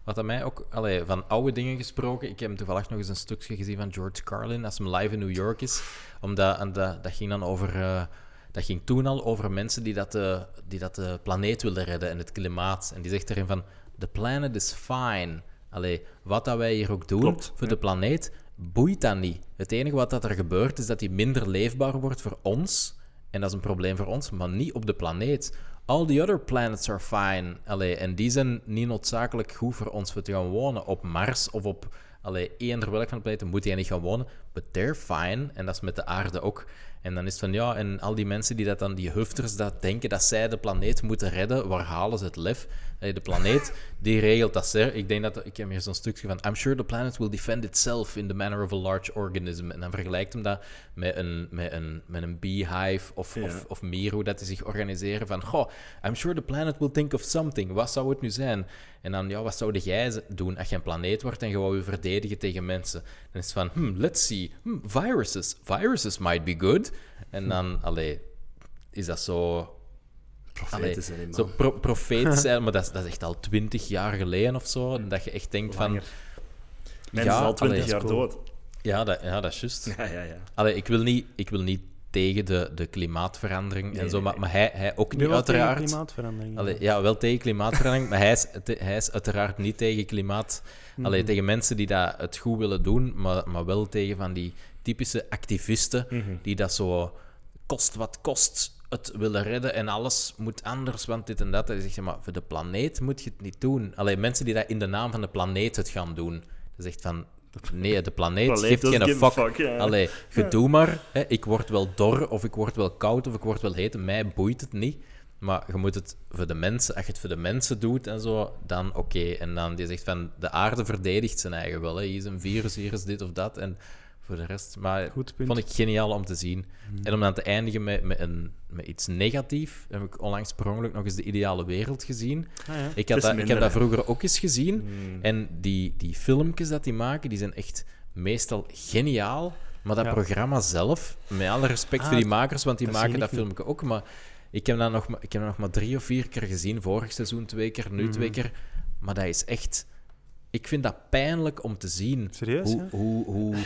Wat aan mij ook, allee, van oude dingen gesproken. Ik heb toevallig nog eens een stukje gezien van George Carlin als hem live in New York is. Omdat, en dat, dat ging dan over. eh, dat ging toen al over mensen die dat, de, die dat de planeet wilden redden en het klimaat. En die zegt erin van: The planet is fine. Allee, wat dat wij hier ook doen Klopt, voor de planeet, boeit dat niet. Het enige wat dat er gebeurt, is dat die minder leefbaar wordt voor ons. En dat is een probleem voor ons, maar niet op de planeet. All the other planets are fine. Allee, en die zijn niet noodzakelijk goed voor ons voor te gaan wonen. Op Mars of op allee, eender welk van de planeten moet jij niet gaan wonen. But they're fine. En dat is met de aarde ook. En dan is het van ja, en al die mensen die dat dan, die hufters, dat denken dat zij de planeet moeten redden, waar halen ze het lef? Allee, Eh, de planeet, die regelt dat zeer. Ik denk dat, ik heb hier zo'n stukje van, I'm sure the planet will defend itself in the manner of a large organism. En dan vergelijkt hem dat met een, met een, met een beehive of, of, of meer, hoe dat die zich organiseren. Van, goh, I'm sure the planet will think of something. Wat zou het nu zijn? En dan, ja, wat zou jij z- doen als je een planeet wordt en je wou je verdedigen tegen mensen? Dan is het van, hmm, let's see, hmm, viruses. Viruses might be good. En dan, allee, is dat zo... Allee, Profeten zijn in zo pro profeet zijn, maar dat is, dat is echt al twintig jaar geleden of zo. En dat je echt denkt van... Mensen zijn al twintig allee, jaar cool. dood. Ja, dat, ja, dat is juist. Ja, ja, ja. Allee, ik wil niet, ik wil niet tegen de, de klimaatverandering en Nee, zo, nee, maar, maar hij, hij ook Ik niet, ben wel tegen uiteraard. klimaatverandering. Allee, ja, wel tegen klimaatverandering, maar hij is, te- hij is uiteraard Mhm. niet tegen klimaat. Allee, tegen mensen die dat het goed willen doen, maar, maar wel tegen van die typische activisten Mhm. die dat zo kost wat kost het willen redden en alles moet anders, want dit en dat. Dan zeg je, maar voor de planeet moet je het niet doen. Alleen mensen die dat in de naam van de planeet het gaan doen. Dat zegt van, nee, de planeet, Planeet geeft doesn't geen give a fuck. fuck, ja. Allee, je doe maar. Hè, ik word wel dor, of ik word wel koud, of ik word wel heet. Mij boeit het niet. Maar je moet het voor de mensen, als je het voor de mensen doet en zo, dan oké. En dan die zegt van, de aarde verdedigt zijn eigen wel. Hè. Hier is een virus, hier is dit of dat. En voor de rest, maar Goed punt. Hmm. vond ik geniaal om te zien. En om dan te eindigen met, met, een, met iets negatief, heb ik onlangs per ongeluk nog eens de ideale wereld gezien. Ah, ja. Ik, Het had dat, is ik heb minder, dat hè. vroeger ook eens gezien. Hmm. En die, die filmpjes dat die maken, die zijn echt meestal geniaal. Maar dat Ja. programma zelf, met alle respect Ah, voor die makers, want die dat zie maken ik dat niet. filmpje ook. Maar ik heb dat nog, maar- ik heb dat nog maar drie of vier keer gezien. Vorig seizoen twee keer, nu twee Hmm. keer. Maar dat is echt... Ik vind dat pijnlijk om te zien. Serieus, Hoe, ja? hoe, hoe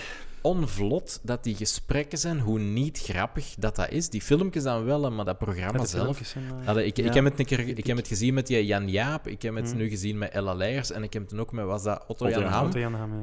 onvlot dat die gesprekken zijn, hoe niet grappig dat dat is. Die filmpjes dan wel, maar dat programma Ja, de zelf... Ah, filmpjes zijn, eh, Allee, ik, ja. ik, heb het een keer, ik heb het gezien met die Jan Jaap, ik heb het nu gezien met Ella Leijers en ik heb het ook met, was dat Otto Jan Jan Ham? Otto Jan Ham, ja.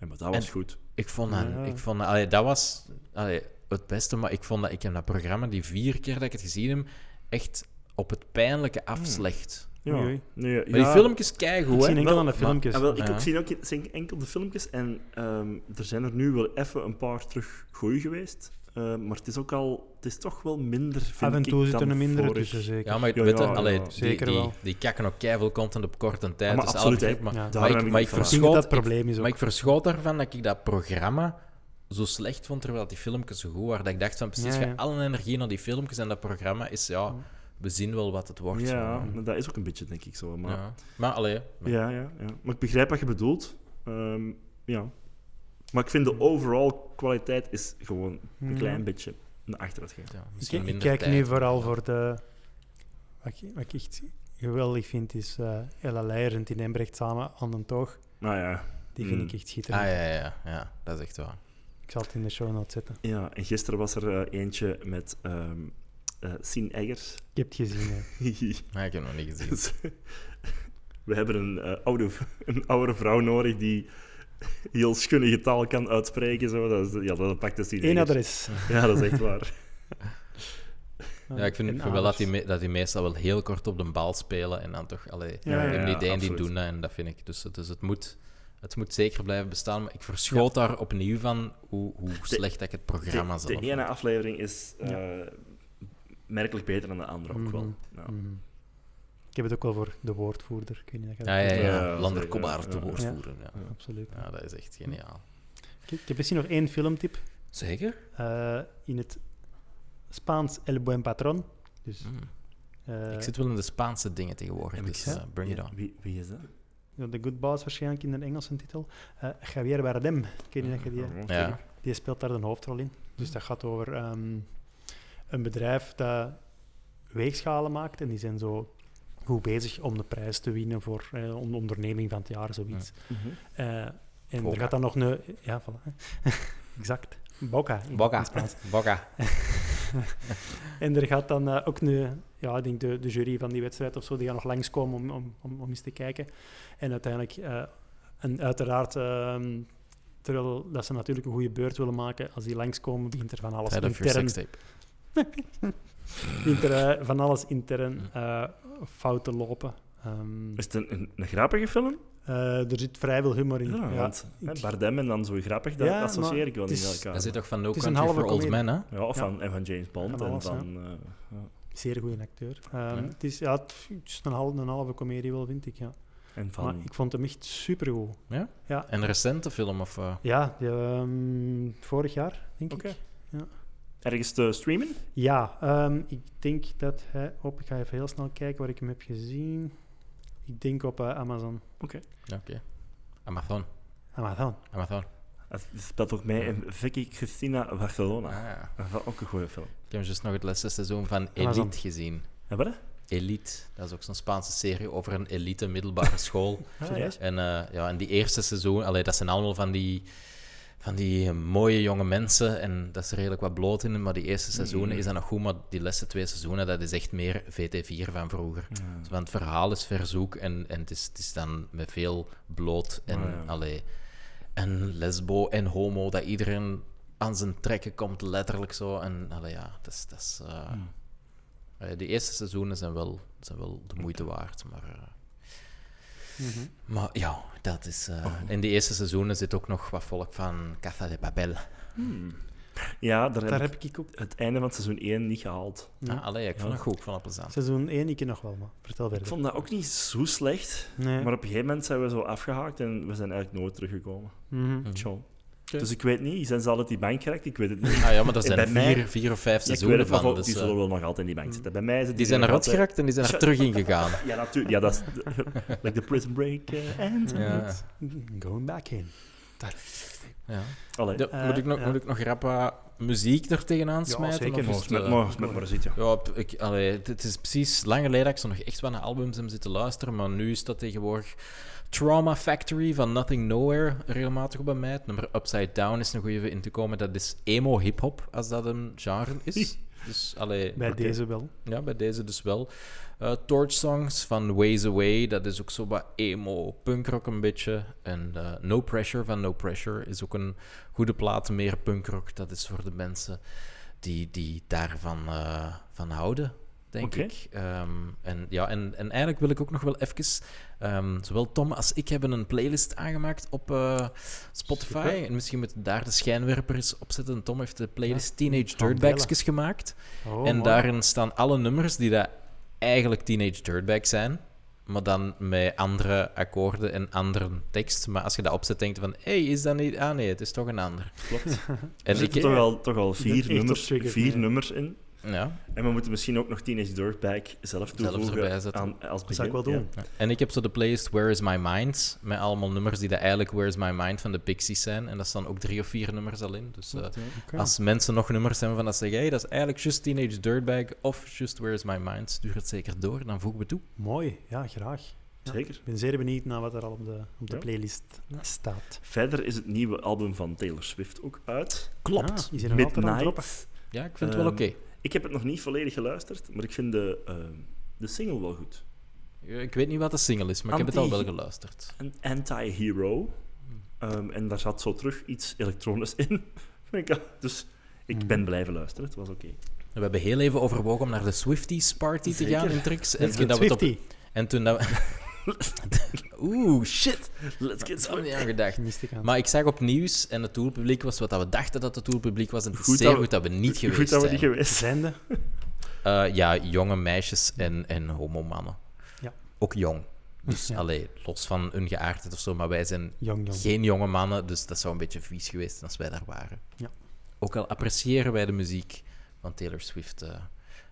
Ja, maar dat was En- goed. Ik vond dat, Ja. ik vond dat, allee, dat was allee, het beste, maar ik vond dat, ik heb dat programma die vier keer dat ik het gezien heb, echt op het pijnlijke afslecht. Ja. Oei, oei. Nee, ja, Maar die filmpjes Ik keigoed, zie hè? enkel aan de maar- ah, filmpjes. Ja, wel, ik Ja. ook zie ook ik zie enkel de filmpjes. En ehm, er zijn er nu wel even een paar terug goeie geweest. Ehm, maar het is ook al... Het is toch wel minder, vind Af en toe ik, zit er dan een minder dus vorig. tussen, zeker. Ja, maar Ja, weet je, ja, allee, ja. die, Zeker die, wel. die kakken ook keiveel content op korte tijd. Ja, maar dus alle absoluut, hè. begrip, maar, Ja. Daarom maar heb ik, ik maar niet ik van. Ik denk dat verschoot, dat het probleem is Maar ook. ik verschoot daarvan dat ik dat programma zo slecht vond, terwijl die filmpjes zo goed waren. Dat ik dacht van, precies, Ja, ga ja. alle energie naar die filmpjes en dat programma is, ja, we zien wel wat het wordt. Ja, zo. maar dat is ook een beetje, denk ik, zo. Maar, ja. Maar allee, maar- Ja, ja, ja. Maar ik begrijp wat je bedoelt. Ehm, ja. Maar ik vind de overall kwaliteit is gewoon een Ja. klein beetje naar achteruit gegaan. ja, Hmm. Ik, misschien ik minder kijk nu tijd. vooral voor de... Wat ik, wat ik echt geweldig vind, is eh, Ella Leijer en Tine Embrecht samen aan de toog. Nou ja. Die vind Mm. ik echt Ah, schitterend. ja, ja, ja, ja, dat is echt waar. Ik zal het in de show notes zetten. ja, en gisteren was er eh, eentje met ehm eh Sien Eggers. Ik heb het gezien, ja. Maar ik heb nog niet gezien. Dus, we hebben een, eh, oude, v- een oude vrouw nodig die heel schunnige taal kan uitspreken. Zo. Dat, is, ja, dat pakt de Sien Eén Eggers. adres. Ja, dat is echt waar. Ja, ik vind, En ik vind wel dat die, anders. me- dat die meestal wel heel kort op de bal spelen en dan toch, allee, Ja, ja, die ja, ideeën die absoluut. doen dat en dat vind ik. Dus, dus het, moet, het moet zeker blijven bestaan, maar ik verschoot daar opnieuw van hoe, hoe slecht dat ik het programma De, zelf de vond. ene aflevering is eh, merkelijk beter dan de andere ook wel. Ja. Mhm. Ik heb het ook wel voor de woordvoerder. Ik weet niet of je dat Ah, Ja, ja, ja. kent. Ja, Lander zeker. Kobbaert te Ja. woordvoeren. Ja. Ja. Absoluut. dat is echt geniaal. Ik, ik heb misschien nog één filmtip. Zeker? Eh, in het Spaans El Buen Patron. Dus, eh, Mm. Mhm. ik zit wel in de Spaanse dingen tegenwoordig, Heb ik dus gezien? eh, bring it Ja, on. Wie, wie is dat? The Good Boss waarschijnlijk in een Engelse titel. Eh, Javier Bardem. Ik weet niet of je die... Ja. Die speelt daar een hoofdrol in. Dus dat gaat over ehm, een bedrijf dat weegschalen maakt. En die zijn zo goed bezig om de prijs te winnen voor eh, om de onderneming van het jaar, zoiets. Mhm. Eh, en Boca. er gaat dan nog een... Ja, voilà. exact. Boca. in- in Boga. Spaans. Boga. En er gaat dan eh, ook een, ja, ik denk de, de jury van die wedstrijd of zo, die gaan nog langskomen om, om, om, om eens te kijken. En uiteindelijk, eh, en uiteraard, ehm, terwijl dat ze natuurlijk een goede beurt willen maken, als die langskomen, begint er van alles Head of your intern, sextape. begint er, eh, van alles intern eh, fout te lopen. Ehm, Mm. Is het een, een, een grappige film? eh, er zit vrij veel humor in. Ja, Ja, want hè, ik- Bardem en dan zo grappig, dat Ja, maar associeer ik wel het niet is- met elkaar. Dat zit toch van No Het is een Country for halve Old komedie. Men, hè? Ja, of van, en van James Bond Van alles, en van... eh, ja. Zeer goede acteur. Ehm, Ja. Het is, ja, het is een, halve, een halve comedie wel, vind ik. Ja. En van... Maar ik vond hem echt supergoed. Een recente film, of... eh, Ja, die, ehm, vorig jaar, denk Oké. ik. Ergens te streamen? Ja, ehm, ik denk dat hij op. Ik ga even heel snel kijken waar ik hem heb gezien. Ik denk op eh, Amazon. ja, Oké. Amazon. Amazon. Amazon. Het speelt ook mee in Vicky Christina Barcelona. Ah, ja. Dat is wel ook een goede film. Ik heb dus nog het laatste seizoen van Amazon. Elite gezien. Hebben we Elite, dat is ook zo'n Spaanse serie over een elite middelbare school. dat? Serieus? En, eh, ja, en die eerste seizoen, allee, dat zijn allemaal van die, van die mooie jonge mensen. En dat is er redelijk wat bloot in. Maar die eerste seizoenen is dat nog goed. Maar die laatste twee seizoenen, dat is echt meer VT4 van vroeger. Want het verhaal is verzoek en, en het, is, het is dan met veel bloot en Ah, ja. allee, en lesbo en homo, dat iedereen aan zijn trekken komt, letterlijk zo. En allee, ja, dat is... Dat is eh, Hmm. eh, de eerste seizoenen zijn wel, zijn wel de moeite waard, maar... eh, Mhm. maar ja, dat is... eh, Oh. In de eerste seizoenen zit ook nog wat volk van Casa de Papel. Ja, daar heb, Daar ik heb ik ook. het einde van seizoen 1 niet gehaald. Ja. Ah, allee, ik vond het goed, ik vond het plezant. Seizoen 1, ik ken nog wel, maar vertel Ik verder. vond dat ook niet zo slecht, Nee. maar op een gegeven moment zijn we zo afgehaakt en we zijn eigenlijk nooit teruggekomen. Mhm. Tjoh. Dus ik weet niet, zijn ze al uit die bank geraakt? Ik weet het niet. Ah ja, maar er En zijn bij mij- vier, vier of vijf Ja, ik weet seizoenen het van, van. die Dus, eh, zullen wel nog altijd in die Hm. bank zitten. Bij mij zitten die zijn er nog eruit altijd- geraakt en die zijn er terug in gegaan. Ja, natuurlijk. Ja, dat is like the prison break eh, and... Ja. Going back in. Ja. Allee, Ja, Eh, moet, ik nog, ja. moet ik nog rap wat muziek er tegenaan Ja, smijten? zeker. Of is volgens het, eh, mij maar, met maar zit, ja. ja, p- ik, allee, het- het is precies lang geleden dat ik zo nog echt wel naar albums heb zitten luisteren, maar nu is dat tegenwoordig Trauma Factory van Nothing Nowhere regelmatig op bij mij. Het nummer Upside Down is een goede even in te komen. Dat is emo-hip-hop, als dat een genre is. Dus, allee, Bij Oké. deze wel. ja, bij deze dus wel. Eh, Torch Songs van Ways Away, dat is ook zo wat emo, punkrock een beetje. En eh, No Pressure van No Pressure is ook een goede plaat, meer punkrock. Dat is voor de mensen die, die daarvan eh, van houden, denk Oké. ik. Ehm, en, ja, en, en eigenlijk wil ik ook nog wel even... ehm, zowel Tom als ik hebben een playlist aangemaakt op eh, Spotify. Super. En misschien moet daar de schijnwerper eens op zetten. Tom heeft de playlist Teenage gaan Dirtbags gemaakt. Oh, En mooi. daarin staan alle nummers die dat eigenlijk Teenage Dirtbag zijn, maar dan met andere akkoorden en andere tekst. Maar als je dat opzet, denkt van, hé, hey, is dat niet... Ah nee, het is toch een ander. Klopt. Er En ik, zitten toch al, toch al ben vier, echt nummers, opgetriggerd, vier ja. nummers in. ja, En we moeten misschien ook nog Teenage Dirtbag zelf erbij toevoegen zetten. aan, als begin. Dat zou ik wel doen. Ja. en ik heb zo de playlist Where Is My Mind, met allemaal nummers die dat eigenlijk Where Is My Mind van de Pixies zijn. En daar staan ook drie of vier nummers al in. Dus eh, Oké. als mensen nog nummers hebben van dat ze zeggen, hey, dat is eigenlijk just Teenage Dirtbag of just Where Is My Mind, stuur het zeker door, dan voegen we toe. Mooi, ja, graag. Ja. Zeker. Ik ben zeer benieuwd naar wat er al op de, op de Ja. playlist Ja. staat. Verder is het nieuwe album van Taylor Swift ook uit. Ah, is er nog altijd aan het droppen? Midnight. Ja, ik vind het wel Ehm, oké. Ik heb het nog niet volledig geluisterd, maar ik vind de, ehm, de single wel goed. Ja, Eh, Ik weet niet wat de single is, maar ik heb het al wel Anti- geluisterd. Een anti-hero. Ehm, en daar zat zo terug iets elektronisch in. Vind ik al- dus ik Hmm. ben blijven luisteren, het was oké. We hebben heel even overwogen om naar de Swifties party te Zeker. gaan in Trix. En, Let's toen get dat we het op- Swiftie. en toen dat we... Oeh, shit. Let's Dat get had ik some. niet aan gedacht. Mist ik aan. Maar ik zag op nieuws en het doelpubliek was wat dat we dachten dat het doelpubliek was. En het is Goed zeer dat we- goed dat we niet geweest Goed dat we niet zijn. geweest zijn. Zijnde. Eh, ja, jonge meisjes en, en homomannen. Ja. Ook jong. Dus Ja. allee, los van hun geaardheid of zo, maar wij zijn Jong, jong. geen jonge mannen, dus dat zou een beetje vies geweest zijn als wij daar waren. Ja. Ook al appreciëren wij de muziek van Taylor Swift. eh,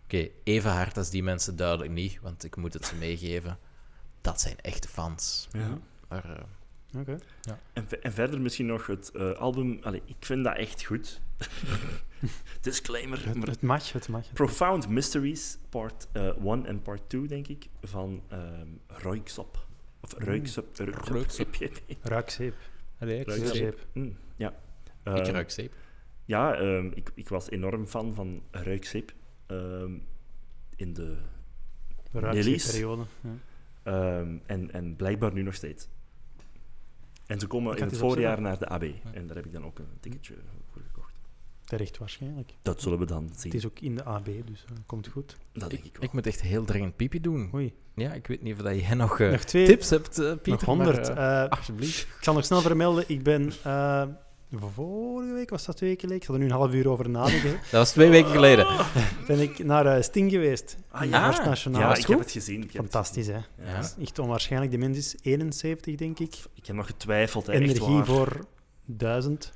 Oké, even hard als die mensen duidelijk niet, want ik moet het ze meegeven. Dat zijn echte fans. Ja. Maar, eh, Oké. En, ve- en verder misschien nog het eh, album. Allee, ik vind dat echt goed. Disclaimer. Het, maar- het mag, het mag. Profound Mysteries, part 1 en part 2, denk ik, van ehm Royksop. Of Ruiksop. Ruiksop. Ruikzeep. ik, Ruik ruik, Ruikzeep. Mm, ja. ik Eh, Ehm, ruik zeep. Ja, ehm, ik, ik was enorm fan van Ruikzeep. Ehm, in de, Ruikzeepperiode. Ja. ehm, en, en blijkbaar nu nog steeds. En ze komen Ik in had het die voorjaar opzetten. naar de AB. En daar heb ik dan ook een ticketje voor gekocht. Terecht waarschijnlijk. Dat zullen we dan zien. Hm. Het is ook in de AB, dus dat komt goed. Dat denk ik Ik, wel. moet echt heel dringend pipi doen. Oei. Ja, ik weet niet of dat jij nog, eh, nog twee. tips hebt, eh, Pieter. nog maar, honderd. eh, Eh, Ah. alsjeblieft. ik zal nog snel vermelden, ik ben... eh, vorige week, was dat twee weken geleden? Ik zal er nu een half uur over nadenken. Dat was twee weken geleden. ben ik naar eh, Sting geweest. Ah, in ja. Horst Nationaal. ja, Was ik goed? heb het gezien. ik heb het Fantastisch, hè? gezien. Ja. Ja. Dat is echt onwaarschijnlijk. De mens is 71, denk ik. Ik heb nog getwijfeld, hè, echt Energie waar. voor duizend.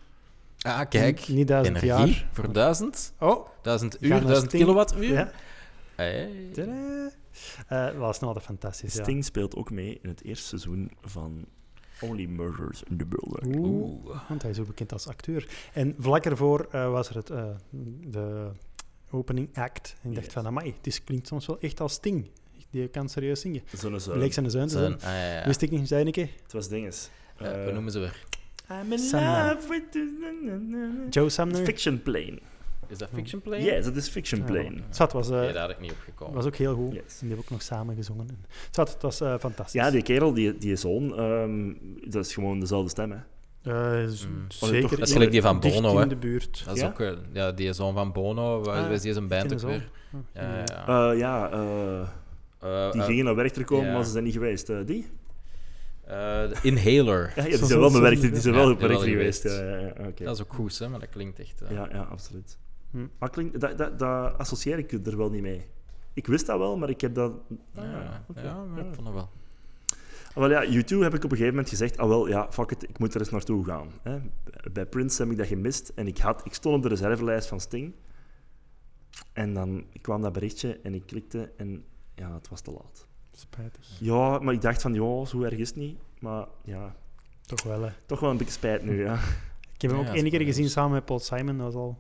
Ah, kijk. Niet duizend Energie jaar. voor duizend. Oh, Duizend Ga uur, naar duizend Sting. kilowattuur. ja. Hey. Tadaa. Eh was nou dat fantastisch. Ja. Sting speelt ook mee in het eerste seizoen van Only Murders in the Building. Oeh, Oeh. want hij is ook bekend als acteur. En vlak ervoor eh, was er het, eh, de opening act. En ik dacht Yes. van, amai, het is, klinkt soms wel echt als Sting. Die kan serieus zingen. Zo'n zo- Bleek zijn zuin te zijn. Zijn- ah, ja, ja. Wist ik niet, zei ik. hè. Het was dinges. Eh, Eh, hoe noemen ze weer? I'm in Sandman. love with the- na, na, na, na. Joe Sumner. Fiction Plane. Is dat Fiction Play? Yes, het is Fiction Ja, Plane. voilà. Zwat, was, eh, Nee, daar had ik niet op gekomen. was ook heel goed. Yes. En die hebben ook nog samen gezongen. En, zwat, het was eh, fantastisch. Ja, die kerel, die, die zoon, ehm, dat is gewoon dezelfde stem, hè. Eh, z- Mm. Zeker. toch- Dat is in- gelijk die van dicht Bono, in hè. de buurt. Dat is Ja? ook eh, ja, die zoon van Bono. Waar Ah, waar is die zijn band ken ook dat weer? wel. Ja, ja, ja. Eh, ja, eh, Ah. Ah, Eh, die eh, gingen naar werk komen, ja. maar ze zijn niet geweest. Eh, die? eh, de Inhaler. Ja, ja, Zo- die zo- zijn wel zo- naar werk, die zijn ja, wel die op werk wel geweest. geweest. Ja, ja, ja, oké. Dat is ook goed, hè, maar dat klinkt echt... eh, ja, ja, absoluut. Hm. Maar klink, dat, dat, dat associeer ik er wel niet mee. Ik wist dat wel, maar ik heb dat... ja, Ah, ja, oké. ja, maar Ja. ik vond het wel. Ah, Wel ja, U2 heb ik op een gegeven moment gezegd, ah wel, ja, fuck it, ik moet er eens naartoe gaan. Hè. Bij Prince heb ik dat gemist en ik, had, ik stond op de reservelijst van Sting. En dan kwam dat berichtje en ik klikte en ja, het was te laat. Spijtig. Ja, maar ik dacht van, joh, zo erg is het niet. Maar ja, Toch wel, hè. toch wel een beetje spijt nu, ja. Ik heb hem Ja, ook dat één is keer wel gezien samen met Paul Simon. Dat was al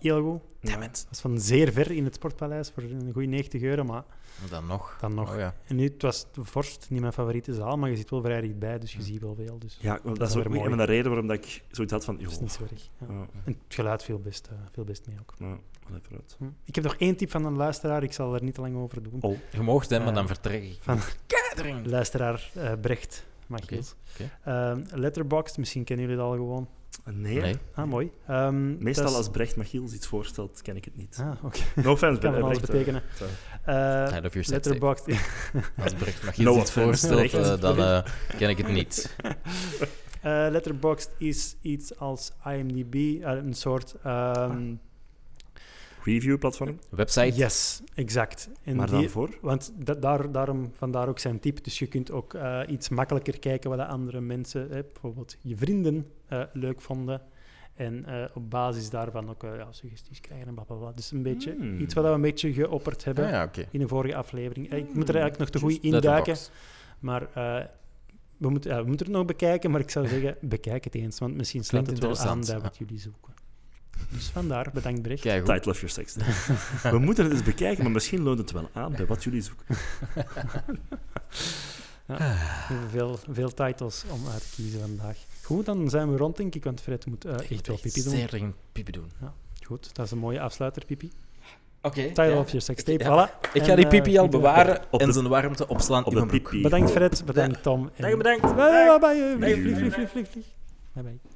heel goed. Damn it. Dat was van zeer ver in het Sportpaleis voor een goede 90 euro, maar Maar Dan nog. dan nog. Oh, ja. En nu, het was de Vorst, niet mijn favoriete zaal, maar je zit wel vrij dichtbij, dus je Hm. ziet wel veel. Dus Ja, dat, is is ook weer een mooi. van de redenen waarom dat ik zoiets had van, dat is joh, niet zo erg. Ja. ja, En het geluid viel best, eh, viel best mee ook. nou, wel even uit. Hm. Ik heb nog één tip van een luisteraar, ik zal er niet te lang over doen. Oh, Je moogt hem, maar Eh, dan vertrek ik. van- Keidering. Luisteraar eh, Brecht, Machiels. oké. Letterboxd, misschien kennen jullie het al gewoon. nee. Nee. Ah, mooi. Ehm, Meestal dat is- als Brecht Machiels iets voorstelt, ken ik het niet. Ah, oké. No offense, kan Bre- van alles Brecht. betekenen. sorry. Eh, Side of your set tape. Letterboxd Als Brecht mag je No iets offense. voorstelt, Brecht. eh, dan eh, ken ik het niet. Eh, Letterboxd is iets als IMDb, eh, een soort. ehm, Review-platform, Website? Yes, exact. En maar die- dan voor? want da- daar, daarom, vandaar ook zijn tip. Dus je kunt ook eh, iets makkelijker kijken wat de andere mensen, eh, bijvoorbeeld je vrienden, eh, leuk vonden. En eh, op basis daarvan ook eh, ja, suggesties krijgen en blablabla. Dus een beetje Hmm. iets wat we een beetje geopperd hebben Ah, ja, oké. in een vorige aflevering. Eh, Ik moet er Hmm, eigenlijk nog te goed induiken. Letterboxd. Maar eh, we, moeten, ja, we moeten het nog bekijken, maar ik zou zeggen, bekijk het eens, want misschien sluit het Klinkt wel aan bij interessant, wat jullie zoeken. Dus vandaar, bedankt Brecht. Kijk, goed. Title of your sex. We moeten het eens bekijken, maar misschien loont het wel aan bij wat jullie zoeken. Veel, veel titles om uit te kiezen vandaag. Goed, dan zijn we rond, denk ik, want Fred moet eh, Ik moet echt wel echt pipi doen. zeer dringend pipi doen. Goed, dat is een mooie afsluiter, pipi. Oké. Title of your sex tape, Ik- voilà. Ik En, ga die eh, pipi al iedereen- bewaren Op de- en zijn warmte opslaan Op in de mijn broek. pipi. Bedankt Fred, bedankt Tom. en- Dank je, bedankt. Bye, bye, bye, bye, Bye. Vlieg, vlieg, vlieg, vlieg, vlieg. Bye, bye.